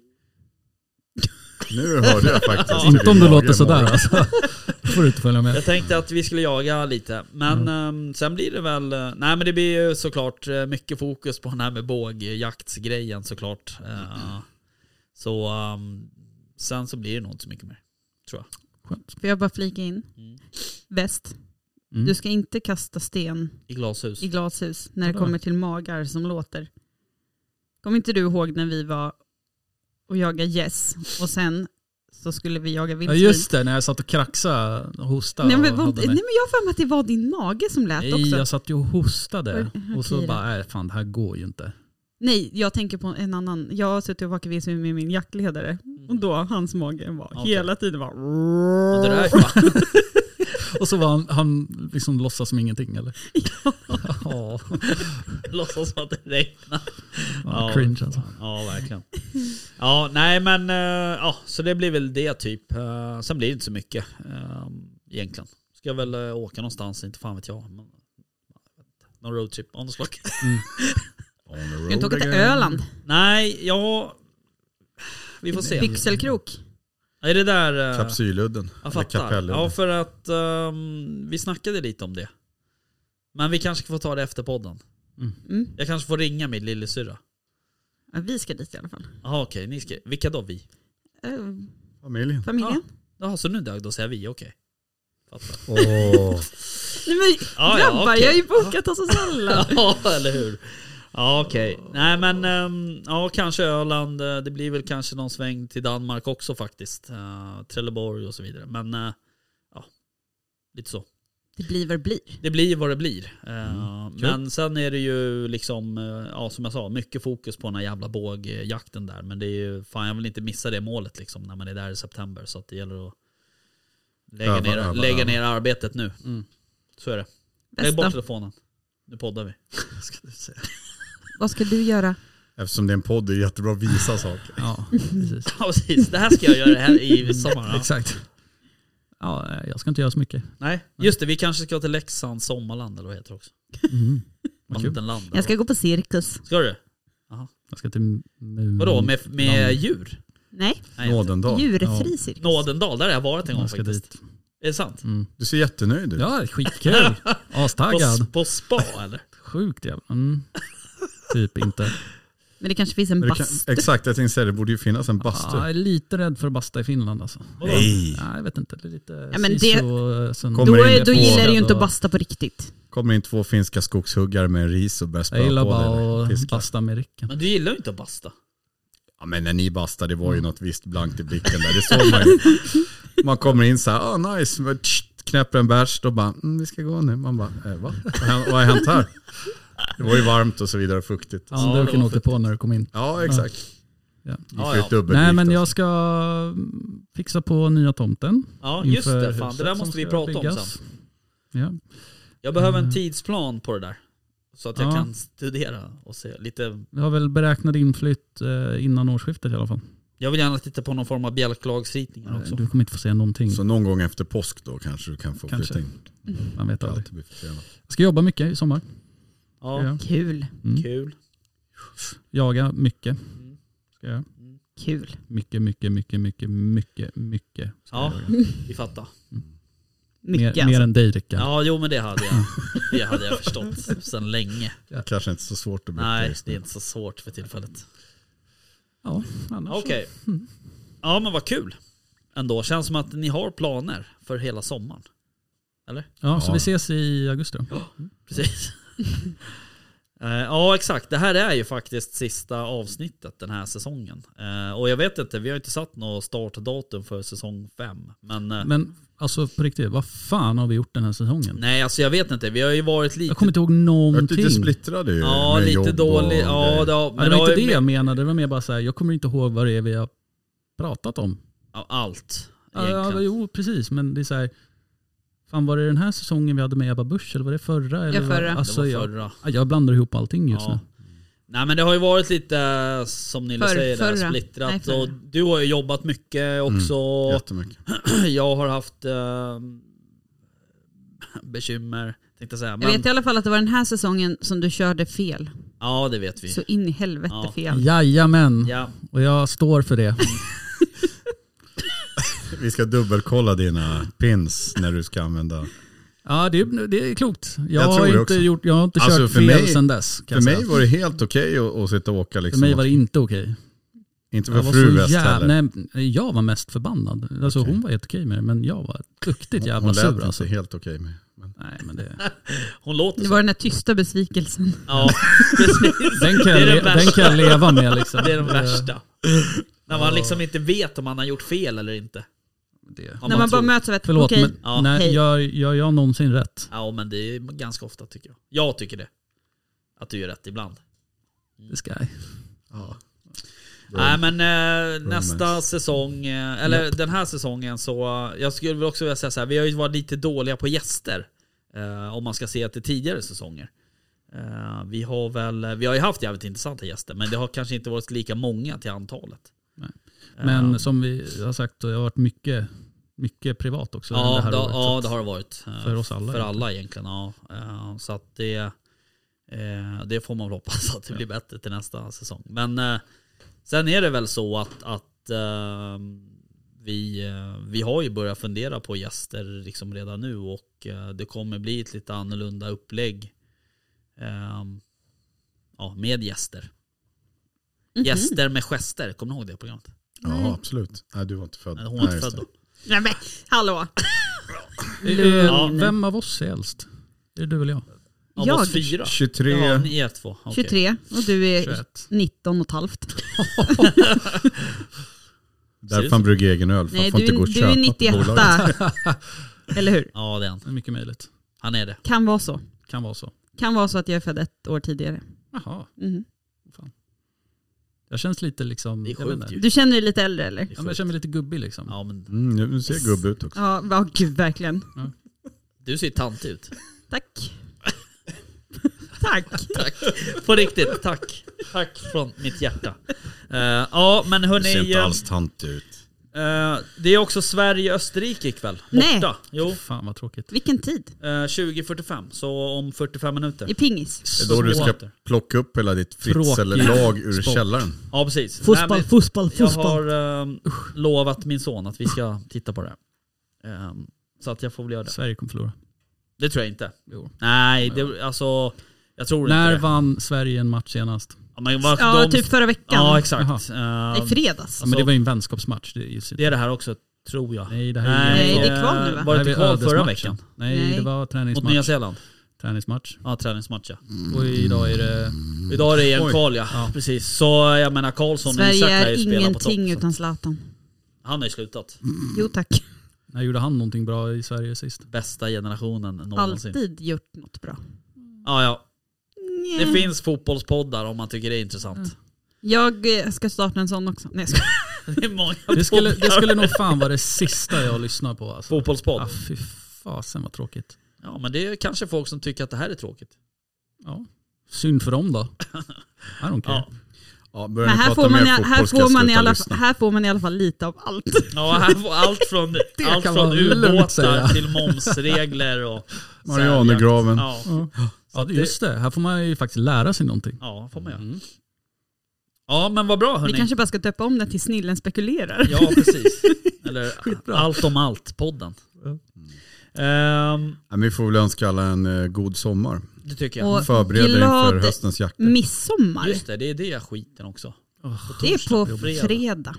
Speaker 5: Nu hörde jag faktiskt. hur
Speaker 4: Inte om
Speaker 5: din
Speaker 4: det
Speaker 5: mage
Speaker 4: låter sådär
Speaker 5: mår.
Speaker 4: alltså. Då får du inte följa med.
Speaker 3: Jag tänkte att vi skulle jaga lite. Men ehm, sen blir det väl... eh, Nej men det blir ju såklart eh, mycket fokus på den här med bågjaktsgrejen såklart. Eh, Så ehm, sen så blir det nog inte så mycket mer.
Speaker 4: Skönt.
Speaker 2: Får jag bara flika in? Väst.
Speaker 4: Mm.
Speaker 2: Du ska inte kasta sten
Speaker 3: I glashus.
Speaker 2: i glashus när det
Speaker 4: Vadå?
Speaker 2: kommer till magar som låter. Kommer inte du ihåg när vi var och jagade gäss och sen så skulle vi jaga
Speaker 4: Ja
Speaker 2: vildsvin?
Speaker 4: just det, när jag satt och kraxade och hostade.
Speaker 2: nej, men,
Speaker 4: och
Speaker 2: var,
Speaker 4: hade
Speaker 2: nej
Speaker 4: mig.
Speaker 2: men jag har för mig att det var din mage som lät
Speaker 4: Nej,
Speaker 2: också.
Speaker 4: jag satt ju och hostade.
Speaker 2: Oj,
Speaker 4: Och
Speaker 2: okej
Speaker 4: så
Speaker 2: då.
Speaker 4: bara, nej fan det här går ju inte.
Speaker 2: Nej, jag tänker på en annan. Jag har suttit och vakat vildsvin med min jaktledare
Speaker 4: Mm.
Speaker 2: och då hans mage var
Speaker 3: Okej.
Speaker 2: hela tiden var... [laughs]
Speaker 3: Och det där, va?
Speaker 4: [laughs] Och så var han, han liksom låtsas som ingenting eller? [laughs] Ja.
Speaker 3: [laughs] Låtsas som att det regnar.
Speaker 4: ja,
Speaker 3: Ja.
Speaker 4: cringe alltså.
Speaker 3: Ja verkligen. Ja nej men eh, ja så det blir väl det typ. Eh, Sen blir det inte så mycket eh, egentligen. Ska väl eh, åka någonstans, inte fan vet jag. Men, eh, någon roadtrip av något slag. [laughs]
Speaker 5: On the
Speaker 2: Ska du inte
Speaker 5: road
Speaker 2: åka till
Speaker 5: again.
Speaker 2: Öland?
Speaker 3: Nej, ja... Vi får se.
Speaker 2: Byxelkrok?
Speaker 3: Är det där... eh,
Speaker 5: Kapsyludden.
Speaker 3: jag
Speaker 5: Eller
Speaker 3: fattar.
Speaker 5: kapelludden.
Speaker 3: Ja, för att ehm, vi snackade lite om det. Men vi kanske får ta det efter podden.
Speaker 2: Mm.
Speaker 3: Jag kanske får ringa min lillasyrra.
Speaker 2: Ja, vi ska dit i alla fall.
Speaker 3: Jaha okej, ni ska... Vilka då vi?
Speaker 2: Eh,
Speaker 5: Familjen.
Speaker 2: familjen?
Speaker 3: Jaha, så nu dög, då säger vi okej. Fattar.
Speaker 5: Åh.
Speaker 2: Nej men
Speaker 3: Ah, Ja, ja,
Speaker 2: grabbar,
Speaker 3: okej.
Speaker 2: jag har ju bokat oss hos alla.
Speaker 3: Ja, eller hur? Ja okej. Nej men ehm, ja, kanske Öland. Eh, Det blir väl kanske någon sväng till Danmark också faktiskt. Eh, Trelleborg och så vidare. Men eh, ja, lite så.
Speaker 2: Det blir vad det blir.
Speaker 3: Det blir vad det blir. Eh,
Speaker 5: Mm, kul.
Speaker 3: Men sen är det ju liksom, eh, ja, som jag sa, mycket fokus på den här jävla bågjakten där. Men det är ju, fan jag vill inte missa det målet liksom när man är där i september. Så att det gäller att lägga,
Speaker 5: Öva,
Speaker 3: ner,
Speaker 5: öva,
Speaker 3: lägga
Speaker 5: öva.
Speaker 3: ner arbetet nu.
Speaker 4: Mm.
Speaker 3: Så är det. Lägg bort
Speaker 2: Bästa.
Speaker 3: telefonen. Nu poddar
Speaker 5: [laughs]
Speaker 3: vi.
Speaker 2: Vad ska du göra?
Speaker 5: Eftersom det är en podd det är jättebra att visa saker.
Speaker 3: [laughs]
Speaker 4: Ja, precis.
Speaker 3: Ja precis, det här ska jag göra här
Speaker 4: [laughs]
Speaker 3: i sommar. Ja.
Speaker 4: Exakt. Ja, nej, jag ska inte göra så mycket.
Speaker 3: Nej, just det. Vi kanske ska till Leksand sommarland eller vad det heter också.
Speaker 4: Mm. Vad kul.
Speaker 3: Vattenland.
Speaker 2: Jag ska gå på cirkus.
Speaker 3: ska du?
Speaker 4: Jag ska till Mu-
Speaker 3: Vadå, med, med
Speaker 4: Land.
Speaker 3: djur?
Speaker 2: Nej,
Speaker 3: Nej,
Speaker 5: Nådendag.
Speaker 2: djurfri cirkus.
Speaker 3: Nådendal, där har jag varit en gång
Speaker 4: Jag ska
Speaker 3: faktiskt.
Speaker 4: dit.
Speaker 3: Är det sant?
Speaker 4: Mm.
Speaker 5: Du ser jättenöjd ut.
Speaker 3: [laughs]
Speaker 4: Ja, skitkul. Astaggad.
Speaker 3: På, på spa eller?
Speaker 4: Sjukt jävla. Mm. Typ inte.
Speaker 2: Men det kanske finns en
Speaker 5: Men du kan, Äh,
Speaker 2: bastu.
Speaker 5: exakt, jag tänkte säga det borde ju finnas en bastu.
Speaker 4: Ja, jag är lite rädd för att basta i Finland alltså.
Speaker 3: Vadå?
Speaker 4: Nej, jag vet inte. Det är lite
Speaker 2: Ja, men det-
Speaker 4: siso, sen-
Speaker 5: Kommer
Speaker 2: Då,
Speaker 5: in
Speaker 2: är, då
Speaker 5: på-
Speaker 2: gillar du ju inte att
Speaker 4: och-
Speaker 2: basta på riktigt.
Speaker 5: Kommer in två finska skogshuggare med ris och börjar
Speaker 4: Jag
Speaker 5: spöa
Speaker 4: gillar
Speaker 5: på
Speaker 4: bara
Speaker 5: dig.
Speaker 4: att
Speaker 5: Fiskar.
Speaker 4: basta med rycken.
Speaker 3: Men du gillar ju inte att basta.
Speaker 5: Ja, men när ni bastade det var
Speaker 4: Mm.
Speaker 5: ju något visst blankt i blicken där, det
Speaker 4: [laughs]
Speaker 5: såg man ju. Man kommer in så här, ah nice, men tsch, knäpper en bärs, då bara, mm, vi ska gå nu. Man bara, eh, va? [laughs] Vad har- Vad har hänt här? Det var ju varmt och så vidare och fuktigt.
Speaker 4: Handduken
Speaker 3: det var
Speaker 4: åkte på när du kom in.
Speaker 5: Ja, exakt.
Speaker 4: Ja.
Speaker 5: Gick
Speaker 3: Ja,
Speaker 5: ju
Speaker 3: ja.
Speaker 5: ett dubbelvikt
Speaker 4: Nej men jag
Speaker 5: alltså.
Speaker 4: ska mm, fixa på nya tomten.
Speaker 3: Ja just
Speaker 4: inför
Speaker 3: det, fan.
Speaker 4: huset
Speaker 3: det där
Speaker 4: som
Speaker 3: måste vi
Speaker 4: ska
Speaker 3: prata om
Speaker 4: byggas.
Speaker 3: sen.
Speaker 4: Ja.
Speaker 3: Jag behöver en tidsplan på det där. Så att jag
Speaker 4: Ja.
Speaker 3: kan studera och se lite.
Speaker 4: Vi har väl beräknat inflytt eh, innan årsskiftet i alla fall.
Speaker 3: Jag vill gärna titta på någon form av bjälklagsritningar också.
Speaker 4: Du kommer inte få se någonting.
Speaker 5: Så någon gång efter påsk då kanske du kan få
Speaker 4: Kanske.
Speaker 5: flytta in.
Speaker 4: Man vet
Speaker 5: Det är
Speaker 4: aldrig.
Speaker 5: alltid försenat.
Speaker 4: Jag ska jobba mycket i sommar.
Speaker 3: Ja,
Speaker 4: Ja.
Speaker 2: Kul,
Speaker 4: Mm.
Speaker 3: Kul.
Speaker 4: Jaga mycket.
Speaker 3: Mm.
Speaker 4: Ska jag. göra.
Speaker 2: kul.
Speaker 4: Mycket, mycket, mycket, mycket, mycket, mycket. ska
Speaker 3: Ja,
Speaker 4: jag göra.
Speaker 3: vi fattar.
Speaker 2: Mycket
Speaker 4: mer, mer
Speaker 2: alltså.
Speaker 4: än dig Rickard.
Speaker 3: Ja, jo men det hade jag. Det hade jag förstått sedan länge.
Speaker 5: Kanske inte så svårt att byta
Speaker 3: Nej,
Speaker 5: just
Speaker 3: det
Speaker 5: nu.
Speaker 3: är inte så svårt för tillfället.
Speaker 4: Ja, annars så. [laughs]
Speaker 3: Okej. Ja men vad kul. Ändå. Känns som att ni har planer för hela sommaren.
Speaker 4: Ja, så
Speaker 5: Ja.
Speaker 4: vi ses i augusti då. [laughs]
Speaker 3: Precis. Eh, Ja exakt, det här är ju faktiskt sista avsnittet den här säsongen. Eh, Och jag vet inte, vi har ju inte satt något startdatum för säsong 5. Men, eh,
Speaker 4: Men alltså på riktigt, vad fan har vi gjort den här säsongen?
Speaker 3: nej alltså jag vet inte, vi har ju varit lite...
Speaker 4: Jag kommer inte ihåg
Speaker 5: Jag är
Speaker 4: någonting.
Speaker 5: lite splittrad ju.
Speaker 3: ja
Speaker 5: med
Speaker 3: lite
Speaker 5: jobb
Speaker 3: dålig,
Speaker 5: och
Speaker 3: ja,
Speaker 5: grejer.
Speaker 3: det, har-
Speaker 4: Nej, det
Speaker 3: har
Speaker 4: var inte
Speaker 3: ju
Speaker 4: det jag
Speaker 3: med-
Speaker 4: menade, det var mer bara så här, jag kommer inte ihåg vad det är vi har pratat om.
Speaker 3: ja, allt.
Speaker 4: Ja, Ja,
Speaker 3: Egentligen.
Speaker 4: jo, precis, men det är så här, fan var det den här säsongen vi hade med Ebba Busch eller var det förra? Eller vad-
Speaker 2: förra.
Speaker 4: Alltså,
Speaker 3: det var
Speaker 4: jag,
Speaker 3: förra.
Speaker 4: jag blandar ihop allting just
Speaker 3: Ja.
Speaker 4: nu.
Speaker 3: Nej men det har ju varit lite eh, som Nille
Speaker 2: Förr-
Speaker 3: säger där,
Speaker 2: förra. Nej,
Speaker 3: splittrat.
Speaker 2: förra.
Speaker 3: och du har ju jobbat
Speaker 4: Mm,
Speaker 3: mycket också.
Speaker 5: Jättemycket.
Speaker 3: [clears throat] Jag har haft eh, bekymmer tänkte jag säga.
Speaker 2: Jag
Speaker 3: Men,
Speaker 2: vet i alla fall att det var den här säsongen som du körde fel.
Speaker 3: ja det vet vi.
Speaker 2: Så in i helvete
Speaker 3: Ja.
Speaker 2: fel.
Speaker 4: Jajamän,
Speaker 3: Ja.
Speaker 4: och jag står för det.
Speaker 5: Vi ska dubbelkolla dina pins när du ska använda.
Speaker 4: Ja, det, är- det är klokt. Jag,
Speaker 5: Jag tror
Speaker 4: har,
Speaker 5: det
Speaker 4: inte
Speaker 5: också.
Speaker 4: gjort, jag har inte
Speaker 5: Alltså,
Speaker 4: kört
Speaker 5: för
Speaker 4: fel
Speaker 5: mig-
Speaker 4: sedan dess. Kan
Speaker 5: För
Speaker 4: jag
Speaker 5: mig
Speaker 4: säga.
Speaker 5: var det helt okej att, att sitta och åka. Liksom.
Speaker 4: för mig var det inte okej.
Speaker 5: Inte
Speaker 4: Jag
Speaker 5: för
Speaker 4: var
Speaker 5: fru
Speaker 4: så
Speaker 5: West
Speaker 4: jävla,
Speaker 5: heller.
Speaker 4: nej, jag var mest förbannad. Alltså,
Speaker 5: Okej.
Speaker 4: Hon var helt okej med det, men jag var duktigt
Speaker 5: Hon,
Speaker 4: jävla
Speaker 5: hon lät
Speaker 4: sur.
Speaker 5: inte
Speaker 4: Alltså.
Speaker 5: helt okej med. Men
Speaker 4: Nej,
Speaker 3: [laughs]
Speaker 4: men det,
Speaker 3: Hon låter
Speaker 2: Det
Speaker 3: så.
Speaker 2: var den där tysta besvikelsen.
Speaker 3: Ja precis.
Speaker 4: den, kan
Speaker 3: Det är
Speaker 4: jag,
Speaker 3: den
Speaker 4: le- den
Speaker 3: värsta.
Speaker 4: kan jag leva med. Liksom.
Speaker 3: Det är den värsta. När man liksom inte vet om man har gjort fel eller inte.
Speaker 4: Det.
Speaker 3: Om
Speaker 2: När man bara
Speaker 3: tror.
Speaker 2: möts av ett,
Speaker 4: Förlåt,
Speaker 2: okej,
Speaker 4: men
Speaker 3: Ja.
Speaker 4: nej,
Speaker 2: Hej.
Speaker 4: gör, gör jag någonsin rätt?
Speaker 3: Ja men det är ganska ofta tycker jag. Jag tycker det. Att du gör rätt ibland.
Speaker 4: Det ska jag.
Speaker 3: Nej men eh, nästa säsong, eh, eller den här säsongen så, eh, jag skulle väl också vilja säga så här, vi har ju varit lite dåliga på gäster. Eh, om man ska se till tidigare säsonger. Eh, vi har väl, vi har ju haft jävligt intressanta gäster men det har kanske inte varit lika många till antalet.
Speaker 4: Nej.
Speaker 3: Eh,
Speaker 4: Men som vi har sagt, det har varit mycket, mycket privat också.
Speaker 3: ja,
Speaker 4: det här
Speaker 3: det,
Speaker 4: året, så
Speaker 3: ja
Speaker 4: att-
Speaker 3: det har det varit. eh,
Speaker 4: för oss alla
Speaker 3: För
Speaker 4: egentligen.
Speaker 3: alla egentligen ja. Eh, Så att det, eh, det får man väl hoppas att det blir bättre till nästa säsong. Men eh, sen är det väl så att, att eh, vi, eh, vi har ju börjat fundera på gäster liksom redan nu och eh, det kommer bli ett lite annorlunda upplägg eh, ja, med gäster. Gäster med gester, kommer ni ihåg det programmet?
Speaker 5: Ja, absolut. Nej, du var inte född.
Speaker 3: Nej, Hon var inte
Speaker 5: Nej, just
Speaker 3: född då.
Speaker 2: Nej men hallå.
Speaker 4: Ja, Eh, Vem av oss är äldst? Det är du eller jag?
Speaker 3: Av
Speaker 2: Jag?
Speaker 3: oss fyra?
Speaker 5: det. 23.
Speaker 3: Ja, ni är två. Okej.
Speaker 2: 23 och du är
Speaker 4: 21.
Speaker 2: 19 och ett halvt.
Speaker 5: Därför han brygger egen öl. För
Speaker 2: Nej
Speaker 5: han får
Speaker 2: du,
Speaker 5: inte gå och
Speaker 2: är- du
Speaker 5: köpa
Speaker 2: är
Speaker 5: på
Speaker 2: 91.
Speaker 5: bolaget.
Speaker 2: Eller hur?
Speaker 3: Ja det är han.
Speaker 4: Det är mycket möjligt.
Speaker 3: Han är det.
Speaker 2: Kan vara så.
Speaker 4: Kan vara så.
Speaker 2: Kan vara så att jag är född ett år tidigare.
Speaker 4: Jaha,
Speaker 2: Mhm.
Speaker 4: jag känns lite liksom...
Speaker 3: Det är
Speaker 4: jag vet
Speaker 3: sjukt
Speaker 4: inte.
Speaker 3: ju.
Speaker 2: Du känner dig lite äldre eller?
Speaker 3: Det är
Speaker 4: Ja, men jag
Speaker 3: sjukt.
Speaker 4: känner mig lite gubbig liksom.
Speaker 3: Ja, men
Speaker 5: Mm, nu ser gubb ut också.
Speaker 2: Ja, va, gud verkligen.
Speaker 3: du ser tant ut.
Speaker 2: Tack. Tack.
Speaker 3: [laughs] Tack. [laughs] På riktigt, tack. Tack från mitt hjärta. Eh, ja, men
Speaker 5: Du ser
Speaker 3: hörni.
Speaker 5: inte alls tant ut.
Speaker 3: eh, det är också Sverige-Österrike ikväll. Borta.
Speaker 2: Nej.
Speaker 3: Jo,
Speaker 4: Fan vad tråkigt.
Speaker 2: Vilken tid?
Speaker 3: eh, 20.45. Så om 45 minuter.
Speaker 2: I pingis.
Speaker 5: Det är då du ska plocka upp hela ditt Fritzl-lag ur
Speaker 4: sport.
Speaker 5: källaren.
Speaker 3: Ja, precis. Nej,
Speaker 4: Fotboll,
Speaker 3: men
Speaker 4: fotboll,
Speaker 3: jag
Speaker 4: fotboll.
Speaker 3: har eh, lovat min son att vi ska titta på det. Eh, så att jag får väl göra det.
Speaker 4: Sverige kommer förlora.
Speaker 3: Det tror jag inte.
Speaker 4: Jo.
Speaker 3: Nej, det, alltså. Jag tror
Speaker 4: När
Speaker 3: inte det.
Speaker 4: vann Sverige en match senast?
Speaker 3: Ja, men vad-
Speaker 2: Ja,
Speaker 3: de-
Speaker 2: typ förra veckan.
Speaker 3: Ja, exakt. Eh,
Speaker 2: I fredags.
Speaker 4: Ja, men det
Speaker 3: Så-
Speaker 4: var ju en vänskapsmatch. Det är ju
Speaker 3: Det är det här också, tror jag.
Speaker 4: Nej, det här är ju-
Speaker 2: Nej, det är kval nu, va?
Speaker 3: Var det
Speaker 4: här
Speaker 3: inte
Speaker 4: är
Speaker 3: kval förra
Speaker 4: ödesmatchen.
Speaker 3: veckan?
Speaker 4: Nej,
Speaker 2: Nej.
Speaker 4: det var
Speaker 3: Mot Nya Mm.
Speaker 4: träningsmatch.
Speaker 3: Zeeland?
Speaker 4: träningsmatch.
Speaker 3: Ja, träningsmatch ja.
Speaker 4: Och idag är det...
Speaker 3: Mm. Idag är det en
Speaker 5: Oj.
Speaker 3: kval ja. Precis. Så jag menar Karlsson och Isak
Speaker 2: Sverige
Speaker 3: lär ju
Speaker 2: är
Speaker 3: spela på topp.
Speaker 2: ingenting utan Zlatan.
Speaker 3: Han har ju slutat.
Speaker 2: Jo tack.
Speaker 4: När gjorde han någonting bra i Sverige sist?
Speaker 3: Bästa generationen någonsin.
Speaker 2: Alltid gjort något bra.
Speaker 3: Ja, ja. Det
Speaker 2: Nja.
Speaker 3: finns fotbollspoddar om man tycker det är intressant.
Speaker 2: Jag eh, ska starta en sån också. Nej, jag skojar.
Speaker 3: Det är många
Speaker 4: Det skulle, det
Speaker 3: poddar.
Speaker 4: skulle nog fan vara det sista jag lyssnar på. Alltså.
Speaker 3: Fotbollspodd.
Speaker 4: Ah, fy fasen vad tråkigt.
Speaker 3: Ja, men det är kanske folk som tycker att det här är tråkigt.
Speaker 4: Ja. Synd för dem då.
Speaker 3: [laughs]
Speaker 4: I don't care.
Speaker 3: Ja.
Speaker 5: Ja, börjar
Speaker 2: Men
Speaker 5: ni
Speaker 2: här
Speaker 5: prata
Speaker 2: får, man,
Speaker 5: mer
Speaker 2: i-
Speaker 5: fotboll
Speaker 2: här,
Speaker 5: ska jag
Speaker 2: får man i
Speaker 5: sluta
Speaker 2: alla,
Speaker 5: lyssna.
Speaker 2: här får man i alla fall lite av allt.
Speaker 3: Ja, här får allt från, allt
Speaker 4: kan man
Speaker 3: från
Speaker 4: lugnt säga.
Speaker 3: ubåtar till momsregler och...
Speaker 5: Marianergraven.
Speaker 3: Ja,
Speaker 4: Ja, det- just det. Här får man ju faktiskt lära sig någonting.
Speaker 3: ja får man göra. Ja, men vad bra
Speaker 2: Vi
Speaker 3: hörni.
Speaker 2: Mm. kanske bara ska döpa om det till Snillen spekulerar.
Speaker 3: Ja,
Speaker 2: [laughs]
Speaker 3: precis. Eller eh, Allt om allt-podden.
Speaker 2: Mm.
Speaker 3: Ehm,
Speaker 5: Ja, men vi får väl önska alla en eh, god sommar.
Speaker 3: det tycker jag.
Speaker 2: Och
Speaker 5: Förbered dig inför
Speaker 2: glad Mm.
Speaker 5: höstens jakt.
Speaker 2: midsommar.
Speaker 3: Just det, det är det skiten också.
Speaker 2: Det är på
Speaker 3: fredag.
Speaker 2: fredag.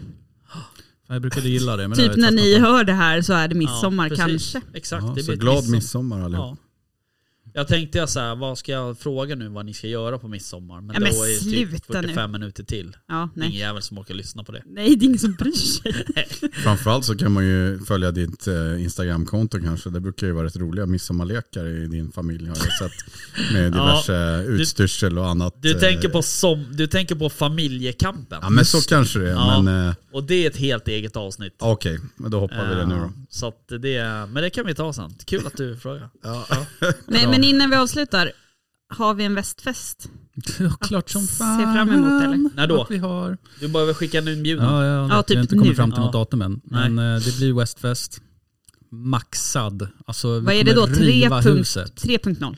Speaker 4: Fan, Jag brukade gilla det.
Speaker 2: [laughs]
Speaker 4: Men det
Speaker 2: Typ
Speaker 4: har jag
Speaker 2: när
Speaker 4: tröttnat
Speaker 2: ni
Speaker 4: på.
Speaker 2: hör det här så är det midsommar
Speaker 3: Ja, precis.
Speaker 2: kanske.
Speaker 3: Exakt,
Speaker 5: Ja,
Speaker 3: det
Speaker 5: så
Speaker 3: blir ett
Speaker 5: glad midsommar allihop.
Speaker 3: Ja. Jag tänkte jag så här, vad ska jag fråga nu vad ni ska göra på midsommar? Men,
Speaker 2: Ja, men
Speaker 3: då är det typ
Speaker 2: sluta nu.
Speaker 3: 45 minuter till.
Speaker 2: Ja,
Speaker 3: Det är Ingen
Speaker 2: nej.
Speaker 3: jävel som orkar lyssna på det.
Speaker 2: nej, det är ingen som bryr
Speaker 4: [laughs]
Speaker 2: sig.
Speaker 5: Framförallt så kan man ju följa ditt eh, Instagramkonto kanske. Det brukar ju vara rätt roliga midsommarlekar i din familj har jag sett. Med diverse utstyrsel och annat.
Speaker 3: Du,
Speaker 5: eh,
Speaker 3: tänker, på som, du tänker på familjekampen.
Speaker 5: Ja men så kanske det är.
Speaker 3: Ja.
Speaker 5: Men eh,
Speaker 3: Och det är ett helt eget avsnitt.
Speaker 5: ja, okej, men då hoppar vi det nu då.
Speaker 3: Ehm, Så att det, är- men det kan vi ta sen. Kul att du [laughs] frågar.
Speaker 2: Nej, men innan vi avslutar, har vi en västfest?
Speaker 4: Ja, klart som
Speaker 2: Se
Speaker 4: fan.
Speaker 2: fram emot, eller?
Speaker 3: När då?
Speaker 4: att Vi har.
Speaker 3: Du behöver skicka en inbjudan.
Speaker 4: Ja, ja,
Speaker 2: Ja,
Speaker 4: vi
Speaker 2: typ
Speaker 4: har inte kommit
Speaker 2: nu.
Speaker 4: fram till
Speaker 3: Ja.
Speaker 4: något datum än. Men eh, det blir Westfest. Maxad. Alltså, vi
Speaker 2: Vad är det då?
Speaker 4: kommer riva
Speaker 2: 3.0.
Speaker 4: huset.
Speaker 2: 3.0.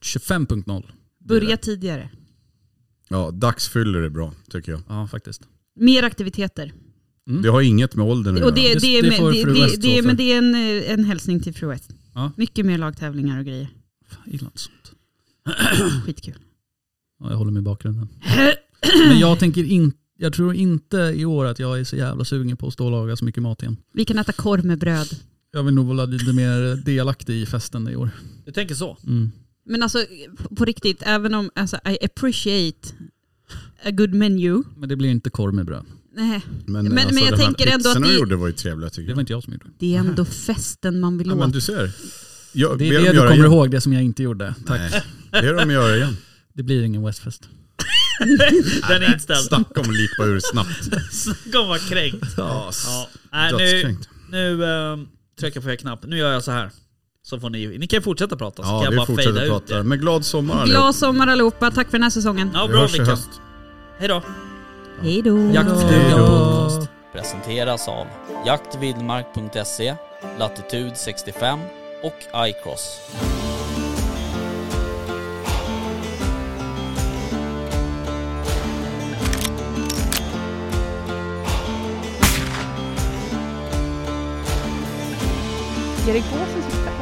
Speaker 4: 25.0
Speaker 2: Börja tidigare.
Speaker 5: Ja, dagsfyller är bra tycker jag.
Speaker 4: Ja, faktiskt.
Speaker 2: Mer aktiviteter.
Speaker 5: Det har inget med åldern att
Speaker 2: Och det,
Speaker 5: göra.
Speaker 2: det,
Speaker 4: Det-
Speaker 2: är
Speaker 4: det
Speaker 2: med-
Speaker 4: får
Speaker 2: det,
Speaker 4: fru
Speaker 2: det,
Speaker 4: West
Speaker 2: det,
Speaker 4: stå
Speaker 2: är-
Speaker 4: för.
Speaker 2: men det är en, eh, en hälsning till fru West.
Speaker 4: Ja.
Speaker 2: Mycket mer lagtävlingar och grejer. [clears throat]
Speaker 4: Fan, jag gillar inte sånt.
Speaker 2: Skitkul. [clears throat]
Speaker 4: Ja, jag håller mig i bakgrunden. Men jag tänker inte, jag tror inte i år att jag är så jävla sugen på att stå och laga så mycket mat igen.
Speaker 2: Vi kan äta korv med bröd.
Speaker 4: Jag vill nog vara lite mer delaktig i festen i år.
Speaker 3: Du tänker så?
Speaker 4: Mm.
Speaker 2: Men alltså på- på riktigt, även om alltså, I appreciate a good menu.
Speaker 4: Men det blir inte korv med bröd.
Speaker 2: Nej,
Speaker 5: Men, eh, alltså
Speaker 2: men jag
Speaker 5: de här
Speaker 2: tänker ändå att
Speaker 5: pizzorna
Speaker 2: det-
Speaker 5: de gjorde var ju trevliga tycker
Speaker 4: Det
Speaker 5: jag.
Speaker 4: var inte jag som gjorde.
Speaker 2: det är ändå festen man vill
Speaker 5: Ja, men
Speaker 2: åt.
Speaker 5: du ser. Jag,
Speaker 4: Det är
Speaker 5: ber
Speaker 4: det
Speaker 5: dem
Speaker 4: du
Speaker 5: göra
Speaker 4: kommer
Speaker 5: igen.
Speaker 4: ihåg, det som jag inte gjorde. Tack.
Speaker 5: Nej, ber dem göra igen.
Speaker 4: Det blir ingen Westfest.
Speaker 3: Den är inställd.
Speaker 5: Snacka om att lipa ur snabbt.
Speaker 3: [laughs] Snacka om vad kränkt.
Speaker 5: Ja, s-
Speaker 3: Ja. Nej, Äh, nu
Speaker 5: Dödskränkt.
Speaker 3: nu ehm, trycker jag på fel knapp. Nu gör jag så här. Så får ni, ni kan fortsätta prata så
Speaker 5: Ja,
Speaker 3: kan jag
Speaker 5: vi
Speaker 3: bara fejda
Speaker 5: fortsätter
Speaker 3: ut det.
Speaker 5: prata. Men glad sommar allihop.
Speaker 2: Glad sommar allihopa, tack för den här säsongen.
Speaker 3: Ja,
Speaker 5: Vi
Speaker 3: bra
Speaker 5: hörs i
Speaker 3: Mickan.
Speaker 5: höst.
Speaker 3: Hej då.
Speaker 2: Hej då!
Speaker 4: Jaktstugan
Speaker 5: då.
Speaker 4: podcast.
Speaker 6: presenteras av jaktvildmark.se, Latitude 65 och iCross.
Speaker 7: Erik Båsen sitter.